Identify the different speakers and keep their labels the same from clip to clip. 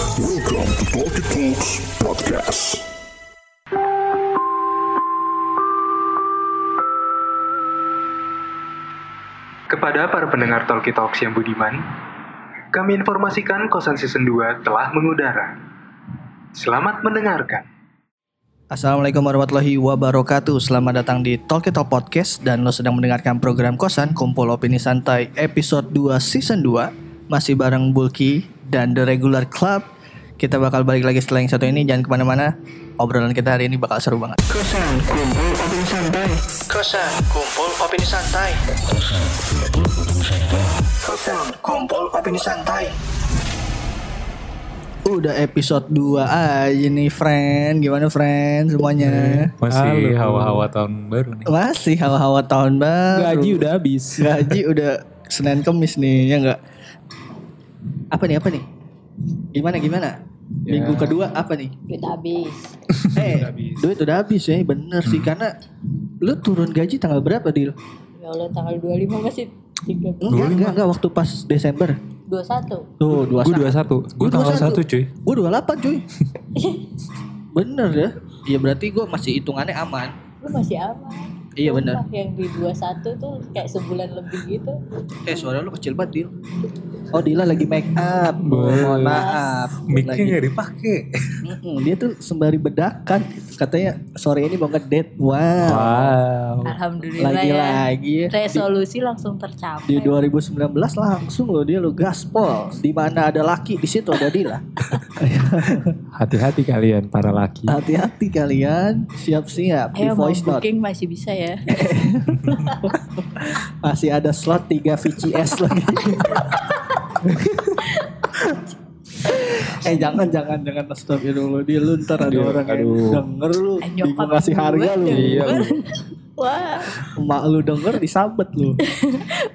Speaker 1: Welcome to Talkie Talks Podcast.
Speaker 2: Kepada para pendengar Talkie Talks yang budiman, kami informasikan kosan season 2 telah mengudara. Selamat mendengarkan.
Speaker 3: Assalamualaikum warahmatullahi wabarakatuh Selamat datang di Talk It Talk Podcast Dan lo sedang mendengarkan program Kosan Kumpul Opini Santai episode 2 season 2 Masih bareng Bulky dan The Regular Club Kita bakal balik lagi setelah yang satu ini Jangan kemana-mana Obrolan kita hari ini bakal seru banget
Speaker 4: Kosan kumpul opini santai. Kosan kumpul opini santai. Kosan kumpul opini santai.
Speaker 3: Udah episode 2 aja nih friend Gimana friend semuanya
Speaker 5: Masih hawa-hawa tahun baru nih.
Speaker 3: Masih hawa-hawa tahun baru
Speaker 6: Gaji udah habis.
Speaker 3: Gaji udah Senin Kemis nih ya enggak apa nih apa nih gimana gimana minggu kedua apa nih
Speaker 7: duit habis
Speaker 3: eh duit udah habis ya bener sih karena lu turun gaji tanggal berapa deal
Speaker 7: ya Allah tanggal 25 masih
Speaker 3: enggak enggak enggak waktu pas Desember
Speaker 7: 21
Speaker 3: tuh dua
Speaker 5: Gue 21. Gue tanggal 1 cuy.
Speaker 3: gue dua delapan cuy bener ya Iya berarti gue masih hitungannya aman
Speaker 7: lu masih aman
Speaker 3: Iya, benar.
Speaker 7: Sumpah, yang di 21 tuh kayak sebulan lebih gitu
Speaker 3: eh suara lu kecil banget deal oh Dila lagi make up mohon maaf
Speaker 5: Mic-nya
Speaker 3: Lagi-
Speaker 5: gak dipake.
Speaker 3: Mm-mm, dia tuh sembari bedakan katanya sore ini mau ngedate wow,
Speaker 5: Wow.
Speaker 7: alhamdulillah
Speaker 3: lagi
Speaker 7: ya
Speaker 3: lagi ya
Speaker 7: resolusi langsung tercapai
Speaker 3: di 2019 langsung loh dia lo gaspol di mana ada laki di situ ada Dila
Speaker 6: Hati-hati kalian para laki.
Speaker 3: hati-hati kalian siap-siap di
Speaker 7: Ayo mau
Speaker 3: voice note
Speaker 7: booking masih bisa ya
Speaker 3: masih ada slot 3 VCS lagi eh jangan jangan jangan astagfirullah dia lu ntar ada
Speaker 6: Aduh,
Speaker 3: orang yang
Speaker 6: aduh.
Speaker 3: denger lu
Speaker 7: Eh,
Speaker 3: bingung ngasih
Speaker 7: gue
Speaker 3: harga lu
Speaker 7: denger.
Speaker 6: Iya, lu.
Speaker 7: wah
Speaker 3: emak lu denger disabet lu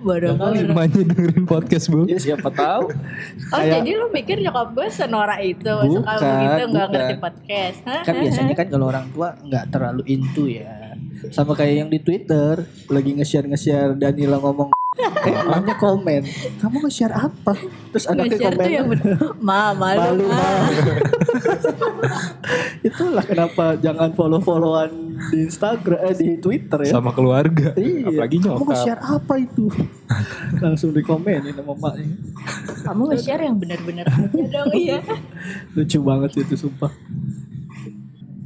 Speaker 7: bodoh banget
Speaker 6: Emaknya dengerin podcast bu.
Speaker 3: ya siapa tahu
Speaker 7: oh
Speaker 3: kayak-
Speaker 7: jadi lu mikir nyokap gue senora itu suka
Speaker 3: Bukan,
Speaker 7: begitu nggak
Speaker 3: bukan.
Speaker 7: ngerti podcast Hah?
Speaker 3: kan biasanya kan kalau orang tua nggak terlalu into ya sama kayak yang di Twitter lagi nge-share nge-share Danila ngomong eh emaknya komen kamu nge-share apa terus anaknya
Speaker 7: Nge-share
Speaker 3: komen
Speaker 7: tuh yang Ah. bener Ma, malu,
Speaker 3: malu
Speaker 7: ma.
Speaker 3: Ma." itulah kenapa jangan follow followan di Instagram eh di Twitter ya
Speaker 6: Sama keluarga.
Speaker 3: Iya,
Speaker 6: Apalagi
Speaker 3: kamu
Speaker 6: nyokap.
Speaker 3: nge-share apa itu? Langsung dikomenin sama emaknya
Speaker 7: Kamu nge-share yang bener-bener aja dong iya
Speaker 3: Lucu banget sih itu sumpah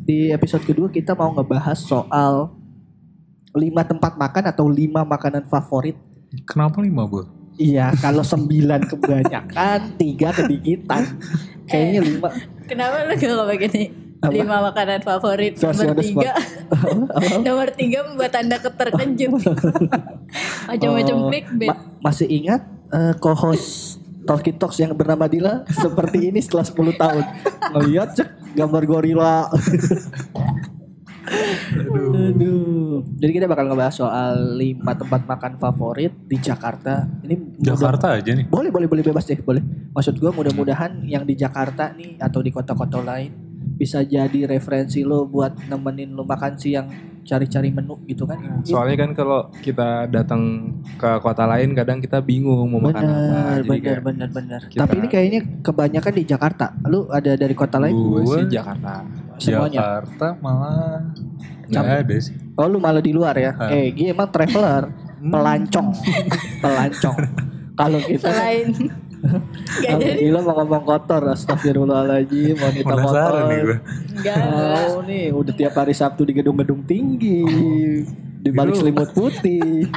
Speaker 3: Di episode kedua kita mau ngebahas soal lima tempat makan atau lima makanan favorit
Speaker 5: Kenapa lima bu?
Speaker 3: Iya kalau sembilan kebanyakan Tiga kedikitan Kayaknya lima
Speaker 7: Kenapa lu gak pakai gini?
Speaker 3: Apa?
Speaker 7: Lima makanan favorit
Speaker 3: Versi on
Speaker 7: nomor
Speaker 3: the spot.
Speaker 7: tiga.
Speaker 3: Eh,
Speaker 7: nomor tiga membuat anda keterkejut. Macam-macam
Speaker 3: Oh,
Speaker 7: clickbait.
Speaker 3: ma- Masih ingat eh, co-host Talkie Talks yang bernama Dila Seperti ini setelah 10 tahun Ngeliat cek gambar gorila Aduh. Jadi kita bakal ngebahas soal lima tempat makan favorit di Jakarta. Ini mudah-
Speaker 5: Jakarta aja nih.
Speaker 3: boleh boleh boleh bebas deh boleh maksud gua mudah-mudahan yang di Jakarta nih atau di kota-kota lain bisa jadi referensi lo buat nemenin lo makan siang cari-cari menu gitu kan
Speaker 6: Soalnya kan kalau kita datang ke kota lain kadang kita bingung mau makan
Speaker 3: bener
Speaker 6: apa. Jadi
Speaker 3: bener
Speaker 6: kayak
Speaker 3: bener bener
Speaker 6: kita-
Speaker 3: tapi ini kayaknya kebanyakan di Jakarta lu ada dari kota lain
Speaker 6: Gue
Speaker 5: Gue
Speaker 6: sih Jakarta.
Speaker 3: semuanya
Speaker 5: Jakarta malah nggak
Speaker 3: Cap-
Speaker 5: ada sih.
Speaker 3: oh lu malah di luar ya
Speaker 5: Ah.
Speaker 3: eh gue emang traveler
Speaker 6: Hmm.
Speaker 3: pelancong pelancong kalau kita
Speaker 7: Selain Gak
Speaker 3: kalau
Speaker 7: jadi
Speaker 3: gila mau ngomong kotor astagfirullahaladzim mau kita
Speaker 5: Penasaran
Speaker 3: kotor
Speaker 5: nih gue.
Speaker 7: Gak
Speaker 3: Oh nih udah tiap hari Sabtu di gedung-gedung tinggi di balik selimut putih.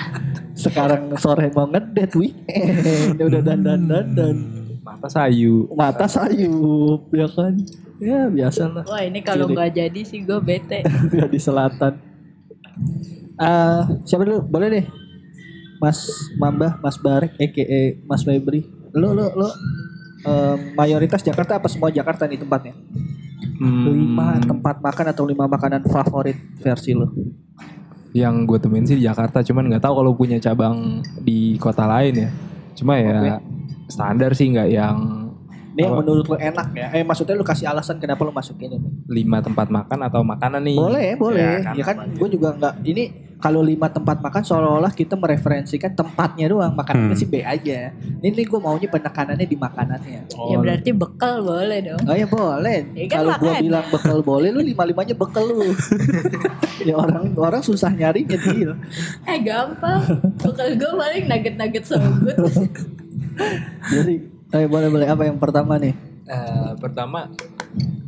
Speaker 3: Sekarang sore mau ngedet weekend udah dandan dandan
Speaker 6: Mata sayu.
Speaker 3: mata sayup ya kan ya biasalah
Speaker 7: Wah ini kalau
Speaker 3: Jadi.
Speaker 7: nggak jadi sih gue bete
Speaker 3: Udah di selatan. Eh, siapa dulu boleh deh Mas Mambah Mas Barek EKE Mas Febri lo lo lo eh, mayoritas Jakarta apa semua Jakarta nih tempatnya
Speaker 6: Hmm,
Speaker 3: lima tempat makan atau lima makanan favorit versi lo
Speaker 6: Yang gue temuin sih di Jakarta, cuman nggak tahu kalau punya cabang di kota lain ya. Cuma ya standar sih nggak yang
Speaker 3: Ini yang
Speaker 6: Apa?
Speaker 3: menurut lo enak ya? Eh maksudnya lu kasih alasan kenapa lu masuk ini?
Speaker 6: lima tempat makan atau makanan nih.
Speaker 3: Boleh, boleh. Ya,
Speaker 6: kan
Speaker 3: kan gue juga nggak. Ini kalau lima tempat makan seolah-olah kita mereferensikan tempatnya doang makanannya
Speaker 5: Hmm.
Speaker 3: sih B aja ini nih gue maunya penekanannya di makanannya
Speaker 7: Ya berarti bekal boleh dong.
Speaker 3: Oh ya boleh.
Speaker 7: Ya kan
Speaker 3: Kalau gua
Speaker 7: makan.
Speaker 3: bilang bekal boleh, lu lima limanya bekal lu. ya orang orang susah nyari gitu.
Speaker 7: Eh gampang. Bekal gue paling nugget-nugget sogut.
Speaker 3: Jadi, eh, boleh boleh apa yang pertama nih?
Speaker 6: Eh, pertama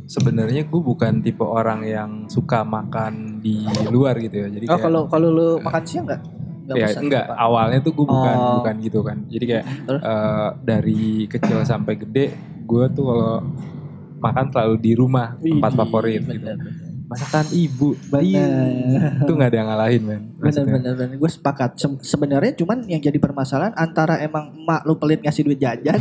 Speaker 6: sebenarnya gue bukan tipe orang yang suka makan di luar gitu ya. Jadi
Speaker 3: Oh
Speaker 6: kayak
Speaker 3: kalau kalau lu makan siang nggak? Nggak
Speaker 6: ya
Speaker 3: bosan,
Speaker 6: enggak
Speaker 3: Pak?
Speaker 6: awalnya tuh gue bukan
Speaker 3: Oh. Hmm,
Speaker 6: bukan gitu kan. Jadi kayak
Speaker 3: Terus?
Speaker 6: eh, dari kecil sampai gede gue tuh kalau makan selalu di rumah tempat
Speaker 3: Widih,
Speaker 6: favorit gitu.
Speaker 3: bener,
Speaker 6: Masakan ibu, bayi
Speaker 3: Bener.
Speaker 6: itu nggak ada yang ngalahin men.
Speaker 3: Bener
Speaker 6: Maksudnya.
Speaker 3: bener bener. Gue sepakat. Sem- Sebenarnya cuman yang jadi permasalahan antara emang emak lu pelit ngasih duit jajan,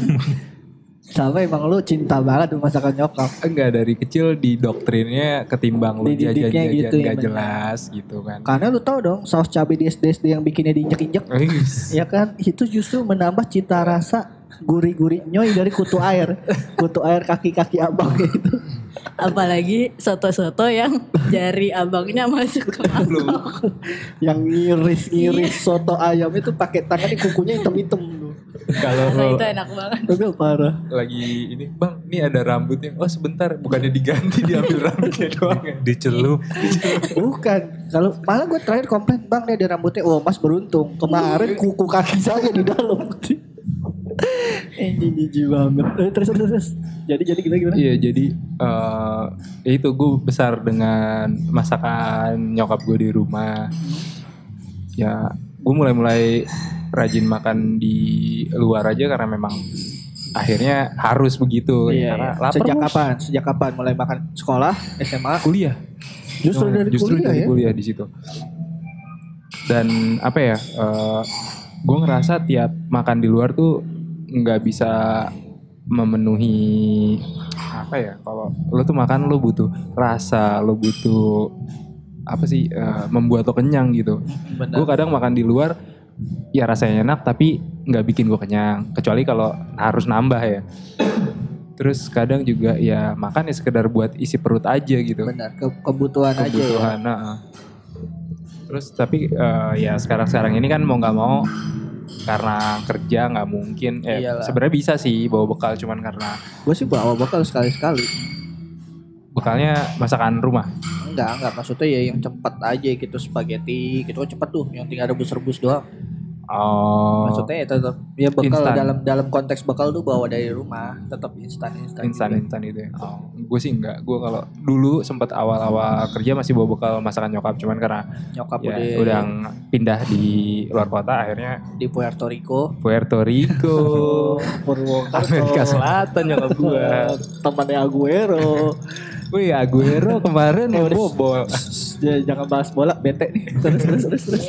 Speaker 3: sama emang lu cinta banget sama masakan nyokap.
Speaker 6: Enggak dari kecil di doktrinnya ketimbang lu
Speaker 3: Dididiknya
Speaker 6: jajan-jajan
Speaker 3: gitu ya,
Speaker 6: nggak
Speaker 3: bener.
Speaker 6: jelas gitu kan.
Speaker 3: Karena lu tau dong saus cabai di SD SD yang bikinnya diinjek-injek,
Speaker 6: Wis.
Speaker 3: ya kan? Itu justru menambah cita rasa gurih-gurih nyoy dari kutu air, kutu air kaki-kaki abang itu.
Speaker 7: Apalagi soto-soto yang jari abangnya masuk ke mangkok.
Speaker 3: yang ngiris-ngiris soto ayam itu pakai tangan kukunya hitam-hitam tuh.
Speaker 7: Karena
Speaker 6: Kalau
Speaker 7: itu enak banget.
Speaker 3: Tapi parah.
Speaker 6: lagi ini bang ini ada rambutnya oh sebentar bukannya diganti diambil rambutnya doang ya
Speaker 5: Dicelup.
Speaker 3: Bukan. Kalau malah gue terakhir komplain bang nih ada rambutnya. Oh mas beruntung. Kemarin
Speaker 6: Iya.
Speaker 3: kuku kaki saya di dalam. Ini jijik banget. Eh, Terus terus terus. Jadi jadi gimana gimana?
Speaker 6: iya jadi eh ya itu gue besar dengan masakan nyokap gue di rumah ya gue mulai mulai rajin makan di luar aja karena memang akhirnya harus begitu ya, karena lapar
Speaker 3: Iya, Sejak
Speaker 6: Bos.
Speaker 3: kapan? Sejak kapan mulai makan sekolah SMA?
Speaker 6: kuliah
Speaker 3: Justru
Speaker 6: Cuman
Speaker 3: dari kuliah
Speaker 6: dari
Speaker 3: ya.
Speaker 6: kuliah di situ dan apa ya gue ngerasa tiap makan di luar tuh nggak bisa memenuhi apa ya kalau lo tuh makan lo butuh rasa lo butuh apa sih eh, membuat lo kenyang gitu gue kadang makan di luar ya rasanya enak tapi nggak bikin gue kenyang kecuali kalau harus nambah ya terus kadang juga ya makan ya sekedar buat isi perut aja gitu
Speaker 3: Benar. ke- kebutuhan, aja. Ya.
Speaker 6: kebutuhan. heeh. Terus tapi eh, ya sekarang-sekarang ini kan mau nggak mau karena kerja nggak mungkin. Eh,
Speaker 3: Iyalah.
Speaker 6: Sebenarnya bisa sih bawa bekal cuman karena
Speaker 3: Gue sih bawa bakal sekali-sekali.
Speaker 6: bekalnya masakan rumah.
Speaker 3: Enggak, enggak maksudnya ya yang cepet aja gitu spaghetti gitu kan cepet tuh yang tinggal rebus-rebus doang.
Speaker 6: Oh,
Speaker 3: Maksudnya ya tetap ya bekal
Speaker 6: Instan.
Speaker 3: dalam dalam konteks bekal tuh bawa dari rumah tetap instan instan.
Speaker 6: instan
Speaker 3: gitu.
Speaker 6: instan itu ya. Oh, gue sih nggak. Gue kalau dulu sempat awal-awal kerja masih bawa bekal masakan nyokap cuman karena
Speaker 3: Nyokap
Speaker 6: ya,
Speaker 3: udah,
Speaker 6: udah pindah di luar kota akhirnya
Speaker 3: di Puerto Rico.
Speaker 6: Puerto Rico.
Speaker 3: Purwokerto.
Speaker 6: Oh. Amerika Selatan nyokap gue.
Speaker 3: Temannya Aguero.
Speaker 6: Wih Aguero kemarin
Speaker 3: Eh,
Speaker 6: mau
Speaker 3: udah.
Speaker 6: bobol.
Speaker 3: Ya, Jangan bahas bola, bete nih. Terus terus terus terus.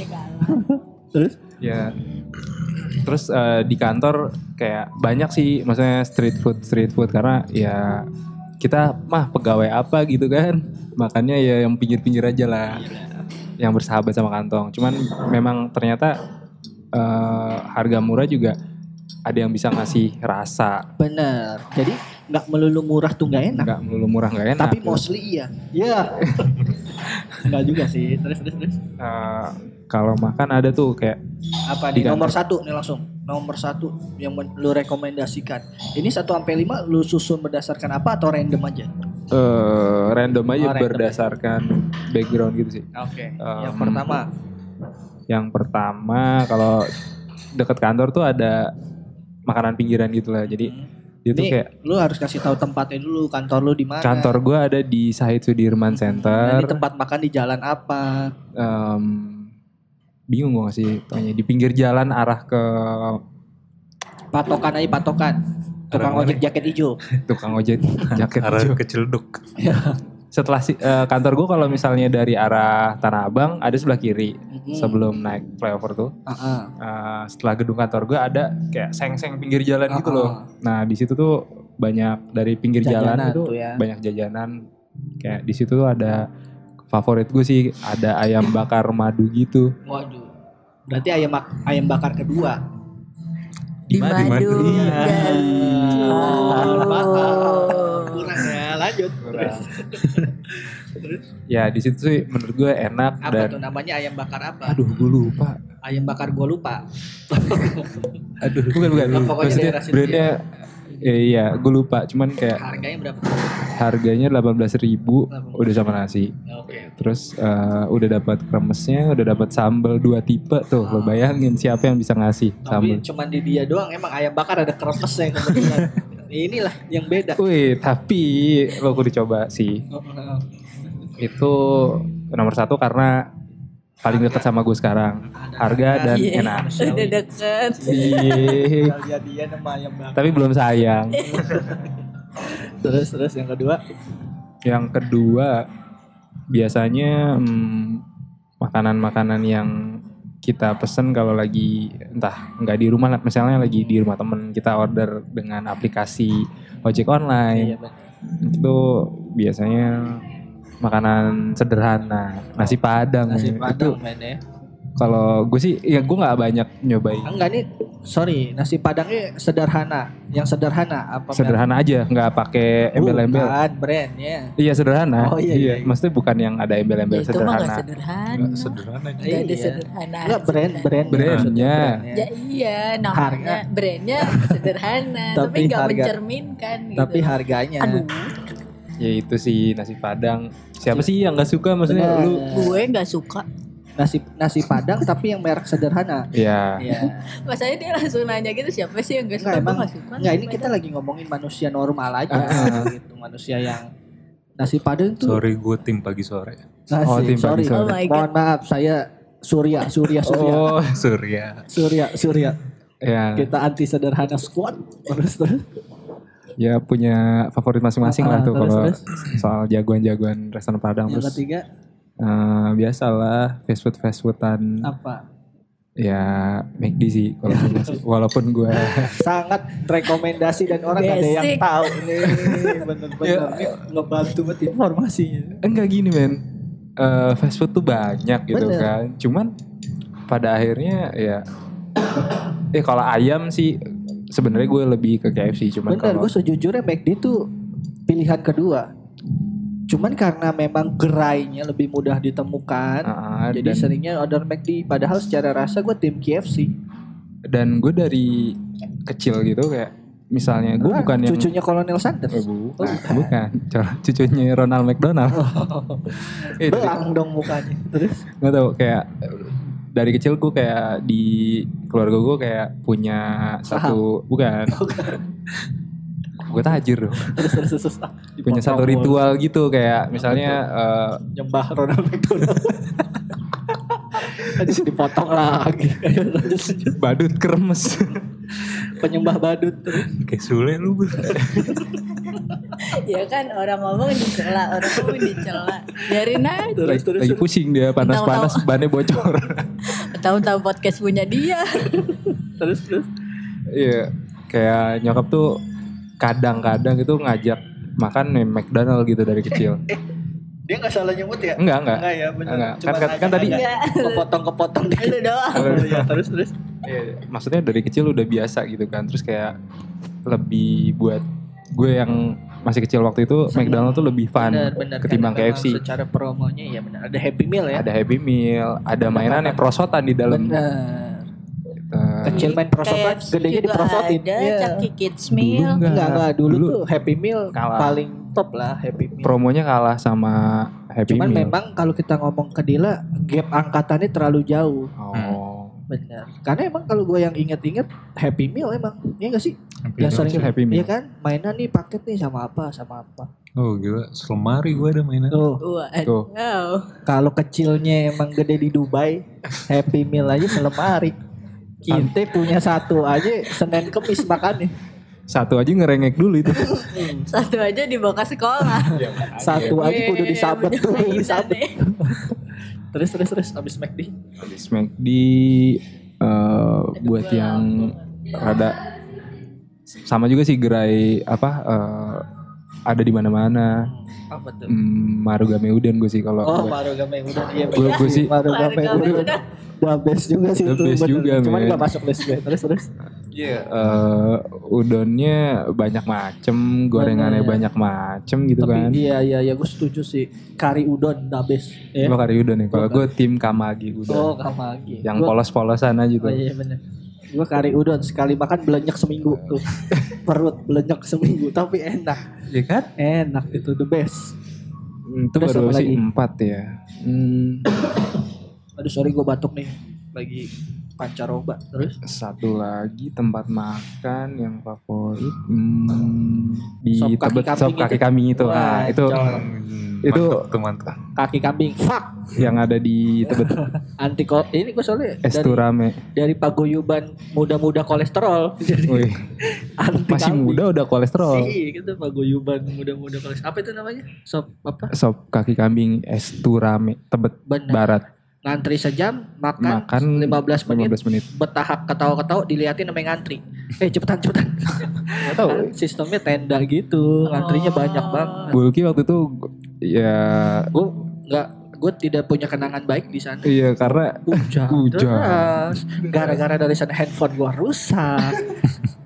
Speaker 3: terus
Speaker 6: Ya. Terus eh, di kantor kayak banyak sih maksudnya street food street food karena ya kita mah pegawai apa gitu kan. Makanya ya yang pinggir-pinggir aja lah. Yang bersahabat sama kantong. Cuman memang ternyata eh, harga murah juga ada yang bisa ngasih rasa.
Speaker 3: bener. Jadi nggak melulu murah tuh nggak enak.
Speaker 6: Enggak melulu murah enggak
Speaker 3: Nah.
Speaker 6: enak. gitu.
Speaker 3: Tapi mostly iya. Iya. Enggak juga sih. Terus terus terus.
Speaker 6: Eh, kalau makan ada tuh kayak
Speaker 3: apa di
Speaker 6: Di
Speaker 3: nomor satu nih langsung nomor satu yang men- lu rekomendasikan ini satu sampai lima lu susun berdasarkan apa atau random aja
Speaker 6: eh, random aja
Speaker 3: Oh, random.
Speaker 6: berdasarkan background gitu sih.
Speaker 3: oke yang
Speaker 6: Em,
Speaker 3: pertama
Speaker 6: Yang pertama kalau deket kantor tuh ada makanan pinggiran gitu lah. Jadi itu
Speaker 3: ini Hmm.
Speaker 6: kayak
Speaker 3: lu harus kasih tahu tempatnya dulu kantor lu di mana
Speaker 6: kantor gua ada di Sahid
Speaker 3: Nah, ini
Speaker 6: Sudirman Center.
Speaker 3: tempat makan di jalan apa
Speaker 6: Em, bingung gua ngasih tanya di pinggir jalan arah ke
Speaker 3: patokan aja patokan tukang
Speaker 5: Arah mana?
Speaker 3: ojek jaket hijau
Speaker 6: tukang ojek jaket
Speaker 5: Arah
Speaker 6: hijau.
Speaker 5: keceluduk.
Speaker 3: Iya.
Speaker 6: Setelah si- eh, kantor gua kalau misalnya dari arah Tanah Abang ada sebelah kiri
Speaker 3: Mm-mm.
Speaker 6: sebelum naik flyover tuh.
Speaker 3: Heeh.
Speaker 6: Eh, setelah gedung kantor gua ada kayak seng-seng pinggir jalan gitu
Speaker 3: Heeh.
Speaker 6: loh. Nah di situ tuh banyak dari pinggir
Speaker 3: Jajanan
Speaker 6: jalan itu
Speaker 3: tuh ya.
Speaker 6: banyak jajanan. Kayak di situ tuh ada favorit gue sih ada ayam bakar madu gitu.
Speaker 3: waduh berarti ayam bak- ayam bakar kedua
Speaker 7: Di
Speaker 5: Di madu.
Speaker 7: madu.
Speaker 5: Iya.
Speaker 7: dan
Speaker 3: Ayam bakar.
Speaker 7: telur.
Speaker 3: kurang ya lanjut
Speaker 6: Oh. Kurang. ya di situ sih menurut gue enak
Speaker 3: Apa
Speaker 6: dan
Speaker 3: tuh namanya ayam bakar apa?
Speaker 6: aduh gue lupa.
Speaker 3: Ayam bakar gua lupa.
Speaker 6: Aduh bukan bukan.
Speaker 3: Lah, Oh, pokoknya
Speaker 6: Maksudnya
Speaker 3: daerah situ ya.
Speaker 6: brandnya eh, iya gue lupa cuman kayak
Speaker 3: Harganya berapa?
Speaker 6: harganya 18.000 udah sama nasi.
Speaker 3: Ya, Oke.
Speaker 6: Terus eh, udah dapat kremesnya, udah dapat sambal dua tipe tuh. Lo bayangin siapa yang bisa ngasih
Speaker 3: Tapi
Speaker 6: sambal.
Speaker 3: cuman di dia doang emang ayam bakar ada kremesnya yang kebetulan. Inilah yang beda.
Speaker 6: Wih, tapi lo kudu coba sih. Itu nomor satu karena paling dekat sama gue sekarang. Harga dan
Speaker 7: Iya,
Speaker 6: enak.
Speaker 7: Udah deket.
Speaker 6: Iya.
Speaker 3: Dia nama ayam bakar.
Speaker 6: tapi belum sayang.
Speaker 3: Terus terus yang kedua
Speaker 6: Yang kedua, biasanya hmm, makanan-makanan yang kita pesen kalau lagi entah nggak di rumah lah, misalnya lagi di rumah temen kita order dengan aplikasi ojek
Speaker 3: Iya,
Speaker 6: online itu biasanya makanan sederhana nasi padang
Speaker 3: nasi
Speaker 6: ya.
Speaker 3: padang
Speaker 6: Itu
Speaker 3: mainnya.
Speaker 6: kalau gue sih ya gue nggak banyak nyobain
Speaker 3: Enggak nih, sorry, nasi padangnya sederhana. Yang sederhana apa?
Speaker 6: sederhana aja nggak pakai embel-embel
Speaker 3: Bukan ya. brandnya.
Speaker 6: iya sederhana
Speaker 3: Oh, iya, iya, iya.
Speaker 6: maksudnya bukan yang ada embel-embel
Speaker 7: Ya, Itu mah gak
Speaker 6: sederhana
Speaker 7: sederhana.
Speaker 5: Nggak sederhana. aja.
Speaker 7: Gak ada
Speaker 3: Iya.
Speaker 7: sederhana.
Speaker 3: Enggak brand, brand.
Speaker 6: Brandnya.
Speaker 7: Ya iya, namanya brandnya sederhana,
Speaker 3: Tapi
Speaker 7: tapi nggak
Speaker 3: harga-
Speaker 7: mencerminkan gitu.
Speaker 3: Tapi harganya.
Speaker 7: Aduh,
Speaker 6: ya itu sih nasi padang siapa sih yang nggak suka maksudnya
Speaker 3: Benar.
Speaker 6: lu
Speaker 7: gue nggak suka.
Speaker 3: Nasi nasi padang tapi yang merek sederhana.
Speaker 6: ya
Speaker 3: Iya.
Speaker 7: Masanya dia langsung nanya gitu siapa sih yang gak
Speaker 3: Enggak,
Speaker 7: suka? Gue
Speaker 3: emang-
Speaker 7: nggak suka.
Speaker 3: Enggak, ini kita lagi ngomongin manusia normal aja
Speaker 7: Ah,
Speaker 3: gitu, manusia yang nasi padang tuh
Speaker 5: Sorry gue tim pagi sore.
Speaker 3: nasi.
Speaker 6: Oh, tim
Speaker 3: sorry.
Speaker 6: pagi sore.
Speaker 7: Oh my God.
Speaker 3: Mohon maaf, saya Surya, Surya, Surya.
Speaker 6: oh
Speaker 5: Surya.
Speaker 3: Surya, Surya.
Speaker 6: ya
Speaker 3: Kita anti sederhana squad. Terus terus.
Speaker 6: ya punya favorit masing-masing lah
Speaker 3: Ah,
Speaker 6: tuh
Speaker 3: terus,
Speaker 6: kalau
Speaker 3: terus. Iya,
Speaker 6: soal jagoan-jagoan restoran padang
Speaker 3: Yang
Speaker 6: terus
Speaker 3: ketiga
Speaker 6: eh, biasalah fast food fast foodan
Speaker 3: apa?
Speaker 6: ya McD sih kalau gua masih- walaupun gue
Speaker 3: sangat rekomendasi dan orang gak ada yang
Speaker 7: Basic.
Speaker 3: tahu nih bener-bener ini ngebantu banget informasinya
Speaker 6: enggak gini men Eh, fast food tuh banyak gitu
Speaker 3: Bener.
Speaker 6: kan cuman pada akhirnya ya eh kalau ayam sih sebenarnya gue lebih ke KFC cuman
Speaker 3: bener
Speaker 6: kalau
Speaker 3: gue sejujurnya McD tuh pilihan kedua cuman karena memang gerainya lebih mudah ditemukan
Speaker 6: Ah,
Speaker 3: kan. jadi
Speaker 6: dan,
Speaker 3: seringnya order McD padahal secara rasa gue tim KFC
Speaker 6: dan gue dari kecil gitu kayak misalnya gue
Speaker 3: Ah, Oh.
Speaker 6: bukan yang
Speaker 3: cucunya Kolonel
Speaker 6: Eh,
Speaker 3: Sanders
Speaker 6: bukan, bukan. Cor- cucunya Ronald McDonald.
Speaker 3: Oh,
Speaker 6: Eh, dari-
Speaker 3: belang dong mukanya terus
Speaker 6: nggak tahu kayak eh, dari kecil gue kayak di keluarga gue kayak punya satu bukan. gue tajir dong.
Speaker 3: terus terus terus, terus. Ah, dipotong
Speaker 6: Punya satu
Speaker 3: mulu.
Speaker 6: ritual gitu kayak
Speaker 3: Iya,
Speaker 6: misalnya eh,
Speaker 3: nyembah Ronald McDonald Terus dipotong lagi Terus
Speaker 6: badut kremes.
Speaker 3: penyembah badut terus
Speaker 5: Kayak Sule lu Bur.
Speaker 7: Ya kan orang ngomong dicela, orang ngomong dicela. Biarin aja.
Speaker 3: terus terus
Speaker 6: Lagi pusing dia panas-panas bannya bocor.
Speaker 7: Tahu-tahu podcast punya dia.
Speaker 3: terus terus
Speaker 6: Iya, kayak nyokap tuh kadang-kadang itu ngajak makan nih McDonald gitu dari kecil.
Speaker 3: dia nggak salah nyebut ya
Speaker 6: Enggak, enggak.
Speaker 3: Enggak ya, bener.
Speaker 6: Enggak.
Speaker 3: Cuma
Speaker 6: Kan, kan, kan tadi
Speaker 3: Iya.
Speaker 7: Enggak,
Speaker 3: kepotong kepotong
Speaker 7: lu doang.
Speaker 6: Kalau-
Speaker 3: ya, terus terus
Speaker 6: Iya, maksudnya dari kecil udah biasa gitu kan. Terus kayak lebih buat gue yang masih kecil waktu itu McDonald tuh lebih fun ketimbang
Speaker 3: karena memang
Speaker 6: KFC.
Speaker 3: secara promonya ya benar ada happy meal ya
Speaker 6: Ada Happy Meal, ada mainan yang prosotan di dalam.
Speaker 3: benar
Speaker 6: Eh,
Speaker 3: kecil main prosotan
Speaker 7: KFC
Speaker 3: gedenya
Speaker 7: juga
Speaker 3: diprosotin
Speaker 7: Ada
Speaker 3: Iya.
Speaker 7: Caki Kids
Speaker 6: dulu
Speaker 7: Meal.
Speaker 6: enggak.
Speaker 3: enggak enggak dulu,
Speaker 6: Dulu
Speaker 3: tuh happy meal
Speaker 6: kalah.
Speaker 3: paling top lah happy meal
Speaker 6: Iya. Promonya kalah sama Happy
Speaker 3: cuman
Speaker 6: Meal.
Speaker 3: memang kalau kita ngomong ke Dila gap angkatannya terlalu jauh
Speaker 6: Oh.
Speaker 3: benar karena emang kalau gue yang inget-inget happy meal emang ya enggak sih
Speaker 5: Hampir
Speaker 3: yang
Speaker 5: dong.
Speaker 3: sering
Speaker 6: Happy Meal.
Speaker 3: Iya kan mainan nih paket nih sama apa sama apa
Speaker 5: Oh gila, selemari gue ada mainan.
Speaker 3: tuh
Speaker 6: Tuh.
Speaker 7: Waduh.
Speaker 3: Kalau kecilnya emang gede di Dubai, Happy Meal aja selemari. Kita punya satu aja Senin kemis makannya.
Speaker 6: Satu aja ngerengek dulu itu.
Speaker 7: Satu aja dibawa ke sekolah.
Speaker 3: Satu
Speaker 7: Iya,
Speaker 3: aja kudu
Speaker 7: Yeay,
Speaker 3: disabet
Speaker 7: punya
Speaker 3: tuh,
Speaker 7: mainan
Speaker 3: disabet.
Speaker 7: nih.
Speaker 3: Terus terus terus abis McD.
Speaker 6: Habis McD eh, buat yang rada sama juga sih gerai apa eh, ada di mana-mana.
Speaker 3: Apa tuh?
Speaker 6: Hmm, Marugame Udon gue sih kalau
Speaker 3: Oh,
Speaker 6: gue.
Speaker 3: Mario Game udah iya
Speaker 6: Gua-
Speaker 3: bener
Speaker 6: gua
Speaker 3: sih.
Speaker 6: sih-
Speaker 3: Mario Game
Speaker 7: Warga
Speaker 3: udah.
Speaker 7: udah.
Speaker 3: Gua best juga sih
Speaker 6: The
Speaker 3: itu.
Speaker 6: best
Speaker 3: bener.
Speaker 6: juga,
Speaker 3: Cuman
Speaker 6: men.
Speaker 3: gak masuk best gue. Terus terus.
Speaker 6: Iya, eh, udonnya banyak macem, gorengannya
Speaker 3: Bener.
Speaker 6: banyak macem gitu
Speaker 3: Tapi
Speaker 6: kan.
Speaker 3: iya iya iya gue setuju sih kari udon the best. Ya.
Speaker 6: Lo kari udon ya. Kalau gue tim kamagi
Speaker 3: Oh
Speaker 6: udon.
Speaker 3: kamagi.
Speaker 6: yang
Speaker 3: Gua-
Speaker 6: polos-polosan aja gitu.
Speaker 3: Oh
Speaker 6: tuh.
Speaker 3: iya bener. Gue kari udon sekali makan belenyek seminggu tuh. Perut belenyek seminggu tapi enak.
Speaker 6: Iya kan?
Speaker 3: Enak itu the best.
Speaker 6: Hmm, Itu
Speaker 3: Terus
Speaker 6: baru
Speaker 3: apa
Speaker 6: sih
Speaker 3: lagi?
Speaker 6: empat ya. Hmm,
Speaker 3: Aduh sorry gue batuk nih. Lagi pancaroba terus.
Speaker 6: satu lagi tempat makan yang favorit hmm, di
Speaker 3: Sop kaki
Speaker 6: tebet sop
Speaker 3: kambing
Speaker 6: kaki
Speaker 3: itu.
Speaker 6: kami itu.
Speaker 3: Wah,
Speaker 6: Ah, itu
Speaker 3: jauh.
Speaker 5: Hmm,
Speaker 6: Itu-
Speaker 5: mantap tuh mantap.
Speaker 3: kaki kambing fuck
Speaker 6: yang ada di tebet
Speaker 3: anti ko- ini gue soalnya dari,
Speaker 6: Esturame.
Speaker 3: dari paguyuban muda-muda kolesterol jadi
Speaker 6: Wih,
Speaker 3: anti
Speaker 6: masih
Speaker 3: kambing.
Speaker 6: muda udah kolesterol.
Speaker 3: Iya gitu paguyuban muda-muda kolesterol apa itu namanya sop apa
Speaker 6: Sop kaki kambing Esturame Tebet
Speaker 3: Benar.
Speaker 6: Barat.
Speaker 3: ngantri sejam makan,
Speaker 6: Makan
Speaker 3: 15 menit
Speaker 6: 15 menit.
Speaker 3: bertahap ketawa-ketawa diliatin sama yang ngantri eh cepetan cepetan
Speaker 6: Gak tahu.
Speaker 3: Kan sistemnya tenda gitu ngantrinya
Speaker 7: Oh.
Speaker 3: banyak banget
Speaker 6: Bulki waktu itu ya
Speaker 3: gue nggak gue tidak punya kenangan baik di sana
Speaker 6: iya karena
Speaker 3: hujan,
Speaker 6: Hujan.
Speaker 3: deras. gara-gara dari sana handphone gue rusak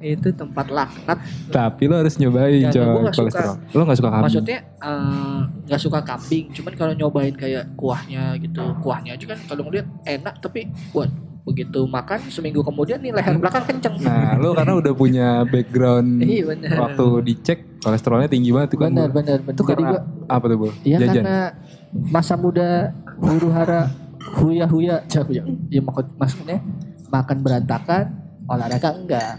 Speaker 3: itu tempat laknat
Speaker 6: tapi lo harus nyobain
Speaker 3: Ya, gua
Speaker 6: coy
Speaker 3: nggak suka.
Speaker 6: kolesterol. Lo gak suka kambing?
Speaker 3: maksudnya eh, nggak suka kambing cuman kalau nyobain kayak kuahnya gitu kuahnya aja kan kalau ngeliat enak tapi buat begitu makan seminggu kemudian nih leher belakang kenceng
Speaker 6: Nah, lo karena udah punya background
Speaker 3: iya bener
Speaker 6: waktu dicek kolesterolnya tinggi banget tuh kan.
Speaker 3: bener
Speaker 6: Bu.
Speaker 3: bener bener
Speaker 6: Itu
Speaker 3: Jadi
Speaker 6: karena
Speaker 3: gua-
Speaker 6: apa tuh, Bu?
Speaker 3: Iya
Speaker 6: Jajan.
Speaker 3: karena masa muda huru hara huya huya jauh ya. Ya maksud- maksudnya makan berantakan olahraga enggak.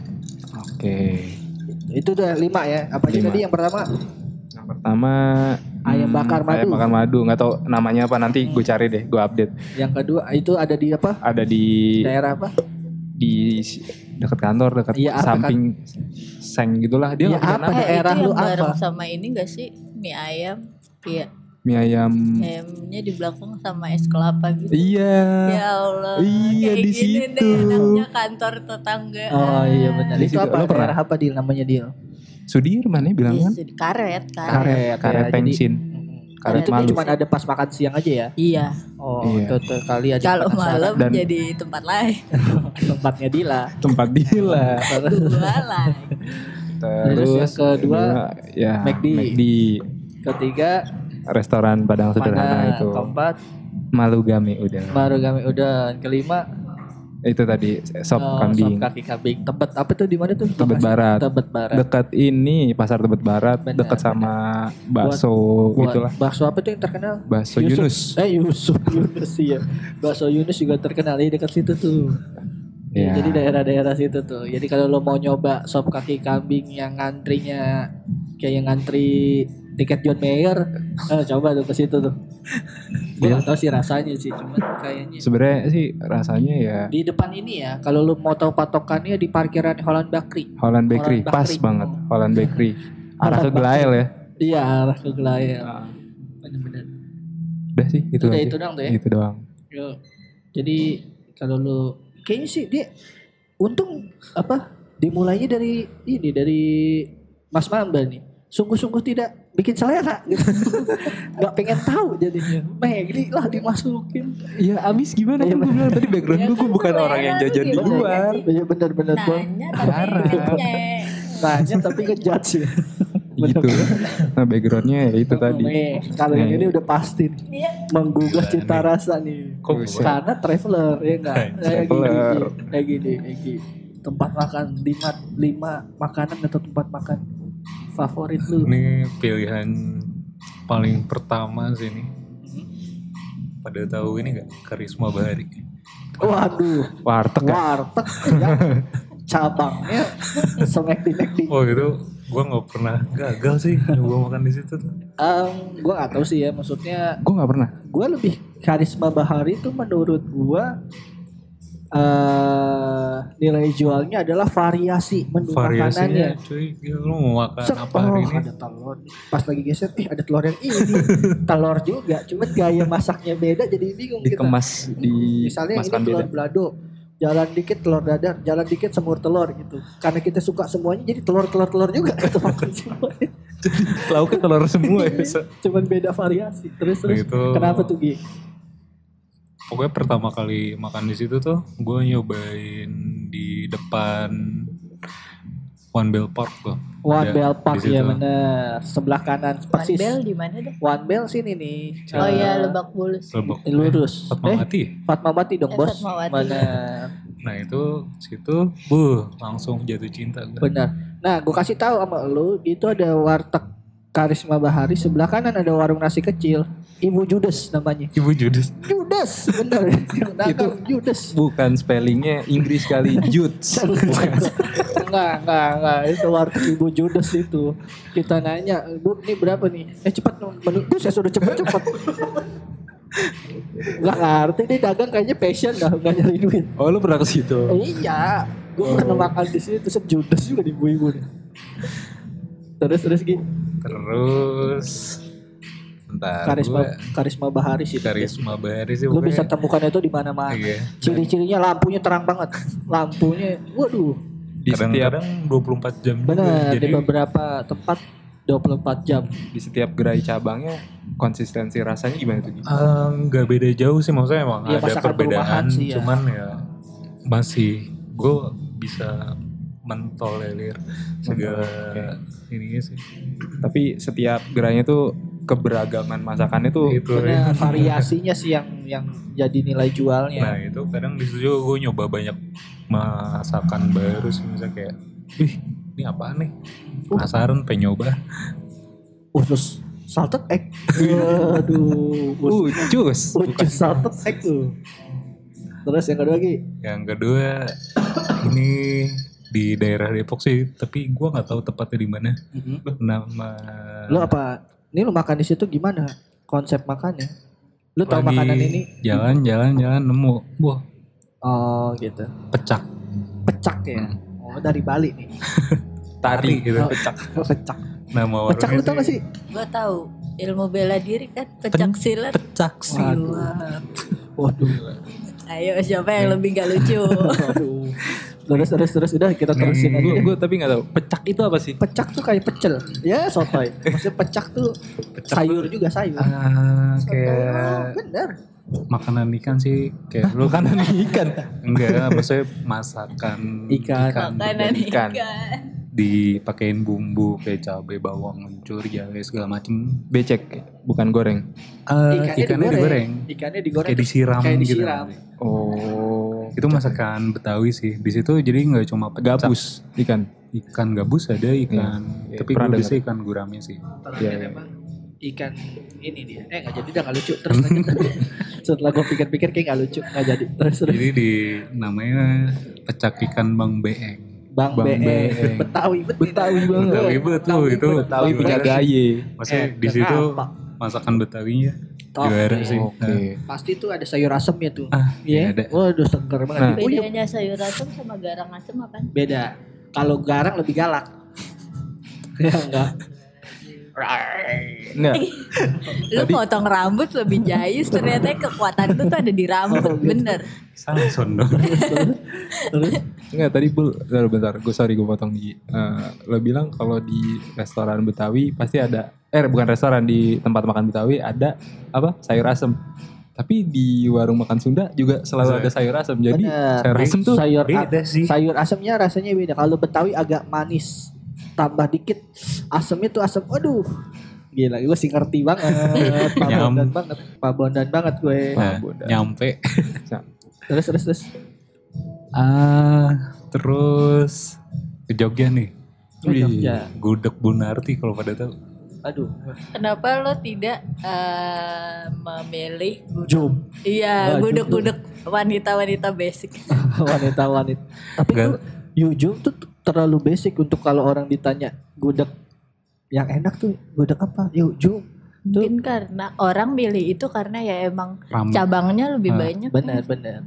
Speaker 6: Oke.
Speaker 3: Itu udah lima ya. Apa aja
Speaker 6: Lima.
Speaker 3: tadi yang pertama?
Speaker 6: Yang pertama
Speaker 3: Ayam
Speaker 6: hmm,
Speaker 3: bakar madu.
Speaker 6: Ayam bakar madu, nggak tahu namanya apa nanti gue cari deh, gue update.
Speaker 3: Yang kedua itu ada di apa?
Speaker 6: Ada di
Speaker 3: Daerah apa?
Speaker 6: di si- dekat kantor, dekat
Speaker 3: Iya, apa
Speaker 6: samping seng gitulah. Dia
Speaker 3: Iya,
Speaker 6: nggak punya
Speaker 3: apa?
Speaker 6: nama.
Speaker 3: daerah
Speaker 7: itu
Speaker 3: lu
Speaker 7: yang bareng
Speaker 3: apa?
Speaker 7: sama ini gak sih? Mie ayam. Iya,
Speaker 6: Mie ayam.
Speaker 3: Iya.
Speaker 7: ayamnya di belakang sama es kelapa gitu.
Speaker 6: Iya.
Speaker 7: Ya Allah.
Speaker 6: Iya,
Speaker 7: kayak
Speaker 6: di
Speaker 7: gini
Speaker 6: situ.
Speaker 7: Deh, enaknya kantor tetangga. Ah,
Speaker 3: Oh iya benar.
Speaker 6: Di
Speaker 3: Itu
Speaker 6: situ.
Speaker 3: apa?
Speaker 6: Lu pernah?
Speaker 3: Daerah apa di namanya dia?
Speaker 6: Sudirman ya bilang kan?
Speaker 7: karet, karet.
Speaker 6: Karet,
Speaker 3: Karet,
Speaker 6: karet
Speaker 3: ya, jadi-
Speaker 6: pensin. Karet
Speaker 3: itu
Speaker 6: malu.
Speaker 3: cuma ada pas makan siang aja ya.
Speaker 7: Iya.
Speaker 3: Oh,
Speaker 6: Iya.
Speaker 3: itu tuh kali ada
Speaker 7: Kalau
Speaker 3: penasaran.
Speaker 7: malam
Speaker 6: Dan-
Speaker 7: jadi tempat lain.
Speaker 3: tempatnya Dila.
Speaker 6: Tempat gila.
Speaker 7: Dua lain.
Speaker 3: Iya. Terus yang kedua,
Speaker 6: ya
Speaker 3: McD. Ketiga,
Speaker 6: restoran Padang sederhana
Speaker 3: mana?
Speaker 6: itu.
Speaker 3: Keempat,
Speaker 6: Malugame udah.
Speaker 3: baru kami udah kelima
Speaker 6: itu tadi sop
Speaker 3: Oh,
Speaker 6: kambing.
Speaker 3: Sop kaki kambing. Tebet apa tuh di mana tuh?
Speaker 6: Tebet
Speaker 3: Bekasi.
Speaker 6: Barat.
Speaker 3: Tebet Barat.
Speaker 6: Dekat ini pasar Tebet Barat,
Speaker 3: Benar,
Speaker 6: dekat sama bakso
Speaker 3: Buat
Speaker 6: gitulah.
Speaker 3: Bakso apa tuh yang terkenal?
Speaker 6: Bakso
Speaker 3: Yusuf.
Speaker 6: Yunus.
Speaker 3: Eh Yusuf Yunus iya. Bakso Yunus juga terkenal di dekat situ tuh. Eh,
Speaker 6: Iya.
Speaker 3: Jadi daerah-daerah situ tuh. Jadi kalau lo mau nyoba sop kaki kambing yang ngantrinya kayak yang ngantri tiket John Mayer, eh, coba tuh ke situ tuh. Gue
Speaker 6: Iya.
Speaker 3: gak tau sih rasanya sih, cuman kayaknya
Speaker 6: Sebenarnya sih rasanya ya
Speaker 3: di depan ini ya, kalau lo mau tahu patokannya di parkiran Holland Bakery.
Speaker 6: Holland Bakery,
Speaker 3: Holland
Speaker 6: pas
Speaker 3: Bakery. Iya.
Speaker 6: banget Holland Bakery. Arah ke
Speaker 3: Holland
Speaker 6: Glail ya.
Speaker 3: Iya, arah ke Gelayan.
Speaker 6: Ah.
Speaker 3: Bener-bener.
Speaker 6: Udah sih itu
Speaker 3: Itu udah
Speaker 6: aja.
Speaker 3: itu doang tuh ya.
Speaker 6: Itu doang.
Speaker 3: Yo. Jadi kalau lu kayaknya sih dia untung apa dimulainya dari ini dari Mas Mamba nih. Sungguh-sungguh tidak bikin selera gitu. Gak pengen tahu jadinya. Megli lah dimasukin.
Speaker 6: Ya abis gimana
Speaker 3: Iya,
Speaker 6: kan gue bilang tadi background
Speaker 7: Iya,
Speaker 6: gue, gue
Speaker 7: kan,
Speaker 6: bukan orang yang
Speaker 7: selera lu
Speaker 6: jajan di
Speaker 7: gimana
Speaker 6: luar.
Speaker 7: sih?
Speaker 3: Iya bener-bener gua
Speaker 7: Nanya tapi
Speaker 6: Jarang.
Speaker 7: ngecek.
Speaker 3: Nanya tapi ngejudge ya.
Speaker 6: Gitu. Nah backgroundnya ya itu tadi. Nah,
Speaker 3: Nih, Nah, iya. Kalau yang ini udah pasti nih.
Speaker 7: Iya.
Speaker 3: menggugah cita rasa nih.
Speaker 5: Kok bisa?
Speaker 3: Karena traveler ya enggak. Kayak gini,
Speaker 6: Traveler.
Speaker 3: kayak gini, kayak gini. Tempat makan lima lima makanan atau tempat makan favorit lu.
Speaker 5: Ini pilihan paling pertama sih ini. Pada tahu ini gak? Karisma Bahari.
Speaker 3: Waduh,
Speaker 6: Warteg ya.
Speaker 3: warteg ya. cabangnya semek di di.
Speaker 5: Oh itu gue nggak pernah gagal sih nyoba makan di situ tuh.
Speaker 3: gue gak tahu sih ya maksudnya
Speaker 6: Gue gak pernah.
Speaker 3: gue lebih karisma bahari itu menurut gue eh nilai jualnya adalah variasi menu makanannya.
Speaker 5: Variasinya cuy, gila, lu mau makan
Speaker 3: Set,
Speaker 5: apa
Speaker 3: oh,
Speaker 5: hari ini?
Speaker 3: ada telur pas lagi geser eh ada telur yang ini telur juga cuman gaya masaknya beda jadi bingung kita
Speaker 6: Dikemas
Speaker 3: iya.
Speaker 6: di
Speaker 3: misalnya ini
Speaker 6: masakan
Speaker 3: telur
Speaker 6: beda.
Speaker 3: belado jalan dikit telur dadar jalan dikit semur telur gitu karena kita suka semuanya jadi telur telur telur juga kita makan semuanya
Speaker 6: Lauknya telur semua ya.
Speaker 3: cuman beda variasi terus terus
Speaker 5: Begitu.
Speaker 3: kenapa tuh Gi
Speaker 5: Pokoknya pertama kali makan di situ tuh, gue nyobain di depan One Bell Park loh.
Speaker 3: One
Speaker 7: Iya,
Speaker 5: Ada
Speaker 3: Bell Park
Speaker 5: di situ.
Speaker 3: ya bener. Sebelah kanan persis.
Speaker 7: Bel di mana dah?
Speaker 3: One Bell sini nih.
Speaker 7: Oh
Speaker 5: Ah.
Speaker 7: iya Lebak Bulus.
Speaker 5: Lebak
Speaker 3: Eh, Lurus. Eh,
Speaker 5: Fatmawati. ya?
Speaker 3: Fatmawati dong
Speaker 7: Eh,
Speaker 3: bos.
Speaker 7: Fatmawati.
Speaker 3: Bener.
Speaker 5: Nah itu situ, buh langsung jatuh cinta gue.
Speaker 3: Bener. Nah, gue kasih tahu sama lu, itu ada warteg Karisma Bahari sebelah kanan ada warung nasi kecil. Ibu Judes namanya.
Speaker 5: Ibu Judas.
Speaker 3: Judes, bener. Yang dagang Judes.
Speaker 6: Bukan spellingnya Inggris kali Juts.
Speaker 3: enggak, enggak, enggak. Itu warteg Ibu Judes itu. Kita nanya, Bu, ini berapa nih? Eh cepat dong, menu. Bu, saya sudah cepet-cepet. Enggak ngerti, ini dagang kayaknya passion dah, enggak nyari duit.
Speaker 6: Oh lu pernah ke situ? Oh.
Speaker 3: Eh, iya, gue pernah makan di sini terus Judes juga di ibu-ibu nih. Terus terus gitu.
Speaker 5: Terus, bentar
Speaker 3: karisma
Speaker 6: eh.
Speaker 5: gua-
Speaker 3: karisma bahari sih
Speaker 5: karisma Bahari sih
Speaker 3: lu
Speaker 5: pokoknya.
Speaker 6: ya.
Speaker 3: bisa temukan itu di mana-mana
Speaker 5: Iya.
Speaker 3: ciri-cirinya lampunya terang banget lampunya waduh
Speaker 6: Di setiap
Speaker 5: Kadang-kadang 24 jam juga.
Speaker 3: benar di
Speaker 5: Jadi
Speaker 3: beberapa tempat 24 jam
Speaker 6: di setiap gerai cabangnya konsistensi rasanya gimana tuh? Gi?
Speaker 5: eh, nggak beda jauh sih maksudnya emang
Speaker 3: Iya,
Speaker 5: ada
Speaker 3: masakan perumahan
Speaker 5: perbedaan,
Speaker 3: sih ya.
Speaker 5: cuman ya masih gue bisa mentolerir segala ininya sih.
Speaker 6: Tapi setiap gerainya tuh keberagaman masakannya tuh
Speaker 5: Itu.
Speaker 3: benar Iya.
Speaker 5: ya.
Speaker 3: variasinya sih yang yang jadi nilai
Speaker 5: Nah
Speaker 3: jualnya
Speaker 5: itu kadang di situ juga gue nyoba banyak masakan baru sih misalnya kayak, wih ini apaan nih? Penasaran pengen nyoba.
Speaker 3: usus salted egg aduh usus
Speaker 6: uh jus.
Speaker 3: usus salted egg tuh terus yang kedua lagi
Speaker 5: Yang kedua ini di daerah Depok sih, tapi gue nggak tahu tepatnya di mana. Nama
Speaker 3: lu apa ini lu makan di situ gimana konsep makannya lu tahu
Speaker 5: Lagi
Speaker 3: makanan ini
Speaker 5: Jalan, jalan, jalan, nemu. Wah,
Speaker 3: oh gitu
Speaker 5: pecak.
Speaker 3: pecak ya. Oh dari Bali nih.
Speaker 5: Tadi gitu.
Speaker 3: Oh, pecak. Pecak.
Speaker 5: Nama warungnya
Speaker 3: Pecak lu tau gak sih?
Speaker 7: Gue tahu ilmu bela diri kan pecak silat.
Speaker 5: Pecak
Speaker 3: Waduh. Waduh.
Speaker 7: Ayo siapa yang lebih gak lucu?
Speaker 3: Waduh. Terus terus terus udah kita terusin aja.
Speaker 6: Gue tapi nggak tahu pecak itu apa sih?
Speaker 3: Pecak tuh kayak pecel. Ya sotoy. Maksudnya pecak tuh sayur juga sayur. Oh,
Speaker 5: Ah, kayak
Speaker 3: bener.
Speaker 5: makanan ikan sih kayak lu kan
Speaker 6: Ikan.
Speaker 5: enggak maksudnya masakan kan
Speaker 3: Ikan.
Speaker 7: Makanan
Speaker 6: Ikan.
Speaker 7: ikan.
Speaker 5: Nah. dipakein bumbu kayak cabai bawang mencur jahe segala macem
Speaker 6: Becek bukan goreng.
Speaker 5: Eh, ikannya, digoreng,
Speaker 3: Ikannya digoreng.
Speaker 5: kayak disiram
Speaker 3: Kayak
Speaker 5: gitu
Speaker 3: disiram.
Speaker 6: Oh.
Speaker 5: itu masakan betawi sih di situ jadi nggak cuma pecak
Speaker 6: Gabus ikan.
Speaker 5: ikan gabus ada ikan
Speaker 6: Iya,
Speaker 5: tapi
Speaker 6: pernah dengar.
Speaker 5: gue bisa ikan gurame sih
Speaker 3: Terakhir emang ikan ini dia. Eh gak jadi dah gak lucu. Terus lanjut. Setelah gue pikir-pikir kayak gak lucu. Gak jadi. Terus terus.
Speaker 5: jadi di namanya pecak ikan bang beeng
Speaker 3: Bang,
Speaker 6: Bang
Speaker 3: BE.
Speaker 6: BE.
Speaker 3: Betawi bet nih,
Speaker 6: Betawi
Speaker 3: dah.
Speaker 6: banget.
Speaker 5: Betawi bet tuh, itu
Speaker 3: bet.
Speaker 6: Tapi
Speaker 5: Bang
Speaker 6: punya
Speaker 5: Beeng.
Speaker 6: gaye.
Speaker 5: maksudnya
Speaker 3: Eh,
Speaker 5: di situ
Speaker 3: kenapa?
Speaker 5: masakan betawinya
Speaker 3: Top.
Speaker 5: juara sih Nah,
Speaker 6: Oke.
Speaker 3: Pasti tuh ada sayur asemnya tuh.
Speaker 5: Ah,
Speaker 3: Iya.
Speaker 5: ada.
Speaker 3: Waduh seger banget.
Speaker 6: Nah.
Speaker 3: Oh, iya,
Speaker 7: Bedanya sayur asem sama garang asem apa?
Speaker 3: Beda. Kalau garang lebih galak. ya enggak.
Speaker 6: Nggak.
Speaker 7: Lu potong rambut lebih jayus ternyata kekuatan lu tuh ada di
Speaker 5: Oh,
Speaker 7: rambut
Speaker 5: gitu.
Speaker 7: bener.
Speaker 5: Samson dong
Speaker 3: Terus
Speaker 6: Enggak tadi bul, bentar, bentar. Gue sorry gue potong di. Eh, lo bilang kalau di restoran Betawi pasti ada. Eh bukan restoran di tempat makan Betawi ada apa sayur asem. Tapi di warung makan Sunda juga selalu ada sayur asem. Jadi
Speaker 3: Bener.
Speaker 6: sayur asem tuh
Speaker 3: sayur a-
Speaker 5: beda sih
Speaker 3: sayur asemnya rasanya beda. Kalau Betawi agak manis. Tambah dikit asemnya tuh asem. Aduh. Gila, gue sih ngerti banget. Pabondan
Speaker 5: Nyam.
Speaker 3: banget. Pabondan banget gue.
Speaker 6: Ya
Speaker 5: Nah,
Speaker 6: bodoh.
Speaker 5: nyampe
Speaker 3: Terus terus terus.
Speaker 5: ah terus ke Jogja nih
Speaker 3: Wih.
Speaker 5: gudeg Bunarti kalau pada tahu
Speaker 3: Aduh.
Speaker 7: Kenapa lo tidak eh, memilih gudeg?
Speaker 3: Jom.
Speaker 7: Iya,
Speaker 3: Wah,
Speaker 7: gudeg-gudeg wanita-wanita basic.
Speaker 3: wanita wanita tapi tuh
Speaker 5: Gan-
Speaker 3: Yujum tuh t- terlalu basic untuk kalau orang ditanya gudeg yang enak tuh gudeg apa Yujum
Speaker 7: Mungkin karena orang milih itu karena ya emang
Speaker 5: ram
Speaker 7: cabangnya lebih
Speaker 5: Ah,
Speaker 7: banyak.
Speaker 3: benar benar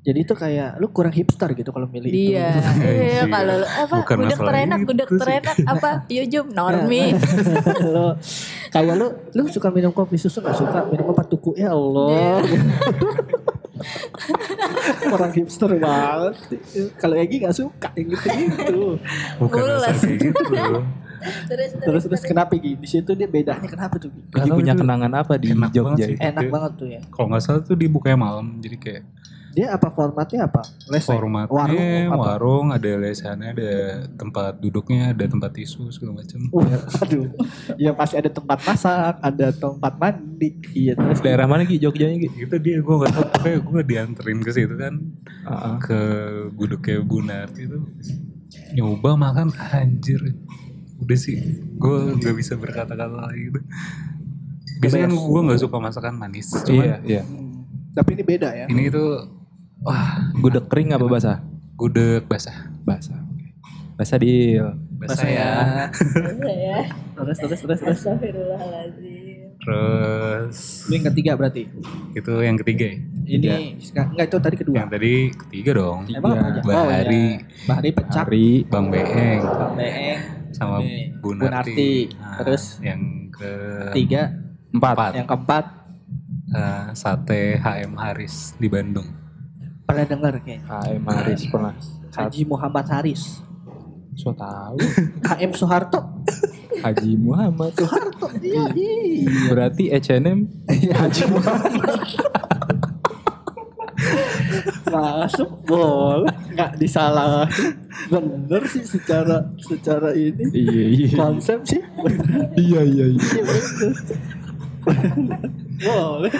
Speaker 3: jadi itu kayak lu kurang hipster gitu kalau milih itu
Speaker 7: Iya, iya kalau lu, apa
Speaker 5: Bukan
Speaker 7: gudeg
Speaker 5: masalah
Speaker 7: terenak,
Speaker 5: itu
Speaker 7: gudeg
Speaker 5: sih. Iya.
Speaker 7: terenak apa yujum normi.
Speaker 3: Lu- kayak lu lu suka minum kopi susu nggak suka minum apa tuku ya Allah orang hipster banget kalau Egi nggak suka yang gitu gitu
Speaker 5: bukan
Speaker 7: Mulas.
Speaker 5: asal kayak gitu
Speaker 7: terus
Speaker 3: terus terus kenapa Egi di situ dia bedanya kenapa tuh Gi?
Speaker 5: Gak
Speaker 6: Jadi
Speaker 5: tahu
Speaker 6: punya
Speaker 5: itu
Speaker 6: kenangan apa di
Speaker 5: enak banget
Speaker 6: Jogja?
Speaker 5: sih.
Speaker 6: ya?
Speaker 3: enak
Speaker 5: Iya.
Speaker 3: banget tuh ya
Speaker 5: kalau nggak salah tuh dibukanya malam jadi kayak
Speaker 3: Dia apa formatnya apa? Leseng?
Speaker 5: Formatnya
Speaker 3: Eh, warung
Speaker 5: warung,
Speaker 3: apa?
Speaker 5: ada lesannya, ada tempat duduknya, ada tempat tisu segala macam.
Speaker 3: Wah, Uh, aduh. ya pasti ada tempat masak, ada tempat mandi. Iya terus
Speaker 6: Daerah mana Ki Jogjanya Ki?
Speaker 5: Itu dia gue gak tau, pokoknya gue dianterin ke situ kan
Speaker 6: Heeh.
Speaker 5: ke gudegnya Bu Narti itu nyoba makan anjir udah sih gue nggak bisa berkata-kata lagi gitu. Biasanya kan gue nggak suka masakan manis,
Speaker 6: Iya,
Speaker 5: cuman
Speaker 6: iya.
Speaker 3: tapi ini beda ya.
Speaker 5: ini itu wah
Speaker 6: Gudeg kering apa basah?
Speaker 5: gudeg basah,
Speaker 6: Basah. oke. Basah di
Speaker 5: basah ya.
Speaker 7: ya.
Speaker 3: Terus terus terus terus.
Speaker 7: Astagfirullahaladzim.
Speaker 5: Terus
Speaker 3: Ini yang ketiga berarti.
Speaker 5: itu yang ketiga ya?
Speaker 3: Ini sekarang enggak itu tadi kedua.
Speaker 5: Yang tadi ketiga dong.
Speaker 3: Emang apa aja?
Speaker 5: Bahari,
Speaker 3: ya. Bahari pecak,
Speaker 6: Hari.
Speaker 5: Bang Beeng
Speaker 3: Beeng,
Speaker 5: sama
Speaker 3: Ini,
Speaker 5: Bu
Speaker 3: Bu Narti. Nah,
Speaker 5: Narti. Nah,
Speaker 3: Terus?
Speaker 5: yang ke
Speaker 3: tiga,
Speaker 5: empat
Speaker 3: yang keempat
Speaker 5: eh, sate HM Haris di Bandung.
Speaker 3: pernah dengar kayaknya.
Speaker 6: HM Haris pernah. Satu
Speaker 3: Haji Muhammad Haris.
Speaker 6: so tahu.
Speaker 3: HM Soeharto.
Speaker 6: Haji Muhammad.
Speaker 3: Soeharto. Iya, iya.
Speaker 6: Berarti H&M Haji Muhammad.
Speaker 3: Masuk boleh nggak disalah. Bener sih secara secara ini
Speaker 6: Iya iya.
Speaker 3: konsep sih. bener.
Speaker 6: Iya iya. iya.
Speaker 3: Iya, bener. boleh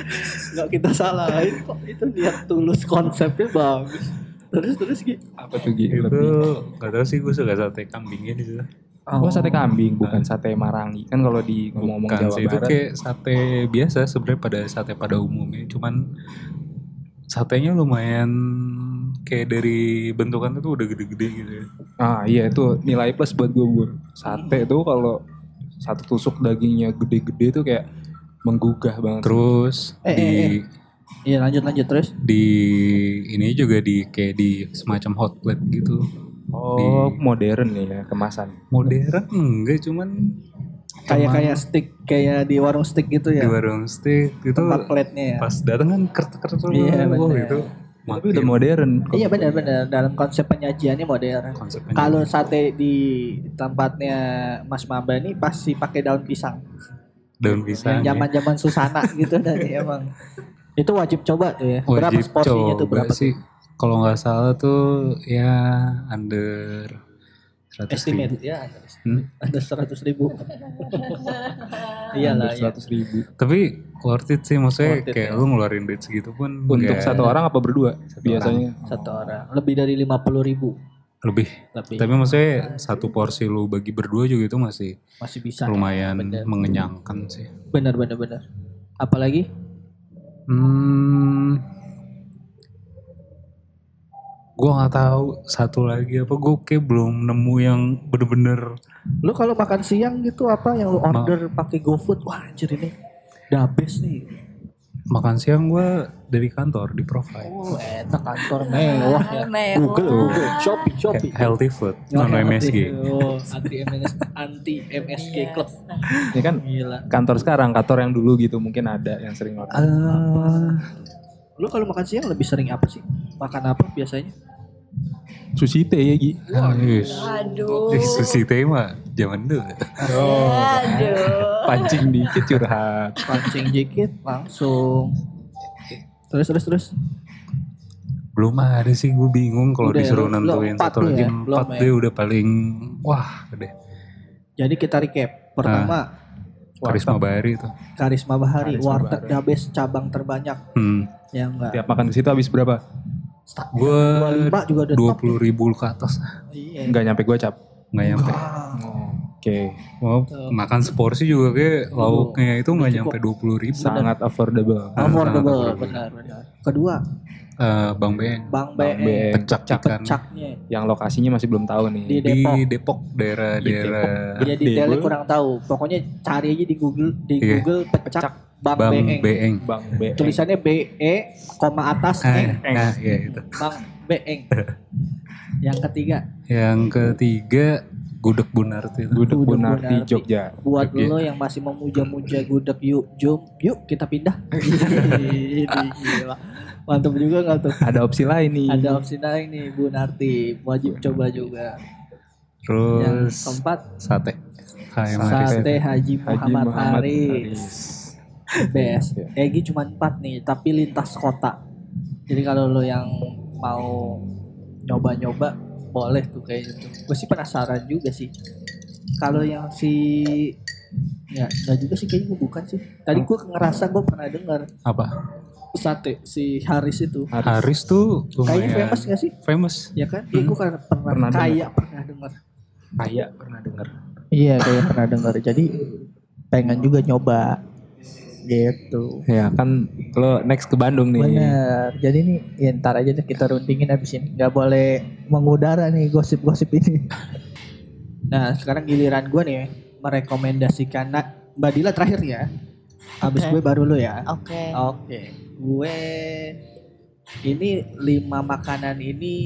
Speaker 3: nggak kita salahin kok itu niat tulus konsepnya bagus. Terus terus gitu.
Speaker 6: Apa tuh Ki?
Speaker 5: Itu
Speaker 6: Lebih-
Speaker 5: gak tau sih gue suka sate kambingnya di situ.
Speaker 6: Oh, sate kambing bukan sate marangi. Kan kalau di ngomong-ngomong
Speaker 5: Bukan
Speaker 6: Jawa
Speaker 5: sih, itu
Speaker 6: Barat.
Speaker 5: kayak sate biasa sebenarnya pada sate pada umumnya. Cuman satenya lumayan kayak dari bentukan itu udah gede-gede gitu ya.
Speaker 6: Ah iya itu nilai plus buat gue Bur. Sate tuh kalau satu tusuk dagingnya gede-gede tuh kayak menggugah banget.
Speaker 5: Terus
Speaker 3: Eh,
Speaker 5: di
Speaker 3: eh, Iya lanjut lanjut terus.
Speaker 5: di ini juga di kayak di semacam hot plate gitu.
Speaker 6: Oh modern ya kemasan.
Speaker 5: Modern enggak cuman
Speaker 3: Kayak
Speaker 5: emang
Speaker 3: kayak stick kayak di warung stick gitu ya.
Speaker 5: di warung steak itu
Speaker 3: Tempat plate-nya ya.
Speaker 5: pas datang kan kertas-kertas
Speaker 3: Iya,
Speaker 5: wow,
Speaker 3: bener.
Speaker 5: itu
Speaker 6: Tapi udah modern.
Speaker 3: Iya benar-benar dalam konsep penyajiannya modern.
Speaker 5: konsepnya.
Speaker 3: Kalau sate di tempatnya Mas Mamba ini pasti pakai daun pisang.
Speaker 5: daun
Speaker 3: Yang
Speaker 5: pisang. ya.
Speaker 3: zaman-zaman susana gitu tadi emang. Itu wajib coba tuh ya. Berapa
Speaker 5: Wajib
Speaker 3: porsinya tuh
Speaker 5: Oh, coba
Speaker 3: berapa? tuh?
Speaker 5: sih? Kalau nggak salah tuh ya under 100
Speaker 3: Estimate
Speaker 5: ribu.
Speaker 3: ya ada-
Speaker 5: Hmm?
Speaker 3: ada seratus ribu. Iyalah ya.
Speaker 6: seratus ribu.
Speaker 5: Tapi worth it sih maksudnya
Speaker 3: Worth it,
Speaker 5: kayak
Speaker 3: ya.
Speaker 5: lu ngeluarin duit segitu pun
Speaker 6: Untuk
Speaker 5: nggak-
Speaker 6: satu orang apa berdua biasanya?
Speaker 3: Satu orang lebih dari lima puluh ribu
Speaker 5: lebih.
Speaker 3: tapi
Speaker 5: Tapi maksudnya satu porsi lu bagi berdua juga itu masih
Speaker 3: masih bisa.
Speaker 5: lumayan
Speaker 3: bener.
Speaker 5: mengenyangkan sih.
Speaker 3: Benar benar benar. Apalagi
Speaker 5: Hmm. Gue nggak tahu satu lagi apa gue kayak belum nemu yang bener-bener
Speaker 3: Lu kalau makan siang gitu apa yang lu order pakai GoFood? Wah anjir ini the best nih.
Speaker 5: makan siang gue dari kantor di provide
Speaker 3: Oh, enak kantor mewah ya.
Speaker 7: Mewah.
Speaker 3: Google, Google, Shopee, Shopee.
Speaker 5: Kayak healthy food non MSG
Speaker 3: Oh, anti MSG, anti MSG club.
Speaker 6: Ini kan
Speaker 3: Gila.
Speaker 6: kantor sekarang, kantor yang dulu gitu mungkin ada yang sering order.
Speaker 3: Lu kalau makan siang lebih sering apa sih? Makan apa biasanya?
Speaker 6: Sushi teh ya Gi.
Speaker 5: Ah,
Speaker 7: Aduh.
Speaker 5: Eh, sushi tema zaman dulu
Speaker 7: Aduh.
Speaker 6: Pancing dikit curhat.
Speaker 3: Pancing dikit langsung. Terus terus terus.
Speaker 5: belum ada sih gue bingung kalau
Speaker 3: Udah ya,
Speaker 5: disuruh
Speaker 3: lu- lu
Speaker 5: nentuin
Speaker 3: empat
Speaker 5: satu
Speaker 3: lu
Speaker 5: lagi
Speaker 3: ya?
Speaker 5: empat
Speaker 3: Belum ya?
Speaker 5: deh udah paling wah deh
Speaker 3: Jadi kita recap. Pertama,
Speaker 5: karisma bahari itu
Speaker 3: Karisma Bahari,
Speaker 6: Ah, Karisma
Speaker 3: warteg
Speaker 6: Bahari.
Speaker 3: the best cabang terbanyak
Speaker 5: hmm.
Speaker 3: yang enggak
Speaker 6: Tiap eh, makan ke situ habis berapa?
Speaker 5: gue
Speaker 3: 25 juga udah
Speaker 5: dua
Speaker 3: top.
Speaker 5: puluh ribu ke atas
Speaker 3: Iya.
Speaker 6: Enggak nyampe gua cap.
Speaker 5: nggak nyampe
Speaker 6: Oke,
Speaker 5: Mau
Speaker 3: Gitu.
Speaker 5: makan seporsi juga kayak lauknya itu nggak nyampe dua puluh ribu
Speaker 6: sangat affordable.
Speaker 3: Affordable, benar benar. Kedua,
Speaker 5: Eh, bang Beng
Speaker 3: Bang E.
Speaker 6: Bang E,
Speaker 3: BE
Speaker 6: Beng.
Speaker 5: pecak ikan
Speaker 3: caknya
Speaker 6: yang lokasinya masih belum tahu nih.
Speaker 3: di
Speaker 5: di
Speaker 3: Depok.
Speaker 5: Depok daerah-daerah
Speaker 3: Iya detailnya
Speaker 6: Depok.
Speaker 3: kurang tahu. Pokoknya cari aja di Google, di
Speaker 5: Iya.
Speaker 3: Google pecak,
Speaker 6: Pecak
Speaker 3: Bang,
Speaker 5: Bang
Speaker 3: Beeng.
Speaker 5: Beeng
Speaker 6: Bang B.
Speaker 3: Tulisannya B E koma atas
Speaker 5: Ah,
Speaker 3: Eng.
Speaker 5: nah, ya itu.
Speaker 3: Bang Beeng. Yang ketiga,
Speaker 5: Yang ketiga gudeg bunarti itu.
Speaker 6: Gudeg
Speaker 3: Gudeg
Speaker 6: Bunarti
Speaker 3: Bunarti.
Speaker 6: Jogja.
Speaker 3: buat
Speaker 5: Oke.
Speaker 3: lo yang masih memuja-muja gudeg yuk, jom, yuk kita pindah. Ini gila. Mantap juga nggak tuh?
Speaker 6: Ada opsi lain nih.
Speaker 3: Ada opsi lain nih Bu Narti, wajib coba juga. Yang
Speaker 5: Terus
Speaker 3: keempat,
Speaker 5: sate. Kayak Maris.
Speaker 3: Sate Haji Muhammad, Haris. Best.
Speaker 6: Iya.
Speaker 3: Egi cuma empat nih, tapi lintas kota. Jadi kalau lo yang mau nyoba-nyoba boleh tuh kayak gitu. Gue sih penasaran juga sih. Kalau yang si ya nggak juga sih kayaknya gue bukan sih. Tadi gue ngerasa gue pernah dengar
Speaker 5: Apa?
Speaker 3: sate si Haris itu.
Speaker 5: Haris tuh
Speaker 3: Kayaknya
Speaker 5: lumayan
Speaker 3: famous gak sih?
Speaker 5: famous.
Speaker 3: Ya kan? Iya gue pernah,
Speaker 5: Pernah
Speaker 3: pernah
Speaker 5: dengar.
Speaker 3: kayak pernah dengar.
Speaker 5: Kayak pernah dengar.
Speaker 8: Iya kayak pernah dengar. Jadi pengen juga nyoba gitu.
Speaker 6: Ya kan lo next ke Bandung nih.
Speaker 8: Bener. Jadi nih ya ntar aja deh kita runtingin abis ini. Gak boleh mengudara nih gosip-gosip ini.
Speaker 3: Nah sekarang giliran gue nih merekomendasikan nah, Mbak Dila terakhir ya. Abis
Speaker 7: Oke.
Speaker 3: gue baru lo ya.
Speaker 7: Oke.
Speaker 3: Oke, gue ini lima makanan ini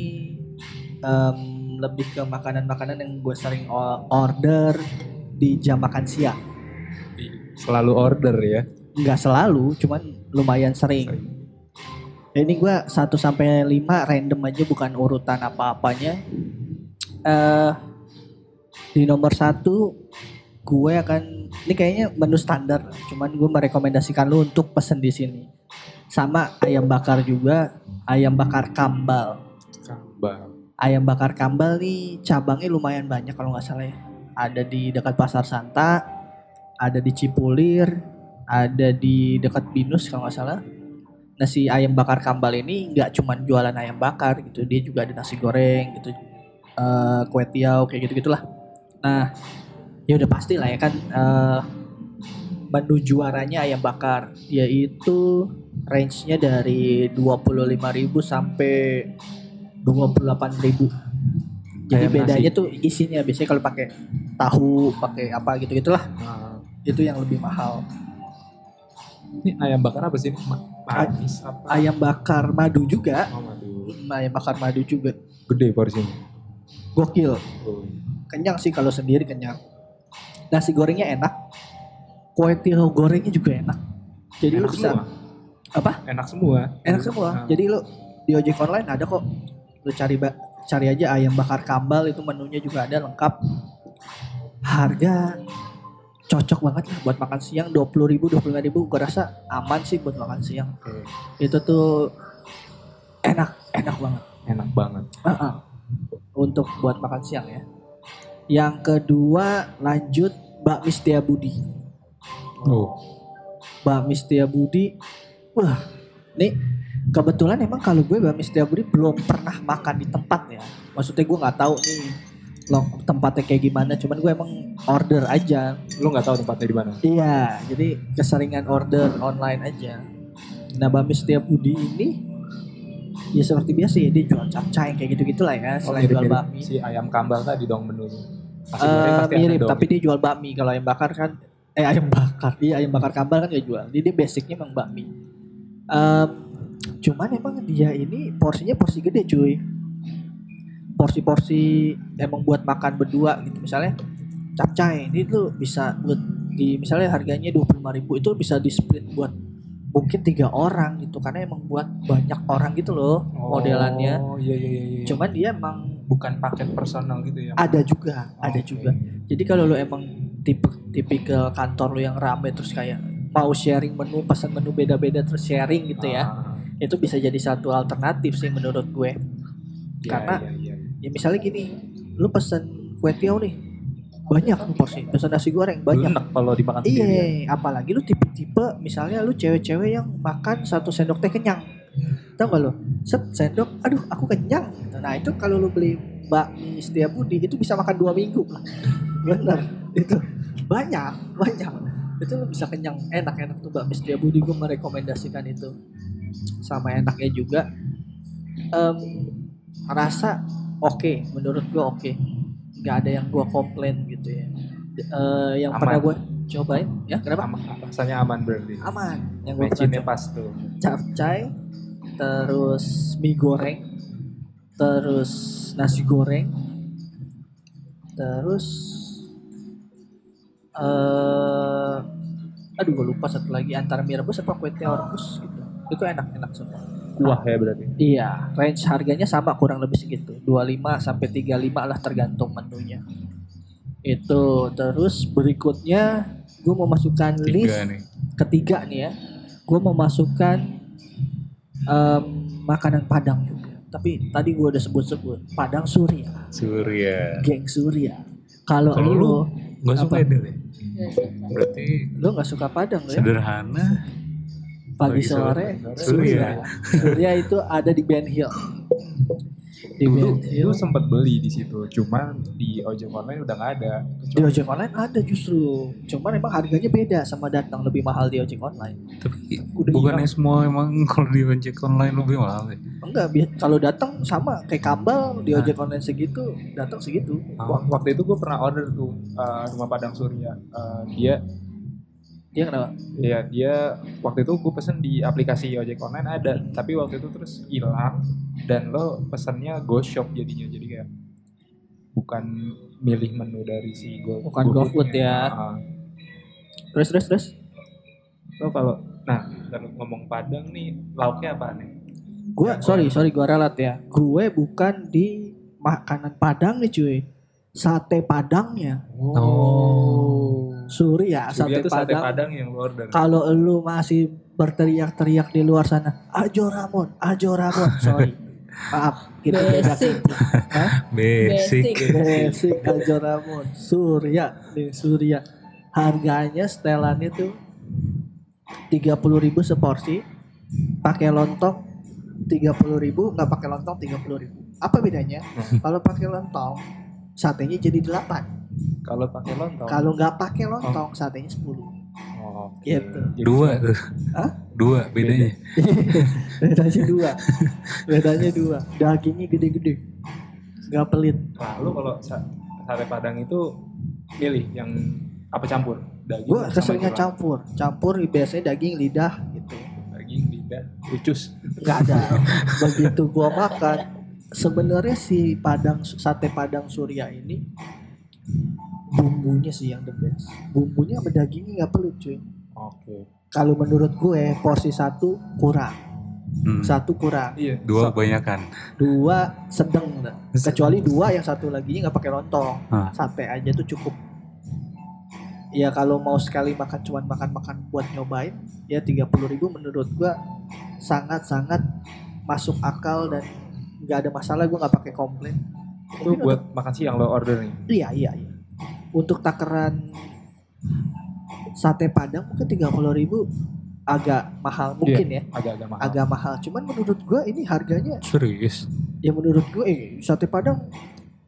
Speaker 3: em, lebih ke makanan-makanan yang gue sering o- order di jam makan siang.
Speaker 6: Selalu order ya.
Speaker 3: Nggak selalu, cuman lumayan sering. Nah, Ini gue 1 sampai 5 random aja bukan urutan apa-apanya. Eh di nomor satu gue akan ini kayaknya menu standar, cuman gue merekomendasikan lu untuk pesen di sini. Sama ayam bakar juga, ayam bakar kambal.
Speaker 6: Kambal.
Speaker 3: Ayam bakar kambal nih cabangnya lumayan banyak kalau nggak salah ya. Ada di dekat Pasar Santa, ada di Cipulir, ada di dekat Binus kalau nggak salah. Nah si ayam bakar kambal ini nggak cuman jualan ayam bakar gitu, dia juga ada nasi goreng gitu, eh, kue tiaw kayak gitu gitulah. Nah ya udah pasti lah ya kan eh menu juaranya ayam bakar yaitu range-nya dari 25.000 sampai 28.000. Jadi
Speaker 6: Ayam
Speaker 3: bedanya tuh isinya biasanya kalau pakai tahu, pakai apa gitu-gitulah. Itu yang lebih mahal.
Speaker 6: Ini ayam bakar apa sih? Ma- Manis apa?
Speaker 3: ayam bakar madu juga
Speaker 6: Oh, aduh.
Speaker 3: ayam bakar madu juga
Speaker 6: Gede porsinya.
Speaker 3: gokil
Speaker 6: Oh.
Speaker 3: kenyang sih kalau sendiri kenyang nasi gorengnya enak kue tiaw gorengnya juga enak jadi lu
Speaker 6: Enak
Speaker 3: bisa
Speaker 6: semua.
Speaker 3: Apa?
Speaker 6: Enak semua.
Speaker 3: enak semua
Speaker 6: Ah.
Speaker 3: jadi lu di ojek online ada kok lu cari ba- cari aja ayam bakar kambal itu menunya juga ada lengkap harga cocok banget lah buat makan siang dua puluh ribu dua ribu gue rasa aman sih buat makan siang itu tuh enak enak banget
Speaker 6: Enak banget.
Speaker 3: Ah, ah. Untuk buat makan siang ya. Yang kedua lanjut Mbak Mistia Budi.
Speaker 5: Oh,
Speaker 3: Mbak Mistia Budi, wah, nih kebetulan emang kalau gue Mbak Mistia Budi belum pernah makan di tempat ya. Maksudnya gue nggak tahu nih lo tempatnya kayak gimana. Cuman gue emang order aja.
Speaker 6: Lo nggak tahu tempatnya di mana?
Speaker 3: Iya, jadi keseringan order online aja. Nah, Mbak Mistia Budi ini ya seperti biasa ya dia jual capcay kayak gitu gitulah ya
Speaker 6: Oh,
Speaker 3: selain jual
Speaker 6: mirip-mirip
Speaker 3: bakmi.
Speaker 6: Si ayam kambal tadi dong menunya. Nasi goreng
Speaker 3: Eh,
Speaker 6: pasti ada
Speaker 3: mirip
Speaker 6: dong.
Speaker 3: tapi dia jual bakmi kalau ayam bakar kan eh ayam bakar iya ayam bakar kambal kan dia jual jadi dia basicnya emang bakmi Em, cuman emang dia ini porsinya porsi gede cuy porsi-porsi emang buat makan berdua gitu misalnya capcay ini tuh bisa buat di misalnya harganya 25.000 itu bisa di split buat mungkin tiga orang gitu karena emang buat banyak orang gitu loh modelannya
Speaker 6: Oh iya iya iya. iya.
Speaker 3: cuman dia emang
Speaker 6: bukan paket personal gitu ya.
Speaker 3: ada juga
Speaker 6: Oh,
Speaker 3: ada
Speaker 6: oke.
Speaker 3: juga jadi kalau lo emang tipe tipikal kantor lo yang rame terus kayak mau sharing menu pesan menu beda-beda terus sharing gitu ya
Speaker 6: Ah,
Speaker 3: itu bisa jadi satu alternatif sih menurut gue
Speaker 6: iya,
Speaker 3: Karena-
Speaker 6: iya, iya.
Speaker 3: ya misalnya gini lo pesan kue tiaw nih banyak nih porsi pesan nasi goreng banyak
Speaker 6: Enak kalau dimakan ya. sendirian.
Speaker 3: Iya, apalagi lu tipe-tipe misalnya lu cewek-cewek yang makan satu sendok teh kenyang. Tahu gak lu? Set sendok, aduh aku kenyang. Gitu. Nah, itu kalau lu beli bakmi setia budi itu bisa makan dua minggu lah. Bener, itu banyak, banyak. Itu lu bisa kenyang, enak-enak tuh bakmi setia budi gue merekomendasikan itu. Sama enaknya juga em, rasa oke, menurut gue oke. nggak ada yang gue komplain gitu ya. D- eh, yang
Speaker 6: Aman.
Speaker 3: pernah gue cobain ya kenapa
Speaker 6: Aman, rasanya aman berarti.
Speaker 3: aman yang gue
Speaker 2: ya,
Speaker 3: pernah
Speaker 6: Matchingnya
Speaker 3: coba
Speaker 6: pas tuh.
Speaker 3: capcay terus mie goreng terus nasi goreng terus eh aduh gue lupa satu lagi antara mie rebus apa kue tiaw rebus gitu itu enak enak semua
Speaker 6: Kuah ya berarti.
Speaker 3: iya range harganya sama kurang lebih segitu 25 sampai 35 lah tergantung menunya itu terus berikutnya gue mau masukkan list
Speaker 5: tiga nih.
Speaker 3: ketiga nih ya gue memasukkan em, makanan Padang juga. Tapi tadi gue udah sebut-sebut Padang Surya,
Speaker 5: Surya.
Speaker 3: geng Surya. Kalau
Speaker 5: Kalau
Speaker 3: lu,
Speaker 5: lu nggak suka
Speaker 3: Apa?
Speaker 5: Edel ya? Berarti
Speaker 3: lu nggak suka Padang lu ya?
Speaker 5: sederhana.
Speaker 3: Pagi
Speaker 5: pagi
Speaker 3: sore
Speaker 5: sore,
Speaker 3: Surya. Surya itu ada di Ben Hill. Di
Speaker 6: Dulu,
Speaker 3: Ben Hill.
Speaker 6: dulu sempat beli di situ, cuma di ojek online udah nggak ada.
Speaker 3: Di ojek online ada justru. Cuman emang harganya beda sama datang lebih mahal di ojek online.
Speaker 5: Tapi
Speaker 3: Udah
Speaker 5: bukannya semua emang kalau di ojek online lebih mahal ya?
Speaker 3: Enggak, bi- kalau datang sama kayak kambal di ojek online segitu, datang segitu.
Speaker 6: Wak- Waktu itu gue pernah order tuh eh, rumah Padang Surya. Eh, dia
Speaker 3: Dia kenapa?
Speaker 6: Iya dia waktu itu gue pesen di aplikasi ojek online ada tapi waktu itu terus hilang dan lo pesennya go shop jadinya jadi kayak bukan milih menu dari si go
Speaker 3: Bukan GoFood ya.
Speaker 6: Heeh.
Speaker 3: Terus terus terus.
Speaker 6: lo kalau nah kalau ngomong padang nih lauknya apa nih
Speaker 3: Gue
Speaker 6: Ya,
Speaker 3: sorry sorry gue ralat ya. Gue bukan di makanan Padang nih cuy. Sate Padangnya. Surya
Speaker 6: Surya
Speaker 3: Oh. sate,
Speaker 6: tuh sate
Speaker 3: Padang.
Speaker 6: padang yang lo order
Speaker 3: Kalau lu masih berteriak-teriak di luar sana, Ajo Ramon, Ajo Ramon, sorry. Maaf, kita beda.
Speaker 7: Basic.
Speaker 5: Basic.
Speaker 3: Basic Ajo Ramon, Surya, nih Surya. Harganya setelannya tuh 30.000 seporsi, pakai lontong 30.000, nggak pakai lontong 30.000. Apa bedanya? Kalau pakai lontong, satenya jadi 8.
Speaker 6: kalau pakai lontong
Speaker 3: Kalau nggak pakai lontong, satenya 10.
Speaker 6: oh, oke.
Speaker 3: Gitu.
Speaker 6: Jadi
Speaker 5: Dua tuh.
Speaker 3: Hah?
Speaker 5: Dua bedanya.
Speaker 3: bedanya dua bedanya dua dagingnya gede-gede nggak pelit
Speaker 6: nah, lo kalau sa- sate padang itu milih yang apa campur daging
Speaker 3: gue
Speaker 6: sama
Speaker 3: keseringan
Speaker 6: tulang?
Speaker 3: campur campur biasanya daging lidah gitu
Speaker 6: daging lidah ucus
Speaker 3: nggak ada begitu gua makan sebenarnya si padang sate padang surya ini bumbunya sih yang the best bumbunya sama dagingnya nggak pelit cuy
Speaker 6: Oke.
Speaker 3: kalau menurut gue porsi satu kurang
Speaker 5: Hmm.
Speaker 3: satu kurang
Speaker 6: Iya.
Speaker 5: Dua kebanyakan.
Speaker 3: dua sedang dah. kecuali dua yang satu lagi nggak pakai lontong
Speaker 6: Ah.
Speaker 5: Hah.
Speaker 3: sate aja tuh cukup ya kalau mau sekali makan cuman makan makan buat nyobain ya 30.000 menurut gua sangat sangat masuk akal dan nggak ada masalah gua nggak pakai komplain Mungkin
Speaker 6: Itu buat makan siang lo order nih.
Speaker 3: untuk- iya iya iya untuk takaran sate padang mungkin 30.000 agak
Speaker 6: Iya.
Speaker 3: mahal mungkin ya
Speaker 6: Agak-agak mahal.
Speaker 3: agak mahal cuman menurut gua ini harganya
Speaker 5: Serius.
Speaker 3: ya menurut gue eh, sate padang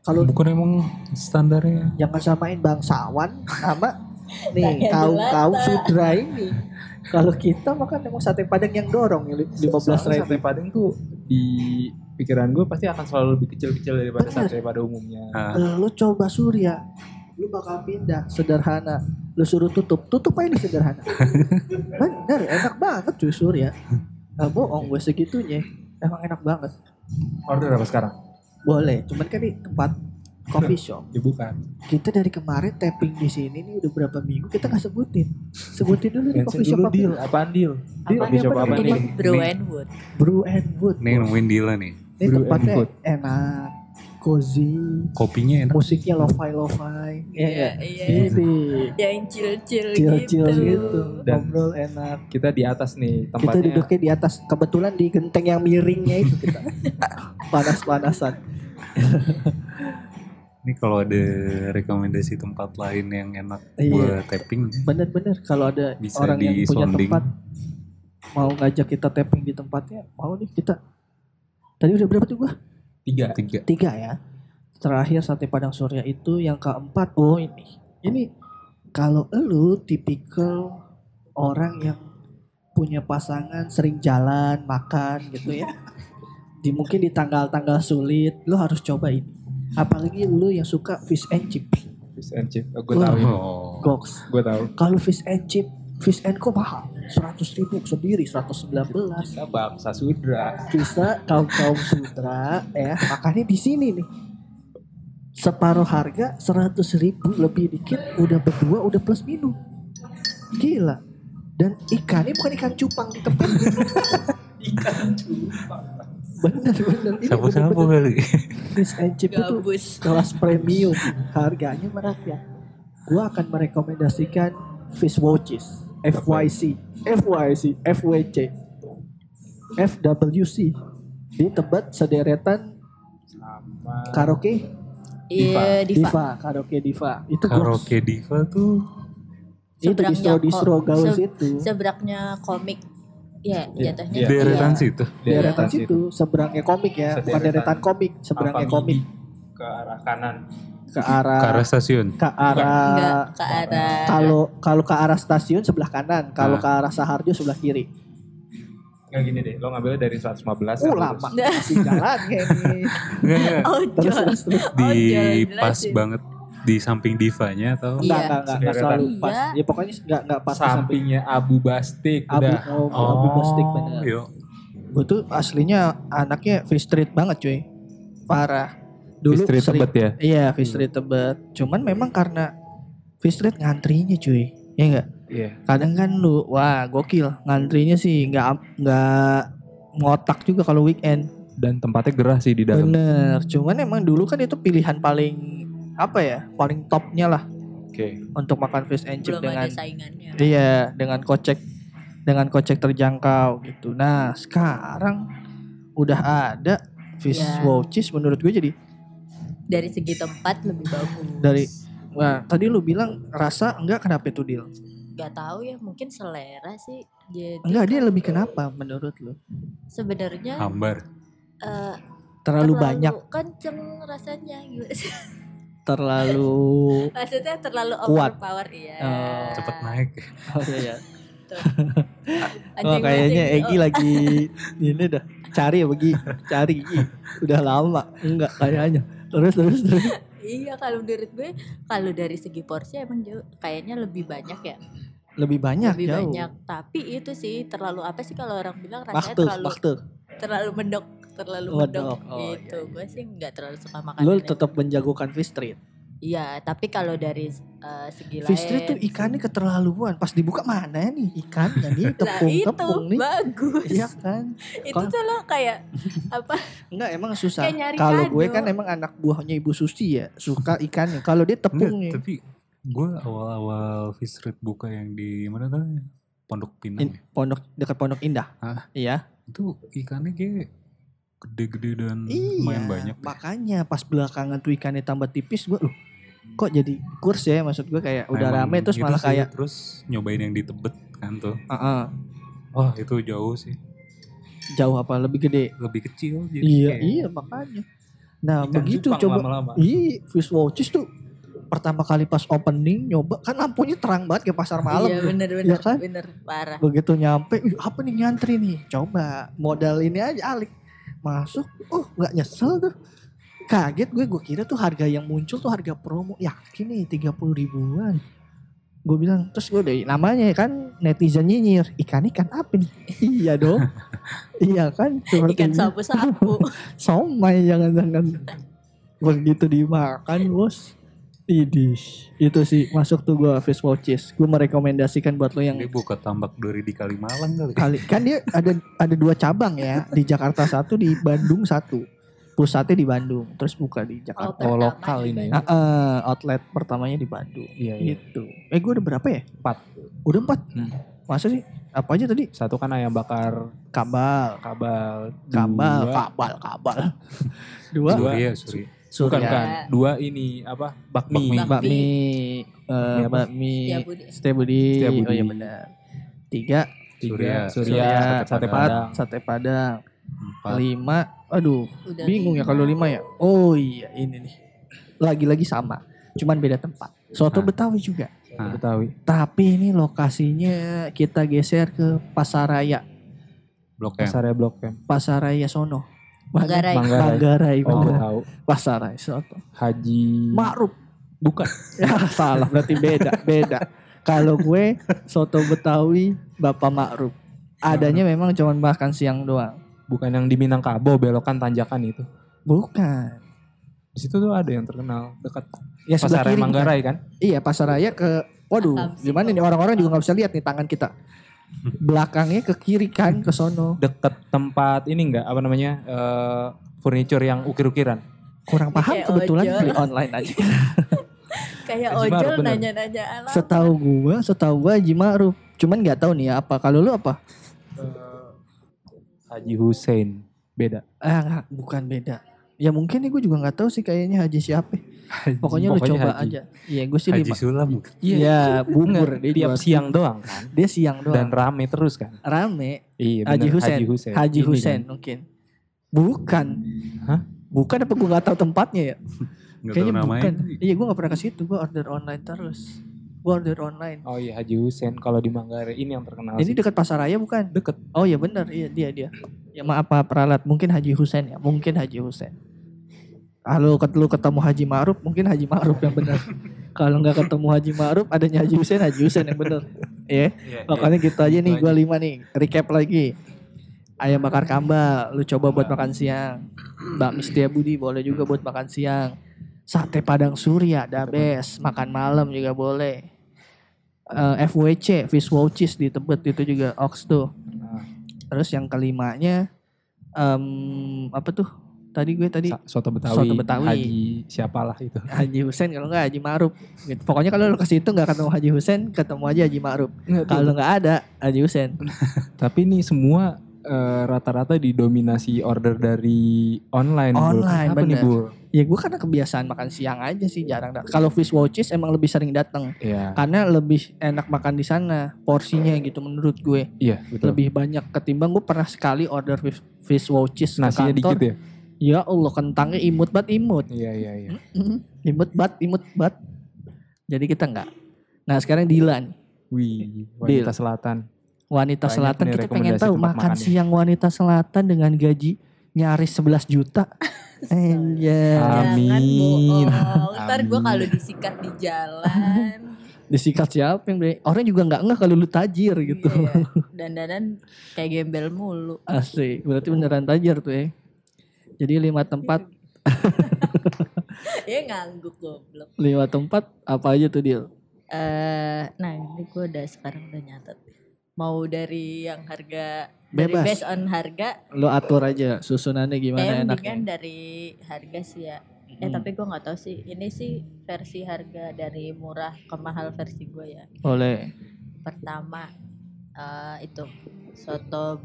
Speaker 3: kalau
Speaker 5: Bukan emang standarnya.
Speaker 3: jangan samain bangsawan sama nih
Speaker 7: Kayak
Speaker 3: kaum kaum
Speaker 7: jelata.
Speaker 3: sudra ini kalau kita makan emang sate padang yang dorong ya, lima belas ribu
Speaker 6: Soalnya Sate Padang tuh di pikiran gue pasti akan selalu lebih kecil-kecil daripada
Speaker 3: Bener.
Speaker 6: sate pada umumnya.
Speaker 5: Ah.
Speaker 3: Eh, lu coba surya lu bakal pindah sederhana lu suruh tutup tutup aja di sederhana bener enak banget cuy surya nggak bohong gue segitunya emang enak banget
Speaker 6: Order apa sekarang?
Speaker 3: boleh cuman kan di tempat coffee shop
Speaker 6: Ya bukan.
Speaker 3: kita dari kemarin tapping di sini nih udah berapa minggu kita nggak sebutin sebutin dulu di
Speaker 6: Mention
Speaker 3: coffee shop
Speaker 6: dulu
Speaker 3: apa
Speaker 6: deal, apaan deal?
Speaker 3: Deal
Speaker 6: Coffee shop
Speaker 3: apa
Speaker 6: apa
Speaker 3: nih?
Speaker 6: nih?
Speaker 7: Ini Brew and Wood.
Speaker 3: Brew and Wood
Speaker 5: Nih nemuin Dila nih.
Speaker 3: ini
Speaker 6: Brew and
Speaker 3: tempatnya
Speaker 6: Wood.
Speaker 3: enak cozy
Speaker 5: Kopinya enak.
Speaker 3: musiknya lo-fi lo-fi
Speaker 7: Iya,
Speaker 3: ya
Speaker 7: iya.
Speaker 3: ini
Speaker 7: Yang chill-chill
Speaker 3: chill-chill
Speaker 7: gitu.
Speaker 3: gitu
Speaker 6: Dan-
Speaker 3: ngobrol enak
Speaker 6: Kita di atas nih
Speaker 3: kita
Speaker 6: tempatnya.
Speaker 3: duduknya di atas kebetulan di genteng yang miringnya itu kita panas-panasan
Speaker 5: Ini kalau ada rekomendasi tempat lain yang enak
Speaker 3: Iya.
Speaker 5: buat tapping.
Speaker 3: bener-bener kalau ada
Speaker 5: Bisa
Speaker 3: orang yang punya
Speaker 5: disonding.
Speaker 3: tempat mau ngajak kita tapping di tempatnya mau nih kita tadi udah berapa tuh gua
Speaker 6: tiga.
Speaker 5: Tiga.
Speaker 3: tiga ya terakhir sate padang surya itu yang keempat oh ini ini kalau elu tipikal orang yang punya pasangan sering jalan makan gitu ya di mungkin di tanggal-tanggal sulit lu harus coba ini apalagi lu yang suka fish and chip
Speaker 6: Fish and chip. Oh, gue
Speaker 3: Wah.
Speaker 6: tahu.
Speaker 5: Oh.
Speaker 3: goks
Speaker 6: Gue tahu.
Speaker 3: kalau fish and chip fish and co mahal 100 ribu sendiri 119
Speaker 6: Kita baksa sudra.
Speaker 3: bisa kaum kaum sutra ya makanya di sini nih separuh harga seratus ribu lebih dikit udah berdua udah plus minum gila dan ikannya bukan ikan cupang di tempat
Speaker 6: Ikan cupang.
Speaker 3: bener bener ini
Speaker 5: Sapu-sapu
Speaker 3: bener-bener
Speaker 5: kali.
Speaker 3: fish and chip itu
Speaker 7: Gabus.
Speaker 3: kelas premium harganya
Speaker 9: ya.
Speaker 3: merakyat gua akan merekomendasikan fish watches FYC FYC FWC FWC
Speaker 9: di tempat sederetan karaoke
Speaker 7: Iya, Diva.
Speaker 9: diva karaoke diva itu gua-
Speaker 5: Karaoke Diva tuh
Speaker 9: itu
Speaker 7: Seberangnya
Speaker 9: distro distro
Speaker 7: kok-
Speaker 9: gaus
Speaker 7: se-
Speaker 9: itu
Speaker 7: Sebraknya komik. Ya, jatuhnya.
Speaker 6: Iya.
Speaker 5: deretan
Speaker 7: Iya.
Speaker 5: situ.
Speaker 9: deretan
Speaker 6: Deretan
Speaker 9: situ seberangnya komik ya bukan
Speaker 6: Sederetan.
Speaker 9: deretan komik seberangnya komik
Speaker 6: ke arah kanan.
Speaker 9: ke arah
Speaker 3: Ah.
Speaker 5: Ke arah stasiun.
Speaker 9: ke
Speaker 7: Enggak
Speaker 9: arah
Speaker 7: ke arah.
Speaker 9: kalau kalau ke arah stasiun sebelah kanan kalau ke arah Saharjo sebelah kiri
Speaker 6: Enggak gini deh, lo ngambilnya dari 115
Speaker 3: Oh,
Speaker 9: uh
Speaker 6: kan,
Speaker 9: lama
Speaker 7: Nggak.
Speaker 9: masih jalan kayak ini
Speaker 5: Enggak, enggak.
Speaker 7: Oh,
Speaker 9: terus
Speaker 7: Ojol.
Speaker 9: terus terus
Speaker 5: Di
Speaker 7: jalan
Speaker 5: pas
Speaker 7: jelasin.
Speaker 5: banget di samping divanya atau
Speaker 9: enggak
Speaker 7: Iya.
Speaker 9: enggak enggak, enggak
Speaker 6: Sederetan.
Speaker 9: selalu pas
Speaker 7: Iya.
Speaker 9: ya pokoknya enggak enggak pas
Speaker 6: terus.
Speaker 9: ke samping
Speaker 6: sampingnya Abu Bastik
Speaker 9: abu
Speaker 6: udah.
Speaker 9: oh, abu plastik bener
Speaker 5: Yo,
Speaker 3: Gue tuh aslinya anaknya free street banget cuy. Parah. Dulu
Speaker 6: Street
Speaker 3: sering-
Speaker 6: Tebet ya.
Speaker 3: Iya, free street tebet. Cuman memang karena free street ngantrinya cuy. Iya enggak?
Speaker 6: Iya.
Speaker 3: Kadang kan lu wah gokil ngantrinya sih nggak am- nggak ngotak juga kalau weekend.
Speaker 6: Dan tempatnya gerah sih di dalam.
Speaker 3: Bener. Cuman emang dulu kan itu pilihan paling apa ya? Paling topnya lah
Speaker 6: Oke.
Speaker 3: untuk makan fish and chip
Speaker 7: belum
Speaker 3: dengan
Speaker 7: ada saingannya.
Speaker 3: Iya, dengan kocek dengan kocek terjangkau gitu. Nah, sekarang udah ada fish
Speaker 7: Iya.
Speaker 3: watches menurut gue jadi
Speaker 7: Dari segi tempat lebih bagus.
Speaker 3: Dari- Wah, tadi lu bilang rasa enggak kenapa itu deal?
Speaker 7: nggak tahu ya mungkin selera sih. Jadi
Speaker 3: Enggak, dia lebih kenapa menurut lu?
Speaker 7: sebenarnya
Speaker 5: hambar.
Speaker 7: eh,
Speaker 3: Terlalu banyak,
Speaker 7: kenceng rasanya gitu.
Speaker 3: terlalu
Speaker 7: maksudnya terlalu
Speaker 3: Kuat.
Speaker 7: overpower iya
Speaker 3: Oh,
Speaker 5: Cepet naik.
Speaker 3: oh, iya, iya. Wah,
Speaker 7: Anjing-anjing.
Speaker 3: kayaknya Egi
Speaker 7: Oh,
Speaker 3: lagi ini dah cari ya Begi, cari Egi. Udah lama enggak kayaknya. Terus terus terus.
Speaker 7: iya kalau menurut gue kalau dari segi porsi emang jauh kayaknya lebih banyak ya
Speaker 3: Lebih banyak
Speaker 7: lebih
Speaker 3: Ya, jauh.
Speaker 7: banyak tapi itu sih terlalu apa sih kalau orang bilang rasanya
Speaker 3: Waktu,
Speaker 7: terlalu
Speaker 3: waktu.
Speaker 7: terlalu mendok terlalu
Speaker 3: Mendok,
Speaker 7: mendok,
Speaker 3: oh,
Speaker 7: gitu gue sih nggak terlalu suka makan
Speaker 3: Lu tetap menjagokan fish street.
Speaker 7: iya tapi kalau dari eh, segi lain
Speaker 3: Fish street tuh ikannya keterlaluan. Pas dibuka mana ya nih ikannya nih
Speaker 7: Lah,
Speaker 3: tepung-tepung
Speaker 7: itu
Speaker 3: nih.
Speaker 7: bagus
Speaker 3: Iya kan?
Speaker 7: itu tuh lo kayak apa
Speaker 3: Enggak emang susah.
Speaker 7: Kayak nyari
Speaker 3: Kalau gue
Speaker 7: kado.
Speaker 3: kan emang anak buahnya Ibu Susi ya, suka ikannya. Kalau dia
Speaker 5: Enggak,
Speaker 3: tepungnya.
Speaker 5: tapi gue awal-awal fish street buka yang di mana tuh? Pondok Pinang.
Speaker 3: In-
Speaker 5: ya?
Speaker 3: pondok dekat Pondok Indah.
Speaker 5: Hah?
Speaker 3: Iya.
Speaker 5: Itu ikannya kayak gede-gede dan
Speaker 3: Iya.
Speaker 5: Hmm, lumayan banyak. ya.
Speaker 3: Makanya pas belakangan tuh ikannya tambah tipis gue loh. Kok jadi kurs ya maksud gue kayak udah
Speaker 5: Emang
Speaker 3: rame terus
Speaker 5: gitu
Speaker 3: malah
Speaker 5: sih,
Speaker 3: kayak
Speaker 5: terus nyobain yang di Tebet kan tuh.
Speaker 3: "Ah, ah,
Speaker 5: Wah, itu jauh sih.
Speaker 3: jauh apa lebih gede.
Speaker 5: Lebih kecil jadi
Speaker 3: Iya,
Speaker 5: kayak
Speaker 3: iya makanya. Nah,
Speaker 6: Ikan
Speaker 3: begitu
Speaker 6: cupang
Speaker 3: coba
Speaker 6: lama-lama.
Speaker 3: Ih, fish watches tuh pertama kali pas opening nyoba kan lampunya terang banget kayak pasar malam.
Speaker 7: iya
Speaker 3: tuh.
Speaker 7: bener bener
Speaker 3: Iya kan?
Speaker 7: bener parah
Speaker 3: Begitu nyampe, "Ih, apa nih nyantri nih? Coba modal ini aja alik. Masuk, oh nggak nyesel tuh. Kaget gue, gue kira tuh harga yang muncul tuh harga promo. Yakin nih 30 ribuan. Gue bilang, terus gue dari namanya kan netizen nyinyir. Ikan-ikan apa nih? iya dong. iya kan? Seperti
Speaker 7: ikan
Speaker 3: ini.
Speaker 7: sapu-sapu
Speaker 3: somai jangan-jangan begitu dimakan bos Idih, itu sih masuk tuh gua fish watches. Gue merekomendasikan buat lo yang
Speaker 5: Dia buka tambak duri di Kalimalang kali.
Speaker 3: kali kan dia ada ada dua cabang ya di Jakarta satu di Bandung satu pusatnya di Bandung terus buka di Jakarta.
Speaker 6: Oh,
Speaker 7: Kalau pertama
Speaker 6: lokal
Speaker 7: di
Speaker 6: ini ya.
Speaker 3: Nah, eh, outlet pertamanya di Bandung
Speaker 6: Iya, iya.
Speaker 3: gitu. Eh gue udah berapa ya?
Speaker 6: Empat.
Speaker 3: Udah empat.
Speaker 6: Hmm.
Speaker 3: Masa sih? Apa aja tadi?
Speaker 6: Satu kan ayam bakar
Speaker 3: Kabal,
Speaker 6: kabal.
Speaker 3: kabal,
Speaker 6: Dua-
Speaker 3: kabal, kabal. Dua.
Speaker 6: Dua.
Speaker 5: Surya, Surya.
Speaker 6: Bukan,
Speaker 3: Surya.
Speaker 6: bukan. Dua ini apa? Bakmi.
Speaker 7: Bakmi.
Speaker 3: Mbak Mi, eh,
Speaker 6: apa?
Speaker 3: Mbak Mi,
Speaker 7: Setia Budi.
Speaker 3: Setia Budi.
Speaker 6: Setia Budi.
Speaker 3: Oh iya benar. Tiga,
Speaker 6: Surya,
Speaker 3: Surya,
Speaker 6: Surya, Iya, sate
Speaker 3: empat,
Speaker 6: padang.
Speaker 3: sate padang,
Speaker 5: Empat.
Speaker 3: lima, aduh,
Speaker 7: Udah
Speaker 3: bingung ya
Speaker 7: lima.
Speaker 3: kalau lima ya. Oh iya ini nih, lagi-lagi sama, cuman beda tempat. Soto
Speaker 5: Nah.
Speaker 3: Betawi juga,
Speaker 5: Ah.
Speaker 6: Betawi.
Speaker 3: tapi ini lokasinya kita geser ke Pasaraya,
Speaker 5: Blok M.
Speaker 6: Pasarnya Blok M.
Speaker 3: Pasaraya Sono,
Speaker 7: Manggarai.
Speaker 6: Manggarai.
Speaker 3: Manggarai,
Speaker 6: Oh, gue
Speaker 3: bener.
Speaker 6: tahu.
Speaker 3: Pasaraya Soto,
Speaker 6: Haji.
Speaker 3: Ma'ruf.
Speaker 6: Bukan.
Speaker 3: Ya, salah berarti beda, beda. Kalau gue soto Betawi Bapak Ma'ruf. Adanya memang cuman makan siang doang.
Speaker 6: Bukan yang di Minangkabau belokan tanjakan itu.
Speaker 3: Bukan.
Speaker 6: Di situ tuh ada yang terkenal dekat
Speaker 3: Ya sebelah
Speaker 6: Pasaraya
Speaker 3: kiri.
Speaker 6: Manggarai kan?
Speaker 3: Iya, pasaraya ke Waduh,
Speaker 7: Akamsi.
Speaker 3: gimana nih orang-orang juga nggak bisa lihat nih tangan kita. Belakangnya ke kiri kan ke sono.
Speaker 6: Deket tempat ini enggak apa namanya? eh, furniture yang ukir-ukiran.
Speaker 3: Kurang paham
Speaker 7: Kayak
Speaker 3: kebetulan
Speaker 7: ojol.
Speaker 3: beli online aja.
Speaker 7: kayak
Speaker 6: Haji Ma'ruf,
Speaker 7: ojol
Speaker 6: bener.
Speaker 7: nanya-nanya alam
Speaker 3: setahu gua, setahu gua Haji Ma'ruf. Cuman nggak tahu nih ya apa. Kalau lu apa?
Speaker 6: Haji Hussein. Beda.
Speaker 3: Ah, nggak, bukan beda. Ya mungkin nih gue juga nggak tahu sih kayaknya Haji siapa. Pokoknya, lu
Speaker 6: Pokoknya
Speaker 3: coba
Speaker 6: Haji.
Speaker 3: aja. Iya, gue sih
Speaker 5: Haji
Speaker 3: lima.
Speaker 5: Sulam
Speaker 3: Iya,
Speaker 6: Enggak,
Speaker 3: bubur dia
Speaker 6: tiap
Speaker 3: jual.
Speaker 6: siang doang kan.
Speaker 3: Dia siang doang.
Speaker 6: Dan rame terus kan.
Speaker 3: rame.
Speaker 6: Iya,
Speaker 3: Haji
Speaker 6: bener,
Speaker 3: Husen.
Speaker 6: Haji Husen.
Speaker 3: Haji
Speaker 6: Ini kan.
Speaker 3: Husen mungkin. Bukan.
Speaker 6: Hah?
Speaker 3: Bukan apa gue gak tahu tempatnya ya.
Speaker 5: nggak tahu
Speaker 3: Kayaknya bukan.
Speaker 5: namanya.
Speaker 3: Iya gue gak pernah ke situ. Gue order online terus. Gue order online.
Speaker 6: Oh iya Haji Husen kalau di Manggarai ini yang terkenal.
Speaker 3: Ini
Speaker 6: sih.
Speaker 3: dekat Pasaraya bukan?
Speaker 6: deket.
Speaker 3: Oh iya benar. Iya dia dia. Ya maaf Pak Pralat. Mungkin Haji Husen ya. Mungkin Haji Husen. Kalau ket- lu ketemu Haji Ma'ruf mungkin Haji Ma'ruf yang benar. Kalau nggak ketemu Haji Ma'ruf adanya Haji Husen Haji Husen yang benar. Iya. Makanya gitu aja nih gue lima nih Recap lagi Ayam bakar kambal Lu coba buat makan siang Bakmi Setia Budi boleh juga buat makan siang Sate Padang Surya the best Makan malam juga boleh Eh, FWC Fish Watches di Tebet itu juga Ox tuh Terus yang kelimanya em, Apa tuh Tadi gue tadi
Speaker 6: Sa- Soto Betawi.
Speaker 3: Soto Betawi.
Speaker 6: Haji siapalah itu.
Speaker 3: Haji Husen kalau nggak Haji Ma'ruf gitu. Pokoknya kalau lu ke situ nggak ketemu Haji Husen ketemu aja Haji Ma'ruf kalau nggak ada Haji Husen
Speaker 6: Tapi ini semua eh, rata-rata didominasi order dari online. Bul.
Speaker 3: Online,
Speaker 6: Kenapa nih
Speaker 3: bener.
Speaker 6: Bul?
Speaker 3: Ya gue karena kebiasaan makan siang aja sih jarang datang. Kalau fish watches emang lebih sering datang
Speaker 6: Iya.
Speaker 3: karena lebih enak makan di sana porsinya gitu menurut gue
Speaker 6: Iya betul.
Speaker 3: lebih banyak ketimbang gue pernah sekali order fish, fish watches
Speaker 6: nasinya
Speaker 3: ke kantor.
Speaker 6: dikit ya.
Speaker 3: Ya Allah kentangnya imut bat imut,
Speaker 6: Iya iya iya.
Speaker 3: Mm, imut bat imut bat. Jadi kita nggak. Nah sekarang Dila nih
Speaker 6: Wih, wanita selatan.
Speaker 3: wanita
Speaker 6: Banyak
Speaker 3: selatan
Speaker 6: nih
Speaker 3: kita pengen
Speaker 6: rekomendasi ya.
Speaker 3: tahu
Speaker 6: tempat
Speaker 3: makan
Speaker 6: makannya.
Speaker 3: siang wanita selatan dengan gaji nyaris 11 juta. Anjay.
Speaker 7: Jangan
Speaker 6: Amin.
Speaker 7: bohong. Ntar gue
Speaker 6: Amin.
Speaker 7: kalau disikat di jalan.
Speaker 3: Disikat siapa yang beli? Orang juga nggak ngeh kalau lu tajir gitu.
Speaker 7: Iya. Dandanan kayak gembel mulu.
Speaker 3: Asik, berarti beneran tajir tuh ya. Jadi lima tempat,
Speaker 7: Iya ngangguk goblok.
Speaker 3: lima tempat apa aja tuh deal?
Speaker 7: Eh, nah ini gue udah sekarang udah nyatet. Mau dari yang harga
Speaker 3: Bebas.
Speaker 7: Dari based on harga.
Speaker 3: Lo atur aja susunannya gimana
Speaker 7: eh,
Speaker 3: enaknya.
Speaker 7: mendingan dari harga sih ya. Eh
Speaker 3: Hmm.
Speaker 7: tapi gue nggak tahu sih. Ini sih versi harga dari murah ke mahal versi gue ya.
Speaker 3: Boleh.
Speaker 7: pertama eh, itu soto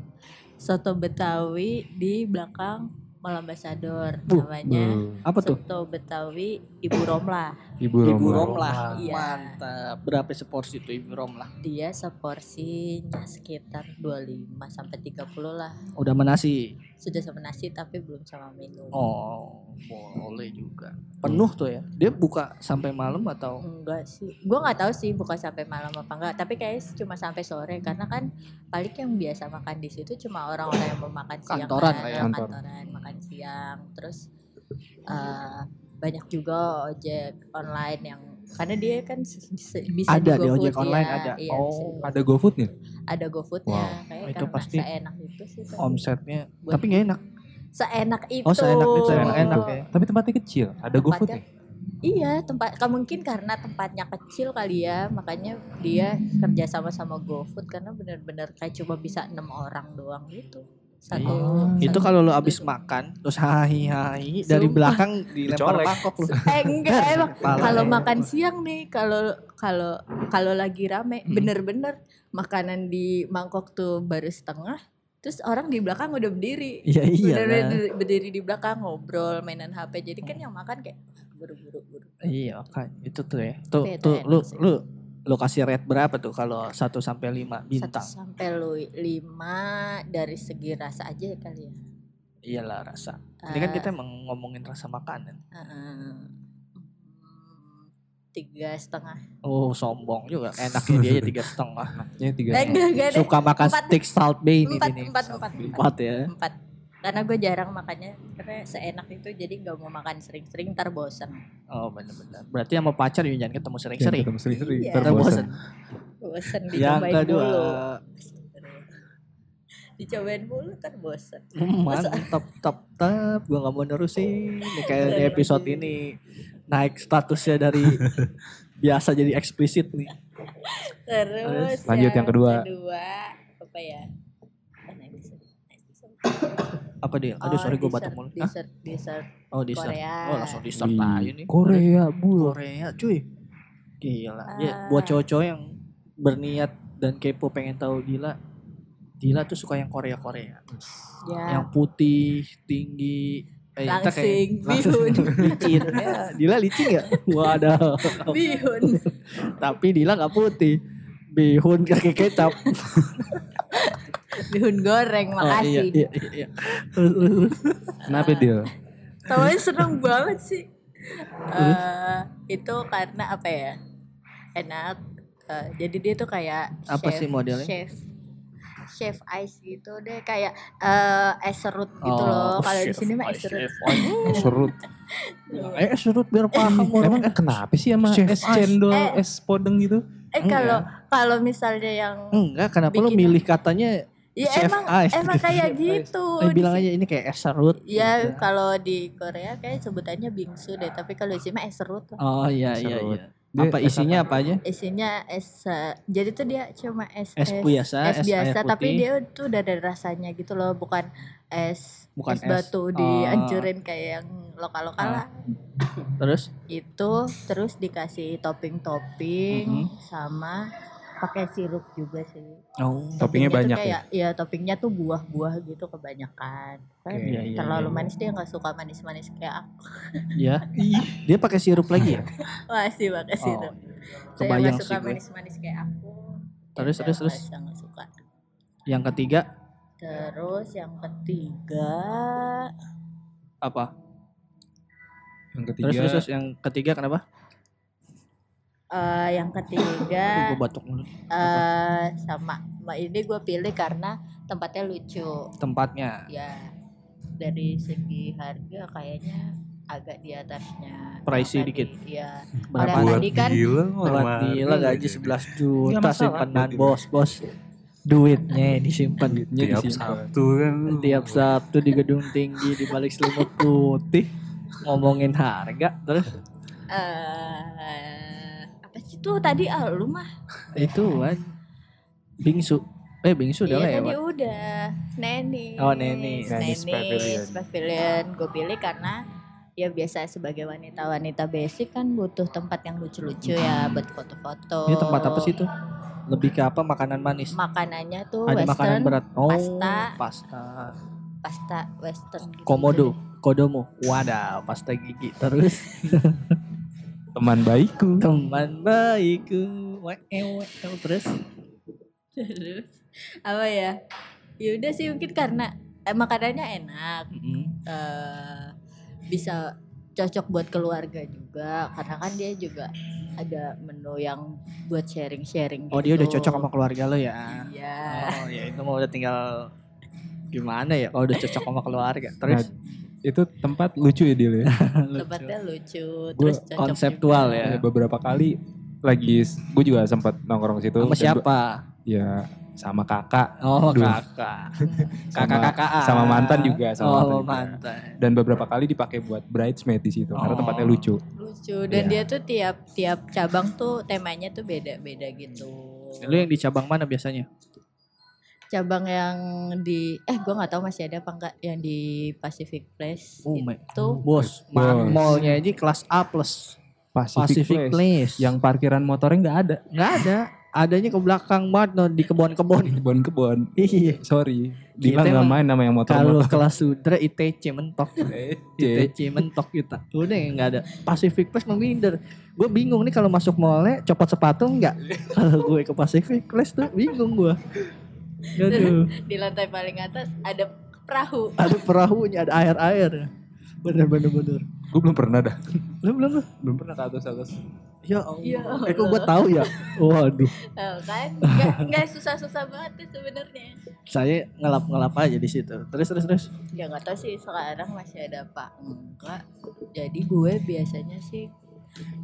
Speaker 7: soto betawi di belakang Mall Ambassador
Speaker 3: Buh,
Speaker 7: namanya
Speaker 3: hmm. Apa tuh?
Speaker 7: soto betawi ibu romlah
Speaker 6: Hmm. Ibu Romo.
Speaker 3: lah.
Speaker 7: Iya.
Speaker 3: Mantap. Berapa seporsi tuh Ibu Rom lah?
Speaker 7: dia seporsinya sekitar 25 sampai 30 lah
Speaker 3: Udah menasi.
Speaker 7: sudah sama nasi tapi belum sama minum
Speaker 3: Oh, boleh juga. Penuh tuh ya. Dia buka sampai malam atau
Speaker 7: enggak sih gua nggak tahu sih buka sampai malam apa enggak tapi kayaknya sih cuma sampai sore karena kan paling yang biasa makan di situ cuma orang-orang yang mau makan siang
Speaker 3: Kantoran
Speaker 7: kan,
Speaker 3: lah ya.
Speaker 7: orang
Speaker 6: Kantor.
Speaker 7: kantoran makan siang terus eh, banyak juga ojek online yang karena dia kan se- se- bisa
Speaker 3: Ada
Speaker 7: di
Speaker 3: di
Speaker 7: GoFood,
Speaker 3: ojek online
Speaker 7: iya,
Speaker 3: ada.
Speaker 7: iya, bisa
Speaker 3: oh,
Speaker 7: di-
Speaker 6: Ada GoFood nih?
Speaker 7: ada GoFoodnya
Speaker 6: Wow.
Speaker 7: kayak
Speaker 3: Itu
Speaker 7: karena
Speaker 3: pasti
Speaker 7: seenak itu sih kan.
Speaker 3: omsetnya.
Speaker 7: Buat-
Speaker 3: Tapi nggak enak.
Speaker 7: seenak itu
Speaker 3: Oh, seenak itu, enak-enak ya.
Speaker 6: Tapi tempatnya kecil. Ada GoFood
Speaker 7: Tempatnya-
Speaker 6: nih?
Speaker 7: Iya, tempat ka- mungkin karena tempatnya kecil kali ya, makanya dia kerja sama sama GoFood karena benar-benar kayak cuma bisa enam orang doang gitu. Satu.
Speaker 6: Iya.
Speaker 3: Itu
Speaker 7: satu-
Speaker 3: kalau lo abis makan terus hahi hahi dari
Speaker 7: Sumpah.
Speaker 3: belakang dilempar
Speaker 6: Dicolek.
Speaker 3: mangkok lo.
Speaker 7: Eh enggak emang
Speaker 3: Kepala
Speaker 7: kalau
Speaker 3: ya.
Speaker 7: makan siang nih kalau kalau kalau lagi rame
Speaker 3: Hmm.
Speaker 7: bener-bener makanan di mangkok tuh baru setengah terus orang di belakang udah berdiri
Speaker 3: Iya iya.
Speaker 7: bener-bener
Speaker 3: lah.
Speaker 7: berdiri- berdiri di belakang ngobrol mainan HP jadi kan yang makan kayak buru-buru buru
Speaker 3: Iya, kan itu tuh ya. Tuh
Speaker 7: Itu- itu
Speaker 3: tuh
Speaker 7: enak
Speaker 3: lu
Speaker 7: sih.
Speaker 3: lu lu kasih rate berapa tuh kalau 1 sampai 5
Speaker 7: satu
Speaker 3: bintang?
Speaker 7: sampai lu- lima dari segi rasa aja kali ya
Speaker 3: Iyalah rasa. Ini kan
Speaker 7: Eh,
Speaker 3: kita emang ngomongin rasa makanan.
Speaker 7: Heeh. tiga setengah
Speaker 3: Oh sombong juga. Enaknya dia aja tiga setengah.
Speaker 6: Ya tiga.
Speaker 7: Eh, enggak, enggak deh.
Speaker 3: Suka makan
Speaker 7: Empat.
Speaker 3: steak salt bay ini
Speaker 7: empat,
Speaker 3: nih.
Speaker 7: empat empat empat
Speaker 3: Empat ya.
Speaker 7: empat karena gue jarang makannya karena seenak itu jadi nggak mau makan sering-sering ntar bosan
Speaker 3: Oh benar-benar. Berarti sama pacar ya jangan ketemu sering-sering.
Speaker 6: Ketemu Sering-sering.
Speaker 7: Iya.
Speaker 6: Ntar
Speaker 3: Kita
Speaker 6: bosan.
Speaker 3: bosen.
Speaker 7: bosan
Speaker 3: Yang
Speaker 7: dicobain
Speaker 3: kedua.
Speaker 7: dulu dicobain dulu kan bosan
Speaker 3: Mantap, tap, tap. Gue gak mau nerusin. Ini kayak di episode ini naik statusnya dari biasa jadi eksplisit nih.
Speaker 7: terus
Speaker 6: lanjut yang kedua.
Speaker 7: kedua apa ya Ah, nanti sih. Nanti sih.
Speaker 3: Apa dia? Aduh,
Speaker 7: Oh,
Speaker 3: sorry gue
Speaker 7: dessert,
Speaker 3: batuk mulu. Hah?
Speaker 7: Dessert, dessert
Speaker 3: Oh, dessert.
Speaker 7: Korea.
Speaker 3: Oh, langsung dessert aja nih.
Speaker 6: Korea bu.
Speaker 3: Korea, cuy. Gila. Ya,
Speaker 7: Ah.
Speaker 3: buat cowok-cowok yang berniat dan kepo pengen tahu gila Dila tuh suka yang Korea-Korea.
Speaker 7: Ya,
Speaker 3: Yang putih, tinggi. Eh, kita
Speaker 7: langsing, bihun,
Speaker 3: licin. Ya, Dila licin gak? Waduh.
Speaker 7: bihun.
Speaker 3: Tapi Dila gak putih. Bihun kaki kecap.
Speaker 7: Bihun goreng,
Speaker 3: Oh, iya,
Speaker 7: makasih.
Speaker 3: iya, iya, iya. Terus, terus, terus.
Speaker 6: Kenapa deal?
Speaker 7: Tawanya seneng banget sih. Eh, itu karena apa ya? Enak. Eh, jadi dia tuh kayak
Speaker 3: Apa
Speaker 7: chef-
Speaker 3: sih modelnya?
Speaker 7: Chef. Chef ice gitu deh kayak eh es serut gitu
Speaker 3: Oh,
Speaker 7: loh. Kalau di sini mah es serut.
Speaker 6: Serut.
Speaker 3: Eh surut biar paham orang.
Speaker 6: Emang Kan kenapa sih sama
Speaker 3: Chef
Speaker 6: es cendol,
Speaker 7: Eh.
Speaker 6: es podeng gitu?
Speaker 7: Eh kalau
Speaker 3: Hmm.
Speaker 7: kalau misalnya yang
Speaker 3: Enggak, kenapa lu
Speaker 7: Bikinan.
Speaker 3: milih katanya
Speaker 7: ya
Speaker 3: Hmm, chef
Speaker 7: emang
Speaker 3: ice.
Speaker 7: emang kayak
Speaker 6: Chef ice.
Speaker 7: gitu.
Speaker 3: eh,
Speaker 7: di
Speaker 3: bilang
Speaker 7: sini.
Speaker 3: aja Iya. ini kayak es serut.
Speaker 7: Ya kalau di Korea kayak sebutannya bingsu deh, tapi kalau di sini mah es serut. lah.
Speaker 3: Oh iya iya
Speaker 6: Serut.
Speaker 3: iya.
Speaker 6: Dia
Speaker 3: Apa
Speaker 6: es
Speaker 3: isinya apa aja?
Speaker 7: Isinya es eh, jadi tuh dia cuma es
Speaker 3: Es biasa,
Speaker 7: es
Speaker 3: es air
Speaker 7: biasa tapi
Speaker 3: putih.
Speaker 7: dia tuh udah ada rasanya gitu loh bukan es
Speaker 3: Bukan Oh. Ah. es.
Speaker 7: es batu dihancurin kayak yang lokal lokal lah
Speaker 3: Terus
Speaker 7: itu terus dikasih topping topping
Speaker 3: Mm-hmm.
Speaker 7: sama pakai sirup juga sih
Speaker 3: Oh,
Speaker 6: Toppingnya
Speaker 7: tuh
Speaker 6: banyak ya.
Speaker 7: kayak, ya toppingnya tuh buah-buah gitu kebanyakan Kan
Speaker 3: Iya, iya,
Speaker 7: terlalu
Speaker 3: iya.
Speaker 7: manis dia nggak suka manis-manis kayak aku
Speaker 3: ya. Dia pakai sirup lagi ya?
Speaker 7: masih pakai
Speaker 3: Oh,
Speaker 7: sirup saya
Speaker 3: Kebayang
Speaker 7: nggak
Speaker 3: sih
Speaker 7: suka
Speaker 3: gue.
Speaker 7: manis-manis kayak aku
Speaker 3: Terus,
Speaker 7: Saya
Speaker 3: terus, terus.
Speaker 7: nggak- nggak suka
Speaker 3: Yang ketiga
Speaker 7: terus yang ketiga
Speaker 3: apa?
Speaker 6: Yang ketiga
Speaker 3: Terus, terus, terus yang ketiga kenapa?
Speaker 7: eh, yang
Speaker 3: Aduh,
Speaker 7: ketiga
Speaker 3: gue batuk mulu.
Speaker 7: eh sama Ma- ini gue pilih karena tempatnya lucu
Speaker 3: Tempatnya.
Speaker 7: ya dari segi harga kayaknya agak di atasnya
Speaker 3: Pricey
Speaker 7: Karena
Speaker 3: dikit.
Speaker 7: di- iya
Speaker 3: Berapa?
Speaker 7: Kalau
Speaker 5: buat
Speaker 7: tadi kan-
Speaker 5: gila gitu.
Speaker 3: Buat
Speaker 5: malah.
Speaker 3: Dila gaji 11
Speaker 6: Nggak
Speaker 3: juta
Speaker 6: masalah.
Speaker 3: simpenan bos bos duitnya disimpan
Speaker 6: duitnya
Speaker 5: tiap
Speaker 6: disimpan.
Speaker 5: Sabtu kan
Speaker 3: tiap Sabtu di gedung tinggi di balik selimut putih ngomongin harga terus
Speaker 7: eh apa sih tuh tadi ah lu mah
Speaker 3: itu kan bingsu eh bingsu udah
Speaker 7: iya tadi
Speaker 3: lewat
Speaker 7: udah Neni
Speaker 3: Oh, Neni.
Speaker 6: Nenis Pavilion.
Speaker 7: gue pilih karena ya biasa sebagai wanita wanita basic kan butuh tempat yang lucu-lucu ya buat foto-foto
Speaker 3: Hmm. ini tempat apa sih tuh lebih ke apa makanan manis
Speaker 7: makanannya tuh
Speaker 3: ada
Speaker 7: western
Speaker 3: makanan berat oh
Speaker 7: pasta.
Speaker 3: pasta
Speaker 7: pasta western gitu.
Speaker 3: komodo kodomo wadah pasta gigi terus
Speaker 6: Teman baikku.
Speaker 3: teman baikku eh, Weew, weew. terus
Speaker 7: terus apa ya ya udah sih mungkin karena eh, makanannya enak
Speaker 3: Mm-mm.
Speaker 7: eh, bisa cocok buat keluarga juga karena kan dia juga ada menu yang buat sharing sharing
Speaker 3: oh dia udah cocok sama keluarga lo ya
Speaker 7: Gitu. iya
Speaker 3: oh ya itu mau udah tinggal gimana ya kalau udah cocok sama keluarga terus
Speaker 6: Nah, itu tempat lucu ya deal ya.
Speaker 3: Oh,
Speaker 7: tempatnya lucu
Speaker 6: Gua
Speaker 7: terus cocok
Speaker 3: konseptual
Speaker 7: Nah, juga. Iya,
Speaker 3: ya.
Speaker 6: Eh, Beberapa kali lagi gue juga sempat nongkrong situ.
Speaker 3: sama
Speaker 6: Dan
Speaker 3: siapa
Speaker 6: gua- Ya sama kakak
Speaker 3: oh
Speaker 6: Dulu.
Speaker 3: kakak kakak
Speaker 6: sama,
Speaker 3: kakak
Speaker 6: sama mantan juga sama
Speaker 3: oh
Speaker 6: mantan juga.
Speaker 3: mantan
Speaker 6: dan beberapa kali dipakai buat bridesmaid di situ karena
Speaker 3: Oh.
Speaker 6: tempatnya lucu
Speaker 7: lucu dan
Speaker 3: Iya.
Speaker 7: dia tuh tiap tiap cabang tuh temanya tuh beda beda gitu
Speaker 3: lu ya? yang di cabang mana biasanya
Speaker 7: cabang yang di eh gua nggak tahu masih ada apa enggak yang di Pacific Place
Speaker 3: Oh my-
Speaker 7: itu
Speaker 3: bos
Speaker 6: Eh, Bos.
Speaker 3: mallnya aja kelas A plus
Speaker 6: Pacific,
Speaker 3: Pacific
Speaker 6: Place.
Speaker 3: Place
Speaker 6: yang parkiran motornya nggak ada
Speaker 3: nggak ada adanya ke belakang banget no, di kebun-kebun
Speaker 6: kebon-kebon
Speaker 3: Iya.
Speaker 6: sorry
Speaker 3: Kita
Speaker 6: Dila nggak
Speaker 3: emang-
Speaker 6: main nama yang
Speaker 3: kalau
Speaker 6: motor-motor
Speaker 3: kelas sudra ITC mentok
Speaker 6: Iya.
Speaker 3: ITC mentok kita udah nggak ada Pacific Place meminder gue bingung nih kalau masuk mallnya copot sepatu nggak kalau gue ke Pacific Place tuh bingung gue Aduh.
Speaker 7: di lantai paling atas ada perahu
Speaker 3: ada perahunya ada air air bener bener bener
Speaker 6: gue belum pernah dah
Speaker 3: belum belum belum.
Speaker 6: belum pernah ke atas atas
Speaker 3: ya allah
Speaker 7: Ya
Speaker 3: eh kok gue tahu ya waduh
Speaker 7: Eh, kan nggak nggak susah-susah banget tuh sebenarnya
Speaker 3: saya ngelap ngelap aja di situ terus terus terus
Speaker 7: ya nggak tahu sih sekarang masih ada apa enggak jadi gue biasanya sih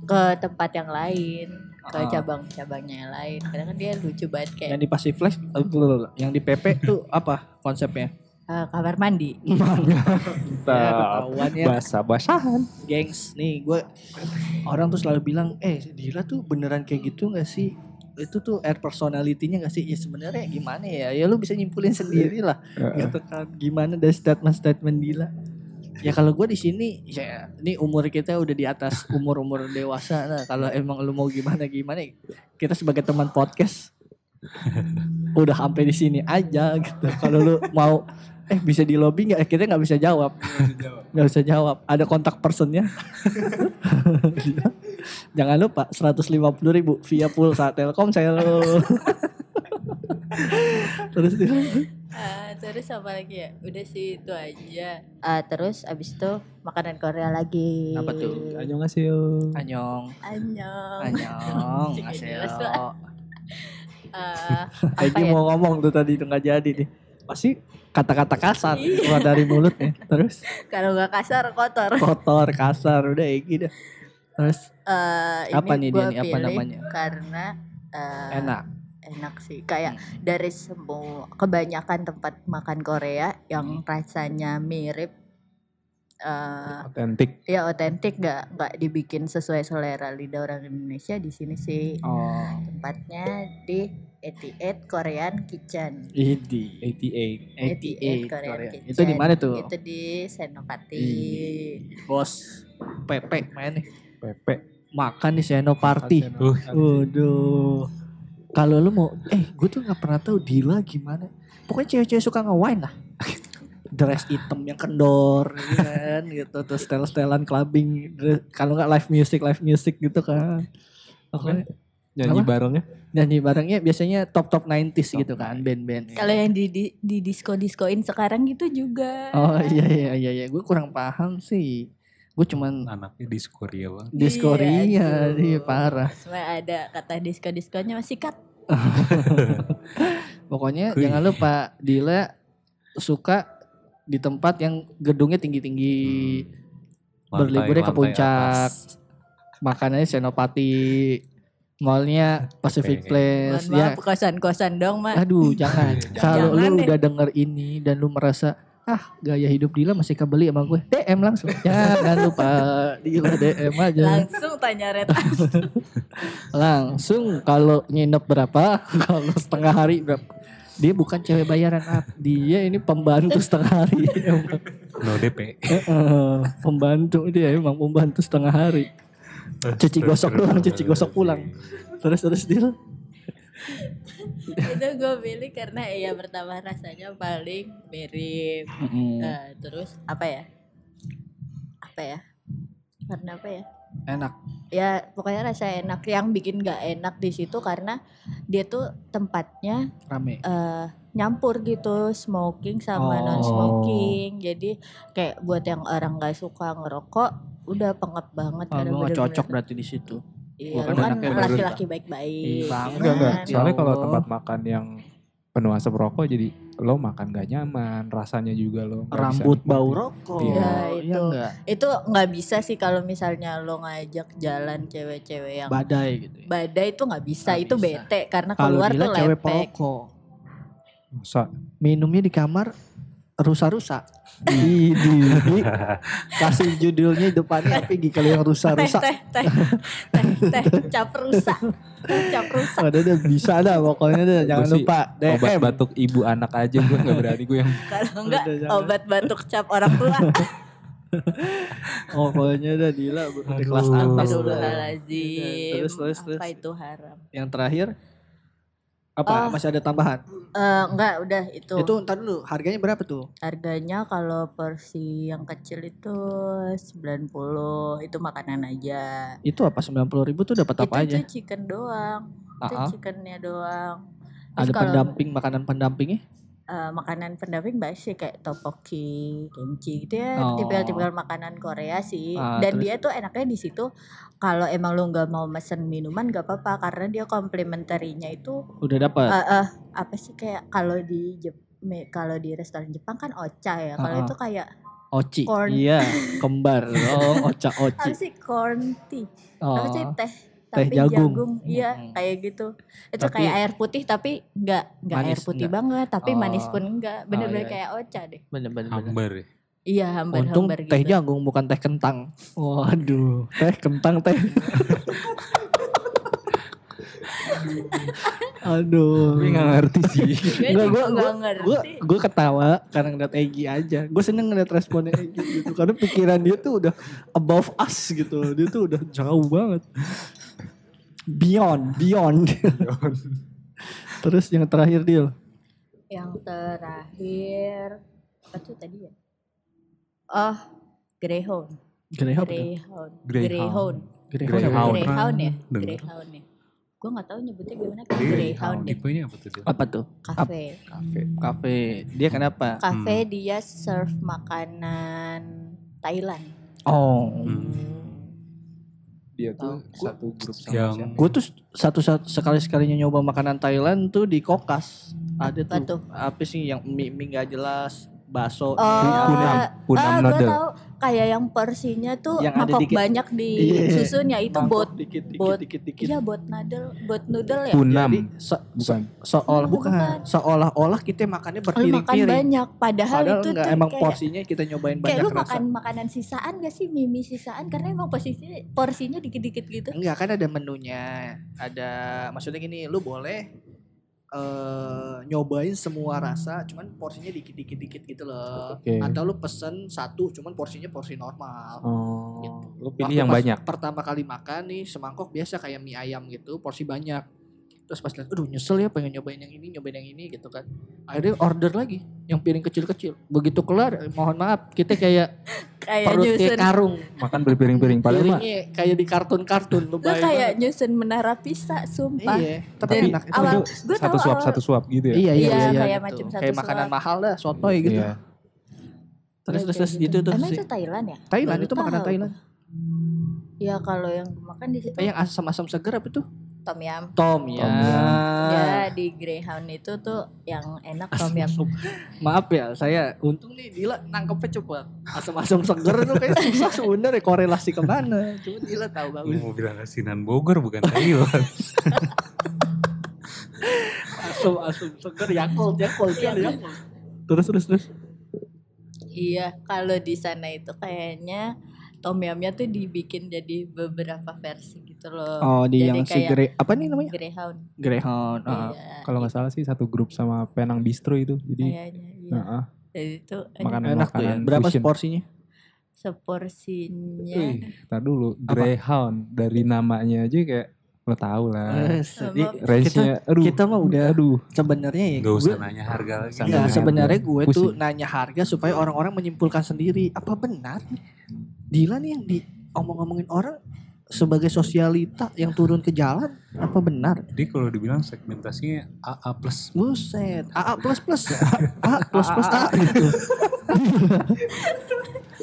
Speaker 7: ke tempat yang lain
Speaker 3: Ah.
Speaker 7: ke cabang-cabangnya yang lain karena kan dia lucu banget
Speaker 3: yang
Speaker 7: kayak
Speaker 3: di Pacific Place eh, belum, belum, belum. yang di PP tuh apa konsepnya
Speaker 7: eh, kamar mandi
Speaker 3: Ya, ketahuan ya.
Speaker 6: Iya. basah basahan
Speaker 3: gengs nih gue orang tuh selalu bilang eh Dila tuh beneran kayak gitu gak sih itu tuh air personalitinya gak sih ya sebenarnya gimana ya ya lu bisa nyimpulin sendiri lah gitu kan gimana dari statement statement Dila ya kalau gue di sini ya ini umur kita udah di atas umur umur dewasa nah kalau emang lu mau gimana gimana kita sebagai teman podcast udah sampai di sini aja gitu. Kalau lu mau eh bisa di lobby nggak? Eh, kita nggak bisa jawab. Nggak bisa jawab. Ada kontak personnya. Jangan lupa 150.000 ribu via pulsa Telkomsel. Terus dia
Speaker 7: Ah, terus apa lagi ya? Udah sih itu aja. Ah, terus abis itu makanan Korea lagi.
Speaker 3: Apa tuh?
Speaker 6: Annyeonghaseyo.
Speaker 3: Anyong,
Speaker 7: Anyong.
Speaker 3: anyong,
Speaker 7: Masih
Speaker 3: ngasih
Speaker 7: jelas
Speaker 3: lo.
Speaker 7: lah. Ah, apa
Speaker 3: Egy
Speaker 7: ya?
Speaker 3: mau ngomong tuh tadi itu nggak jadi nih. Pasti kata-kata kasar
Speaker 7: Iya.
Speaker 3: keluar dari mulutnya. Terus
Speaker 7: Kalau nggak kasar kotor.
Speaker 3: kotor, kasar, udah Egy dah. Terus
Speaker 7: Eh, ini
Speaker 3: Apa nih dia
Speaker 7: gua
Speaker 3: nih? Apa
Speaker 7: pilih
Speaker 3: namanya?
Speaker 7: Karena eh,
Speaker 3: enak.
Speaker 7: enak sih. Kayak dari semua kebanyakan tempat makan Korea
Speaker 3: Hmm.
Speaker 7: yang rasanya mirip eh
Speaker 6: Otentik.
Speaker 7: ya otentik nggak nggak dibikin sesuai selera lidah orang Indonesia di sini sih
Speaker 3: Hmm.
Speaker 6: Oh.
Speaker 7: tempatnya di 88 Korean Kitchen.
Speaker 3: Idi.
Speaker 6: 88.
Speaker 7: 88 Korean Kitchen.
Speaker 3: Itu di mana tuh? Iya,
Speaker 7: Itu di Senopati.
Speaker 3: Bos Pepe main nih.
Speaker 6: PP.
Speaker 3: Makan di Senopati.
Speaker 5: Uh,
Speaker 3: Waduh. Kalau lu mau eh gue tuh nggak pernah tahu Dila gimana. Pokoknya cewek-cewek suka nge-wine lah. Dress hitam yang kendor gitu kan gitu terus setel-setelan clubbing Dre- kalau nggak live music live music gitu kan. Pokoknya
Speaker 6: Nyanyi
Speaker 3: Apa?
Speaker 6: barengnya.
Speaker 3: nyanyi barengnya biasanya top top 90s gitu kan band-band.
Speaker 7: Kalau yang di di, di disko-diskoin sekarang gitu juga.
Speaker 3: Oh iya iya iya iya gue kurang paham sih. Gue cuman
Speaker 5: anaknya di Korea banget.
Speaker 3: di
Speaker 7: Iya,
Speaker 3: Korea
Speaker 7: aduh.
Speaker 3: iya parah.
Speaker 7: Cuma ada kata disko-diskonya masih cut.
Speaker 3: Pokoknya
Speaker 5: Kuy.
Speaker 3: jangan lupa Dila suka di tempat yang gedungnya tinggi-tinggi
Speaker 5: Lantai-
Speaker 3: berliburnya ke
Speaker 5: lantai
Speaker 3: puncak.
Speaker 5: Hmm, atas.
Speaker 3: Makanannya Senopati, mallnya Pacific
Speaker 5: Oke.
Speaker 3: Place
Speaker 7: Mohon
Speaker 3: ya.
Speaker 7: maaf kosan-kosan dong, Mak.
Speaker 3: Aduh jangan. Kalau
Speaker 7: Jangan
Speaker 3: lu
Speaker 7: deh.
Speaker 3: udah denger ini dan lu merasa ah gaya hidup Dila masih kebeli sama gue DM langsung jangan lupa Dila DM aja
Speaker 7: Langsung tanya Red
Speaker 3: langsung kalau nginep berapa kalau setengah hari berapa dia bukan cewek bayaran Ap. dia ini pembantu setengah hari emang.
Speaker 5: No DP.
Speaker 3: Heeh, pembantu dia emang pembantu setengah hari Cuci gosok doang, cuci gosok pulang. terus terus dia
Speaker 7: itu gue pilih karena ya pertama rasanya paling mirip.
Speaker 3: Iya.
Speaker 7: Eh, terus apa ya? Apa ya? Karena apa ya?
Speaker 3: enak
Speaker 7: Ya pokoknya rasa enak yang bikin gak enak di situ karena dia tuh tempatnya
Speaker 3: rame
Speaker 7: eh nyampur gitu smoking sama
Speaker 3: Oh.
Speaker 7: non smoking jadi kayak buat yang orang nggak suka ngerokok udah pengep banget
Speaker 3: oh,
Speaker 7: karena
Speaker 3: lu
Speaker 7: bener-bener-
Speaker 3: gak cocok berarti di situ
Speaker 7: iya
Speaker 3: Bukan
Speaker 7: lu kan
Speaker 3: anaknya
Speaker 7: laki-laki baik-baik
Speaker 3: Ih, bangga
Speaker 6: Enggak enggak.
Speaker 7: kan?
Speaker 3: Ya
Speaker 6: Soalnya kalau
Speaker 3: Allah.
Speaker 6: tempat makan yang penuh asap rokok jadi lo makan gak nyaman, rasanya juga lo nggak bisa
Speaker 3: rambut
Speaker 6: nikmati.
Speaker 3: bau rokok
Speaker 6: Iya,
Speaker 3: Iya
Speaker 7: itu.
Speaker 3: nggak?
Speaker 7: itu nggak bisa sih kalau misalnya lo ngajak jalan cewek-cewek yang
Speaker 3: badai gitu ya.
Speaker 7: badai itu nggak bisa
Speaker 3: Nggak
Speaker 7: itu
Speaker 3: bisa.
Speaker 7: bete karena
Speaker 3: kalau
Speaker 7: keluar
Speaker 3: Dila
Speaker 7: tuh
Speaker 3: cewek
Speaker 7: lepek
Speaker 3: perokok
Speaker 6: Masa
Speaker 3: minumnya di kamar rusak-rusak di, di, di- kasih judulnya depannya pergi kalau yang
Speaker 7: teh
Speaker 3: rusak-rusak
Speaker 7: teh teh teh teh cap rusak cap rusak
Speaker 3: ada deh bisa dah pokoknya deh jangan
Speaker 6: Gua sih
Speaker 3: lupa DM
Speaker 6: obat batuk ibu anak aja gue nggak berani gue yang
Speaker 7: kalau enggak
Speaker 3: Udah, jangan.
Speaker 7: obat batuk cap orang tua
Speaker 3: pokoknya dah Dila di
Speaker 5: Aduh.
Speaker 3: kelas atas udah
Speaker 7: Astagfirullahaladzim.
Speaker 3: Terus, terus, terus.
Speaker 7: Apa itu haram?
Speaker 3: yang terakhir apa
Speaker 7: Ah.
Speaker 3: masih ada tambahan
Speaker 7: Eh, enggak, udah itu.
Speaker 3: itu ntar dulu harganya berapa tuh
Speaker 7: Harganya kalau porsi yang kecil itu 90. Itu makanan aja.
Speaker 3: itu apa 90 ribu tuh dapat apa aja
Speaker 7: itu tuh chicken doang. Itu
Speaker 3: Ah, ah.
Speaker 7: chickennya doang.
Speaker 3: ada
Speaker 7: Terus kalau,
Speaker 3: pendamping makanan pendampingnya
Speaker 7: eh, makanan pendamping basic kayak topoki, kimchi gitu ya,
Speaker 3: Oh.
Speaker 7: tipikal-tipikal makanan Korea sih.
Speaker 3: Ah,
Speaker 7: Dan
Speaker 3: terus?
Speaker 7: dia tuh enaknya di situ kalau emang lu nggak mau mesen minuman gak apa-apa karena dia komplementerinya itu
Speaker 3: udah dapat
Speaker 7: Eh, eh, apa sih kayak kalau di Jep- me- kalau di restoran Jepang kan ocha ya. Kalau
Speaker 3: Ah, ah.
Speaker 7: itu kayak
Speaker 3: oci
Speaker 7: corn.
Speaker 3: iya kembar oh oca
Speaker 7: apa
Speaker 3: oci
Speaker 7: sih corn tea? Apa sih
Speaker 3: oh
Speaker 7: teh?
Speaker 3: Teh
Speaker 7: Tapi
Speaker 3: jagung.
Speaker 7: Iya,
Speaker 3: Mm-mm.
Speaker 7: kayak gitu. Itu
Speaker 3: Tapi-
Speaker 7: kayak air putih tapi nggak nggak air
Speaker 3: Manis
Speaker 7: putih
Speaker 3: nggak?
Speaker 7: banget, tapi manis
Speaker 3: Oh.
Speaker 7: pun enggak.
Speaker 3: Oh,
Speaker 7: Bener-bener
Speaker 3: iya.
Speaker 7: kayak ocha deh.
Speaker 3: bener-bener
Speaker 5: Hambar ya.
Speaker 7: Iya,
Speaker 3: Untung
Speaker 7: hambar-hambar gitu.
Speaker 3: teh jagung bukan teh kentang. Waduh, teh kentang teh. Aduh.
Speaker 6: gue nggak ngerti sih
Speaker 7: Gue
Speaker 3: Nggak,
Speaker 7: juga
Speaker 3: gua-
Speaker 7: nggak
Speaker 3: Gue
Speaker 7: ngerti.
Speaker 3: gue ketawa karena ngeliat Egi aja. Gue seneng ngeliat responnya Egi gitu karena pikiran dia tuh udah above us gitu. Dia tuh udah jauh banget. Beyond, beyond. Terus yang terakhir deal.
Speaker 7: Yang terakhir apa tuh tadi ya? Oh, Greyhound.
Speaker 3: Greyhound. kan?
Speaker 7: Greyhound.
Speaker 5: Greyhound.
Speaker 7: Greyhound.
Speaker 3: Greyhound.
Speaker 5: Greyhound.
Speaker 7: Greyhound ya?
Speaker 5: Dengar.
Speaker 7: Greyhound ya. Gue gak tahu nyebutnya gimana kan Greyhound ya.
Speaker 5: Tipenya apa tuh? Dil?
Speaker 3: Apa tuh?
Speaker 7: Cafe.
Speaker 3: Kafe. Dia kenapa?
Speaker 7: Cafe dia serve makanan Thailand.
Speaker 3: Oh.
Speaker 7: Hmm.
Speaker 5: Hmm.
Speaker 6: Dia tuh satu grup sama
Speaker 5: Yang
Speaker 6: siapa?
Speaker 3: Gue tuh satu, satu sekali sekalinya nyoba makanan Thailand tuh di Kokas. Ada
Speaker 7: Apa
Speaker 3: tuh,
Speaker 7: tuh?
Speaker 3: apa sih yang mie mie nggak jelas, bakso.
Speaker 7: Oh,
Speaker 3: kunam.
Speaker 6: kunam
Speaker 7: ah, gua
Speaker 6: noodle.
Speaker 7: tahu kayak yang persinya tuh
Speaker 3: Yang ada
Speaker 7: mangkok
Speaker 3: dikit.
Speaker 7: banyak di
Speaker 3: Iya.
Speaker 7: susunnya itu
Speaker 3: Mangkok
Speaker 7: bot.
Speaker 3: dikit dikit
Speaker 7: bot.
Speaker 3: dikit dikit.
Speaker 7: Iya bot noodle, bot noodle ya.
Speaker 6: Punam.
Speaker 3: Jadi se-
Speaker 6: Bukan.
Speaker 3: seolah bukan.
Speaker 7: Bukan.
Speaker 3: seolah-olah kita makannya
Speaker 7: Lu makan
Speaker 3: berpiring-piring.
Speaker 7: banyak padahal,
Speaker 3: Padahal
Speaker 7: itu
Speaker 3: enggak
Speaker 7: tuh
Speaker 3: emang
Speaker 7: kayak
Speaker 3: porsinya kita nyobain
Speaker 7: kayak
Speaker 3: banyak
Speaker 7: lu
Speaker 3: rasa.
Speaker 7: makan makanan sisaan gak sih mimi sisaan karena emang posisinya porsinya dikit-dikit gitu.
Speaker 3: Enggak kan ada menunya. Ada maksudnya gini, lu boleh eh nyobain semua rasa cuman porsinya dikit-dikit dikit gitu loh.
Speaker 6: Oke.
Speaker 3: Atau lu pesen satu cuman porsinya porsi normal.
Speaker 6: Oh,
Speaker 3: Gitu.
Speaker 6: lu pilih
Speaker 3: Waktu
Speaker 6: yang
Speaker 3: pas
Speaker 6: banyak.
Speaker 3: Pertama kali makan nih semangkok biasa kayak mie ayam gitu, porsi banyak. Terus pas lihat, aduh nyesel ya pengen nyobain yang ini, nyobain yang ini gitu kan. Akhirnya order lagi yang piring kecil-kecil. Begitu kelar, eh, mohon maaf, kita kayak
Speaker 7: Kayak
Speaker 3: perut kayak
Speaker 7: nyusun
Speaker 3: karung.
Speaker 6: Makan berpiring-piring padahal mah
Speaker 3: Piringnya kayak di kartun-kartun lu
Speaker 7: lu
Speaker 3: bayangin.
Speaker 7: kayak nyusun menara pisa sumpah.
Speaker 3: Iya, tapi
Speaker 7: Dan
Speaker 3: enak itu.
Speaker 7: awal
Speaker 6: Itu
Speaker 7: gue tahu
Speaker 6: satu suap
Speaker 7: awal-
Speaker 6: satu suap gitu ya.
Speaker 3: Iya, iya,
Speaker 7: Iya,
Speaker 3: iya, iya,
Speaker 7: kayak
Speaker 3: gitu.
Speaker 7: macam satu
Speaker 3: kayak makanan
Speaker 7: suap.
Speaker 3: mahal dah, sotoy gitu.
Speaker 6: Iya.
Speaker 3: Terus
Speaker 7: Iya,
Speaker 3: terus
Speaker 7: kayak
Speaker 3: terus itu tuh
Speaker 7: Emang
Speaker 3: sih.
Speaker 7: itu Thailand ya?
Speaker 3: Thailand
Speaker 7: Baru
Speaker 3: itu makanan
Speaker 7: tahu.
Speaker 3: Thailand.
Speaker 7: Ya kalau yang makan di situ
Speaker 3: Eh, yang asam-asam seger apa tuh?
Speaker 7: tom yum.
Speaker 3: Tom ya.
Speaker 6: Tom
Speaker 3: Ah.
Speaker 7: Ya di Greyhound itu tuh yang enak tom yum.
Speaker 3: Asam-asam. Maaf ya, saya untung nih Dila nangkepnya cepat. Asam-asam seger tuh kayak susah sebenarnya korelasi kemana. Cuma Dila tahu
Speaker 5: Lu
Speaker 3: banget.
Speaker 5: mau bilang asinan Bogor bukan Thailand.
Speaker 3: Asam-asam seger Yakult, Yakult, Yakult. Iya, Yakult.
Speaker 6: Terus terus terus.
Speaker 7: Iya, kalau di sana itu kayaknya tom yumnya tuh dibikin jadi beberapa versi gitu loh.
Speaker 3: Oh, di
Speaker 7: Jadi
Speaker 3: yang si
Speaker 7: kayak-
Speaker 3: Grey, apa nih namanya?
Speaker 7: Greyhound.
Speaker 3: Greyhound. ah.
Speaker 7: Iya,
Speaker 6: Kalau nggak salah sih satu grup sama Penang Bistro itu. Jadi
Speaker 7: kayaknya iya.
Speaker 3: Ah,
Speaker 6: heeh,
Speaker 7: Jadi itu
Speaker 6: makanan
Speaker 3: Enak tuh ya.
Speaker 6: makanan
Speaker 3: Berapa
Speaker 6: fusion.
Speaker 3: porsinya? Iya.
Speaker 7: seporsinya
Speaker 6: Eh, Ntar dulu Greyhound dari namanya aja kayak lo tau lah.
Speaker 3: Eh, sedih.
Speaker 6: Range-nya aduh.
Speaker 3: kita mah udah-
Speaker 6: aduh.
Speaker 3: Sebenarnya ya
Speaker 5: Gak usah
Speaker 3: gue-
Speaker 5: nanya harga lagi.
Speaker 6: Sama
Speaker 3: Ya
Speaker 6: dengan
Speaker 3: sebenarnya
Speaker 6: harga.
Speaker 3: gue tuh
Speaker 6: Pusing.
Speaker 3: nanya harga supaya orang-orang menyimpulkan sendiri apa benar nih? Dila nih yang diomong-omongin orang sebagai sosialita yang turun ke jalan apa benar?
Speaker 5: Jadi kalau dibilang segmentasinya AA plus.
Speaker 3: Buset, AA plus plus, AA plus plus A gitu.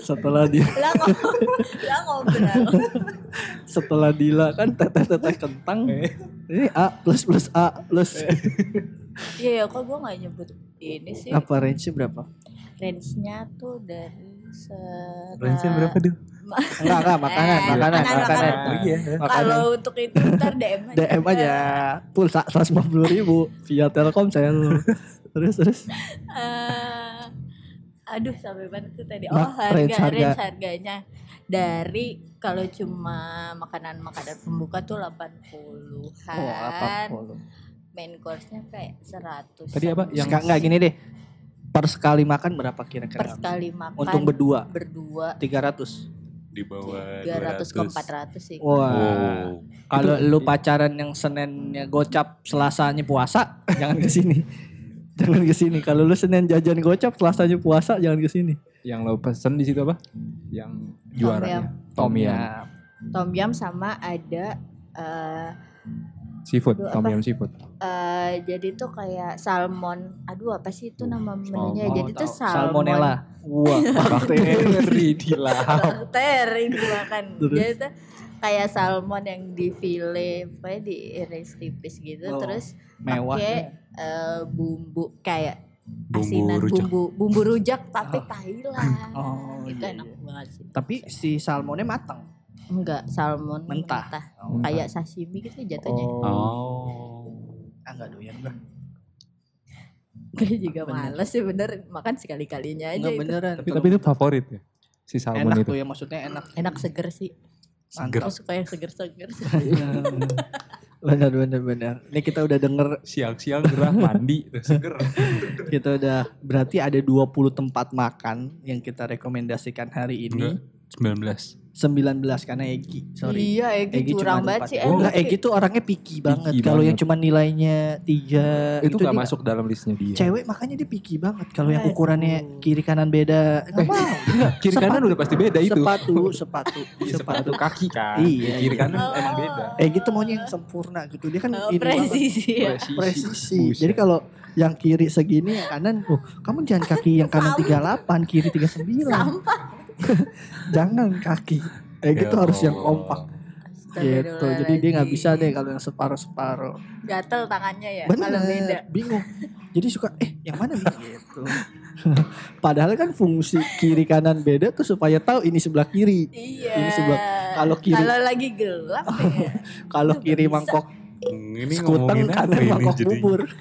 Speaker 3: setelah dia
Speaker 7: lah ngomong lah ngobrol
Speaker 3: setelah Dila kan teteh teteh kentang Eh. ini A plus plus A plus
Speaker 7: iya ya kok gue nggak nyebut ini sih
Speaker 3: apa range berapa?
Speaker 7: range nya tuh dari sera-
Speaker 5: Range berapa dia?
Speaker 3: Enggak enggak makanan
Speaker 7: Eh,
Speaker 3: makanan
Speaker 7: makanan,
Speaker 3: makanan.
Speaker 7: makanan.
Speaker 5: Oh iya.
Speaker 3: Makanan.
Speaker 7: kalau untuk itu ntar DM aja
Speaker 3: DM aja pulsa 150 ribu via Telkom saya lu. terus terus
Speaker 7: Eh, aduh sampai mana tuh tadi oh
Speaker 3: Ma-
Speaker 7: harga
Speaker 3: range
Speaker 7: range,
Speaker 3: harga.
Speaker 7: harganya dari kalau cuma makanan makanan pembuka tuh 80-an
Speaker 3: Oh,
Speaker 6: Oh,
Speaker 7: main course-nya kayak 100
Speaker 6: Tadi apa?
Speaker 3: yang
Speaker 6: Yang-
Speaker 3: enggak gini deh per sekali makan berapa
Speaker 7: per
Speaker 3: kira-kira
Speaker 7: sekali makan
Speaker 3: untuk berdua
Speaker 7: berdua
Speaker 3: 300
Speaker 5: Di bawah
Speaker 7: 300 ke 400 sih
Speaker 3: wah
Speaker 5: Oh.
Speaker 3: kalau lu pacaran yang Seninnya gocap Selasanya puasa jangan ke sini jangan ke sini kalau lu Senin jajan gocap Selasanya puasa jangan ke sini
Speaker 6: Yang lo pesen di situ apa? Yang juaranya. Tom Yum.
Speaker 3: Iya.
Speaker 7: Tom Yum sama ada eh
Speaker 6: Seafood.
Speaker 7: Aduh,
Speaker 6: Tom
Speaker 7: apa?
Speaker 6: Yum seafood.
Speaker 7: eh, jadi tuh kayak salmon. Aduh apa sih itu nama
Speaker 6: salmon.
Speaker 7: menunya? Ya, jadi tuh
Speaker 3: Tahu.
Speaker 7: salmon.
Speaker 3: salmonella wah
Speaker 6: Bakteri dilahap.
Speaker 7: Bakteri dimakan.
Speaker 3: Terus?
Speaker 7: jadi tuh kayak salmon yang di file, pokoknya diiris tipis gitu.
Speaker 3: Oh,
Speaker 7: terus
Speaker 3: mewah
Speaker 7: pakai eh, bumbu kayak
Speaker 5: Bumbu
Speaker 7: asinan
Speaker 5: rujak.
Speaker 7: bumbu bumbu rujak tapi Thailand.
Speaker 3: Oh,
Speaker 7: itu
Speaker 3: iya,
Speaker 7: enak
Speaker 3: iya.
Speaker 7: banget sih.
Speaker 3: tapi si salmonnya matang Oh,
Speaker 7: Enggak salmon
Speaker 3: Mentah.
Speaker 7: Kayak sashimi gitu jatuhnya.
Speaker 6: Oh.
Speaker 5: Oh.
Speaker 3: ah nggak doyan gue
Speaker 7: Gue juga
Speaker 3: Bener.
Speaker 7: males sih bener makan sekali-kalinya aja
Speaker 3: Enggak
Speaker 7: itu.
Speaker 3: beneran.
Speaker 6: Tapi, tapi itu favorit ya. Si salmon
Speaker 3: enak
Speaker 6: itu.
Speaker 3: tuh ya maksudnya enak.
Speaker 7: Enak seger sih.
Speaker 3: Iya.
Speaker 5: Seger.
Speaker 7: Aku suka yang seger-seger.
Speaker 3: bener bener bener. Ini kita udah denger
Speaker 6: Siang-siang gerah mandi terus seger.
Speaker 3: kita udah berarti ada 20 tempat makan yang kita rekomendasikan hari ini.
Speaker 5: Enggak. 19
Speaker 3: 19 karena Egi. Sorry.
Speaker 7: Iya, Egi,
Speaker 3: Egi cuma ada
Speaker 7: curang banget
Speaker 3: empat.
Speaker 7: sih.
Speaker 5: Oh,
Speaker 7: emang
Speaker 3: Enggak, Egi
Speaker 7: sih.
Speaker 3: tuh orangnya picky banget.
Speaker 6: Picky
Speaker 3: Kalau yang
Speaker 6: banget.
Speaker 3: cuma nilainya tiga
Speaker 6: itu
Speaker 3: gitu
Speaker 6: nggak
Speaker 3: dia
Speaker 6: masuk ya? dalam listnya dia
Speaker 3: Cewek makanya dia picky banget. Kalau yang ukurannya kiri kanan beda, nggak mau.
Speaker 6: kiri kanan
Speaker 3: sepatu.
Speaker 6: udah pasti beda itu
Speaker 3: Sepatu, sepatu,
Speaker 6: Iya, sepatu kaki kan
Speaker 3: Iya,
Speaker 6: kiri
Speaker 3: iya.
Speaker 6: kanan emang beda
Speaker 3: Egi tuh Eh, gitu maunya yang sempurna gitu. Dia kan
Speaker 7: Oh,
Speaker 3: ini banget.
Speaker 7: presisi ya.
Speaker 6: Presisi.
Speaker 3: presisi.
Speaker 6: Buset.
Speaker 3: Jadi kalau yang kiri segini, yang kanan, oh, kamu jangan kaki yang kanan 38, kiri 39.
Speaker 7: Sampah.
Speaker 3: Jangan kaki. Eh
Speaker 5: Ya
Speaker 3: gitu harus yang
Speaker 5: Allah.
Speaker 3: kompak gitu. Jadi dia nggak bisa deh kalau yang separuh-separuh.
Speaker 7: Gatel tangannya ya
Speaker 3: Bener,
Speaker 7: kalau beda.
Speaker 3: bingung. Jadi suka eh yang mana nih gitu. Padahal kan fungsi kiri kanan beda tuh supaya tahu ini sebelah kiri.
Speaker 7: Iya.
Speaker 3: Ini sebelah- kalau kiri-
Speaker 7: Kalau lagi gelap ya.
Speaker 3: Kalau
Speaker 7: Nggak
Speaker 3: kiri
Speaker 7: bisa.
Speaker 3: mangkok
Speaker 5: ini
Speaker 3: skuter
Speaker 5: ngomongin apa
Speaker 3: kanan
Speaker 5: ini
Speaker 3: mangkok
Speaker 5: jadi
Speaker 3: bubur.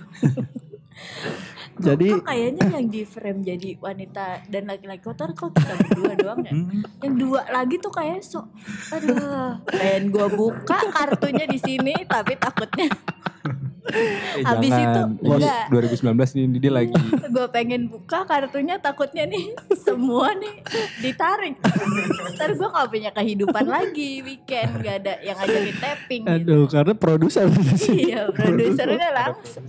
Speaker 3: Jadi
Speaker 7: Kok kayaknya yang di frame jadi wanita dan laki-laki kotor kok kita berdua doang ya.
Speaker 5: Hmm,
Speaker 7: Yang dua lagi tuh kayak sok aduh, pengen gua buka kartunya di sini tapi takutnya
Speaker 6: eh,
Speaker 7: Habis itu, enggak.
Speaker 6: itu 2019 ini dia lagi
Speaker 7: gue pengen buka kartunya takutnya nih semua nih ditarik ntar gue gak punya kehidupan lagi weekend gak ada yang ngajakin tapping gitu
Speaker 3: aduh karena produser di sini.
Speaker 7: iya produsernya langsung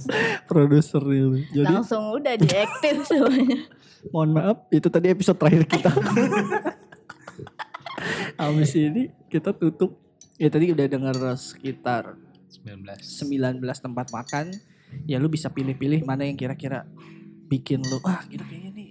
Speaker 3: produser ini. Jadi
Speaker 7: langsung udah diaktif semuanya
Speaker 3: mohon maaf itu tadi episode terakhir kita. Habis ini kita tutup. Ya tadi udah dengar sekitar
Speaker 5: 19
Speaker 3: 19 tempat makan ya lu bisa pilih-pilih mana yang kira-kira bikin lu ah gitu kayaknya nih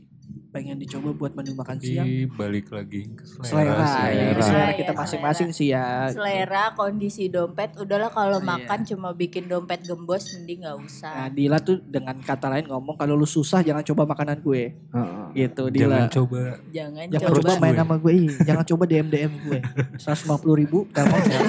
Speaker 3: pengen dicoba buat menu makan siang
Speaker 5: Tapi balik lagi ke selera,
Speaker 3: selera ya,
Speaker 5: selera.
Speaker 3: selera,
Speaker 7: Iya, Selera,
Speaker 3: kita
Speaker 7: ya,
Speaker 3: masing-masing sih ya
Speaker 7: selera kondisi dompet udahlah kalau
Speaker 3: Iya.
Speaker 7: makan cuma bikin dompet gembos mending gak usah
Speaker 3: Nah, Dila tuh dengan kata lain ngomong kalau lu susah jangan coba makanan gue gitu
Speaker 5: jangan
Speaker 3: Dila
Speaker 5: coba
Speaker 7: jangan
Speaker 3: jangan
Speaker 7: coba
Speaker 3: coba
Speaker 5: approach
Speaker 3: main
Speaker 5: gue.
Speaker 3: sama gue ih. jangan coba DM DM gue 150 ribu telepon saya.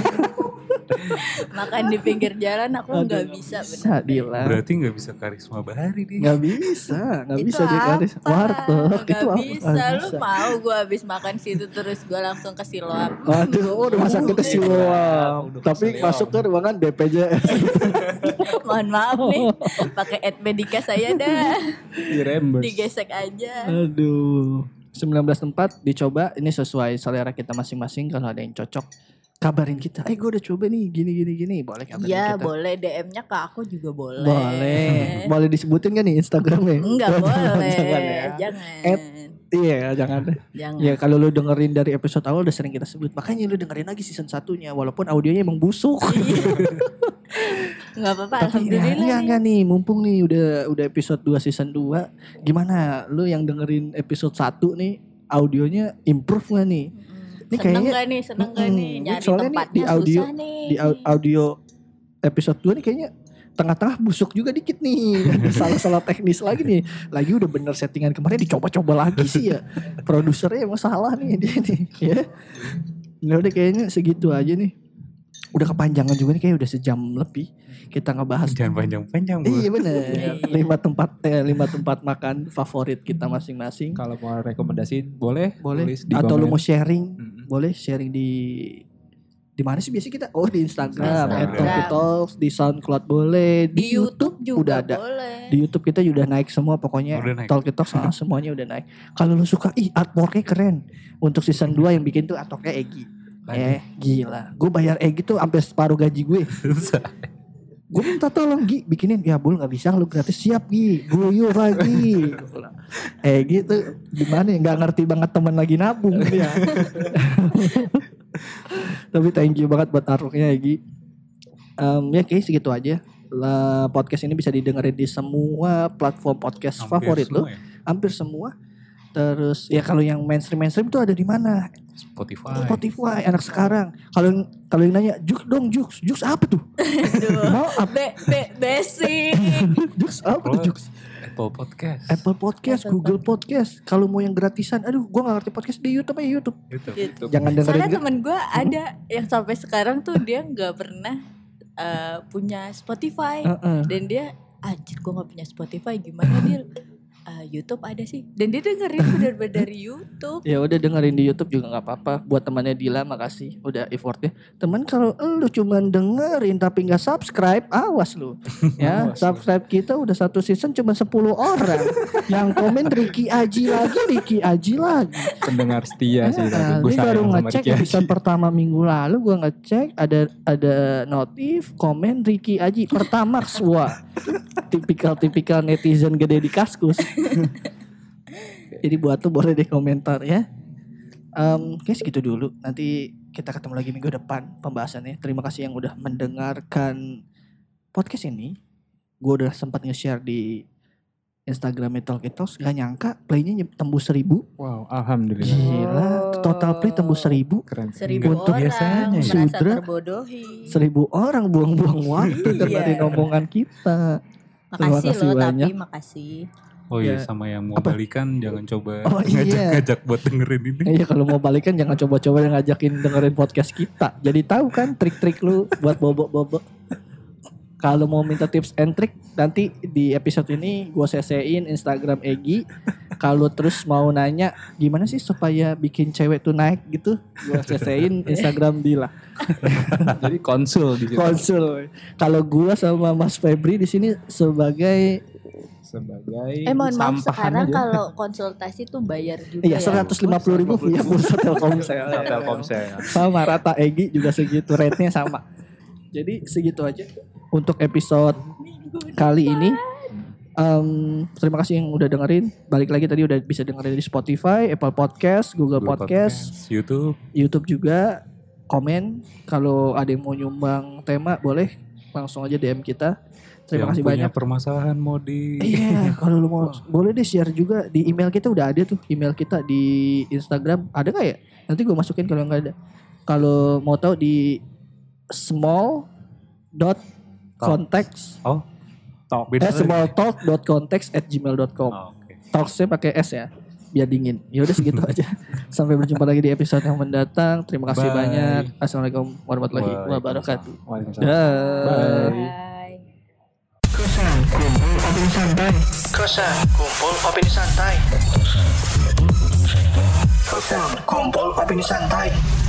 Speaker 7: makan di pinggir jalan aku
Speaker 3: Aduh,
Speaker 7: nggak
Speaker 3: nggak
Speaker 7: bisa
Speaker 3: bisa
Speaker 7: bener
Speaker 3: Dila
Speaker 5: berarti nggak bisa karisma bahari dia
Speaker 3: nggak bisa nggak
Speaker 7: Itu
Speaker 3: bisa deh
Speaker 7: apa?
Speaker 3: warteg
Speaker 7: Nggak
Speaker 3: itu apa
Speaker 7: bisa.
Speaker 3: Nggak
Speaker 7: Lu
Speaker 3: bisa.
Speaker 7: mau gue habis makan situ terus gue langsung ke Siloam.
Speaker 3: Aduh, udah masak kita siloam. Tapi masuk ke ruangan BPJS.
Speaker 7: Mohon maaf nih, pakai Edmedica saya dah.
Speaker 6: di reimburse.
Speaker 7: Digesek aja.
Speaker 3: Aduh. 19 tempat dicoba ini sesuai selera kita masing-masing kalau ada yang cocok kabarin kita. Eh gue udah coba nih gini gini gini boleh kabarin
Speaker 7: Iya,
Speaker 3: kita.
Speaker 7: boleh DM-nya ke aku juga boleh.
Speaker 3: Boleh. Boleh disebutin gak nih Instagramnya?
Speaker 7: Enggak
Speaker 3: Oh, jangan,
Speaker 7: boleh.
Speaker 3: Jangan
Speaker 7: Jangan.
Speaker 3: ya.
Speaker 7: Jangan.
Speaker 3: Ed- Iya jangan.
Speaker 7: jangan.
Speaker 3: Ya kalau lu dengerin dari episode awal udah sering kita sebut. Makanya lu dengerin lagi season satunya walaupun audionya emang busuk.
Speaker 7: Enggak apa-apa,
Speaker 3: Tapi ya,
Speaker 7: alhamdulillah.
Speaker 3: enggak,
Speaker 7: nih.
Speaker 3: enggak nih, mumpung nih udah udah episode 2 season 2. Gimana lu yang dengerin episode 1 nih audionya improve gak nih?
Speaker 7: Mm.
Speaker 3: Ini
Speaker 7: seneng
Speaker 3: kayaknya-
Speaker 7: gak nih, seneng gak
Speaker 3: Mm-mm.
Speaker 7: nih
Speaker 3: Ini
Speaker 7: Nyari
Speaker 3: soalnya nih
Speaker 7: tempatnya
Speaker 3: di audio-
Speaker 7: susah nih
Speaker 3: Di au- audio episode 2 nih kayaknya tengah-tengah busuk juga dikit nih. Ada Salah-salah teknis lagi nih. Lagi udah bener settingan kemarin dicoba-coba lagi sih ya. Produsernya emang salah nih dia nih ya. Nah, udah kayaknya segitu aja nih. Udah kepanjangan juga nih kayak udah sejam lebih kita ngebahas
Speaker 5: jangan panjang-panjang Bu.
Speaker 3: Iya bener lima tempat eh, lima tempat makan favorit kita masing-masing.
Speaker 6: kalau mau rekomendasi boleh
Speaker 3: Boleh.
Speaker 6: tulis di
Speaker 3: Atau lu mau
Speaker 6: komen.
Speaker 3: sharing,
Speaker 6: Mm-mm.
Speaker 3: boleh sharing di di mana sih biasa kita? Oh di Instagram,
Speaker 5: Instagram.
Speaker 3: Talks, di SoundCloud boleh,
Speaker 7: Di Youtube juga
Speaker 3: udah ada.
Speaker 7: boleh
Speaker 3: Di YouTube kita udah naik semua pokoknya
Speaker 5: Udah naik.
Speaker 3: Talk Talks ah, semuanya udah naik. Kalau lu suka ih artworknya keren. Untuk season 2 yang bikin tuh artworknya Egi.
Speaker 5: Lagi.
Speaker 3: Eh gila, gue bayar Egi tuh sampai separuh gaji gue. gue minta tolong Gi bikinin ya bul nggak bisa lu gratis siap Gi guyur lagi eh gitu gimana ya nggak ngerti banget teman lagi nabung ya
Speaker 5: Iya.
Speaker 3: tapi thank you banget buat Aruknya Gi Em, ya kayak segitu aja lah podcast ini bisa didengerin di semua platform podcast
Speaker 5: Hampir
Speaker 3: favorit lo
Speaker 5: semua ya.
Speaker 3: hampir semua terus ya kalau yang mainstream mainstream tuh ada di mana
Speaker 5: Spotify
Speaker 3: Spotify
Speaker 5: iya.
Speaker 3: anak sekarang. Kalau yang- kalau yang nanya Jux dong Jux, Jux apa tuh? Mau apa?
Speaker 7: Be, be, basic
Speaker 3: Jux apa tuh
Speaker 5: Oh,
Speaker 3: Jux?
Speaker 5: Apple Podcast
Speaker 3: Apple Podcast,
Speaker 7: Apple
Speaker 3: Google Podcast. Kalau mau yang gratisan, aduh, gua nggak ngerti podcast di YouTube aja YouTube.
Speaker 5: gitu.
Speaker 7: gitu.
Speaker 3: Jangan dengerin.
Speaker 7: Soalnya
Speaker 3: juga.
Speaker 7: temen gue ada yang sampai sekarang tuh dia nggak pernah eh, punya Spotify
Speaker 3: Heeh.
Speaker 7: dan dia anjir gue nggak punya Spotify gimana dia Eh, YouTube ada sih. Dan dia dengerin bener-bener dari YouTube.
Speaker 3: Ya udah dengerin di YouTube juga nggak apa-apa. Buat temannya Dila makasih udah effortnya. Teman kalau lu cuman dengerin tapi nggak subscribe, awas lu. Ya,
Speaker 5: Awas lu.
Speaker 3: subscribe kita udah satu season cuma 10 orang. Yang komen Ricky Aji lagi, Ricky Aji lagi.
Speaker 6: pendengar setia Iya sih tadi.
Speaker 3: Nah,
Speaker 6: Gua
Speaker 3: ini baru
Speaker 6: sayang sama
Speaker 3: ngecek
Speaker 6: Ricky Aji.
Speaker 3: episode pertama minggu lalu gua ngecek ada ada notif komen Ricky Aji Pertamax wah tipikal-tipikal netizen gede di kaskus jadi buat tuh boleh deh komentar ya Em guys gitu dulu nanti kita ketemu lagi minggu depan pembahasannya terima kasih yang udah mendengarkan podcast ini gua udah sempat nge-share di Instagramnya Talk It Talks Gak nyangka playnya nyem- tembus seribu
Speaker 6: Wow, alhamdulillah.
Speaker 3: Gila Total play tembus seribu
Speaker 6: Keren.
Speaker 7: Seribu
Speaker 3: Untuk
Speaker 7: orang
Speaker 5: biasanya
Speaker 3: ya.
Speaker 7: merasa
Speaker 3: Sudra.
Speaker 7: terbodohi.
Speaker 3: seribu orang buang-buang waktu
Speaker 7: Iya.
Speaker 3: dengerin omongan kita. Terima
Speaker 7: Makasih
Speaker 3: kasih
Speaker 7: loh
Speaker 3: banyak.
Speaker 7: tapi makasih.
Speaker 5: Oh iya
Speaker 3: Ya.
Speaker 5: sama yang mau
Speaker 3: Apa?
Speaker 5: balikan jangan coba
Speaker 3: Oh, iya.
Speaker 5: ngajak-ngajak buat dengerin ini.
Speaker 3: Iya kalau mau balikan jangan coba-coba yang ngajakin dengerin podcast kita. Jadi tahu kan trik-trik lu buat bobok-bobok. Kalau mau minta tips and trick nanti di episode ini gue cc-in Instagram Egi. Kalau terus mau nanya gimana sih supaya bikin cewek tuh naik gitu, gue cc-in Instagram Dila.
Speaker 6: Jadi konsul di situ.
Speaker 3: Konsul. Kalau gue sama Mas Febri di sini sebagai
Speaker 6: Sebagai
Speaker 7: Eh mohon maaf
Speaker 6: sampahan
Speaker 7: sekarang
Speaker 6: aja.
Speaker 7: kalau konsultasi tuh bayar juga
Speaker 3: Iya,
Speaker 7: ya.
Speaker 3: seratus lima puluh ribu punya pulsa Telkomsel.
Speaker 6: Iya. Telkomsel.
Speaker 3: sama rata Egi juga segitu rate-nya sama. Jadi segitu aja untuk episode kali ini. Em, terima kasih yang udah dengerin. Balik lagi tadi udah bisa dengerin di Spotify, Apple Podcast, Google,
Speaker 5: Google
Speaker 3: Podcast,
Speaker 5: YouTube,
Speaker 3: YouTube juga. Komen kalau ada yang mau nyumbang tema boleh langsung aja DM kita. Terima
Speaker 5: yang
Speaker 3: kasih
Speaker 5: punya
Speaker 3: banyak.
Speaker 5: permasalahan mau di
Speaker 3: Iya, kalau lu mau boleh deh share juga di email kita udah ada tuh email kita di Instagram ada nggak ya? Nanti gue masukin kalau nggak ada. Kalau mau tahu di small dot context
Speaker 5: talk
Speaker 3: eh,
Speaker 5: beda lagi.
Speaker 3: small talk dot context at gmail.com
Speaker 5: Oh, oke.
Speaker 3: talksnya pakai s ya biar dingin ya udah segitu aja sampai berjumpa lagi di episode yang mendatang terima kasih
Speaker 5: Bye.
Speaker 3: banyak assalamualaikum warahmatullahi
Speaker 5: Waalaikumsalam.
Speaker 3: wabarakatuh
Speaker 6: Waalaikumsalam.
Speaker 3: Dah.
Speaker 7: Bye.
Speaker 4: Kosan kumpul opini santai. Kosan kumpul opini santai. Kosan kumpul opini santai.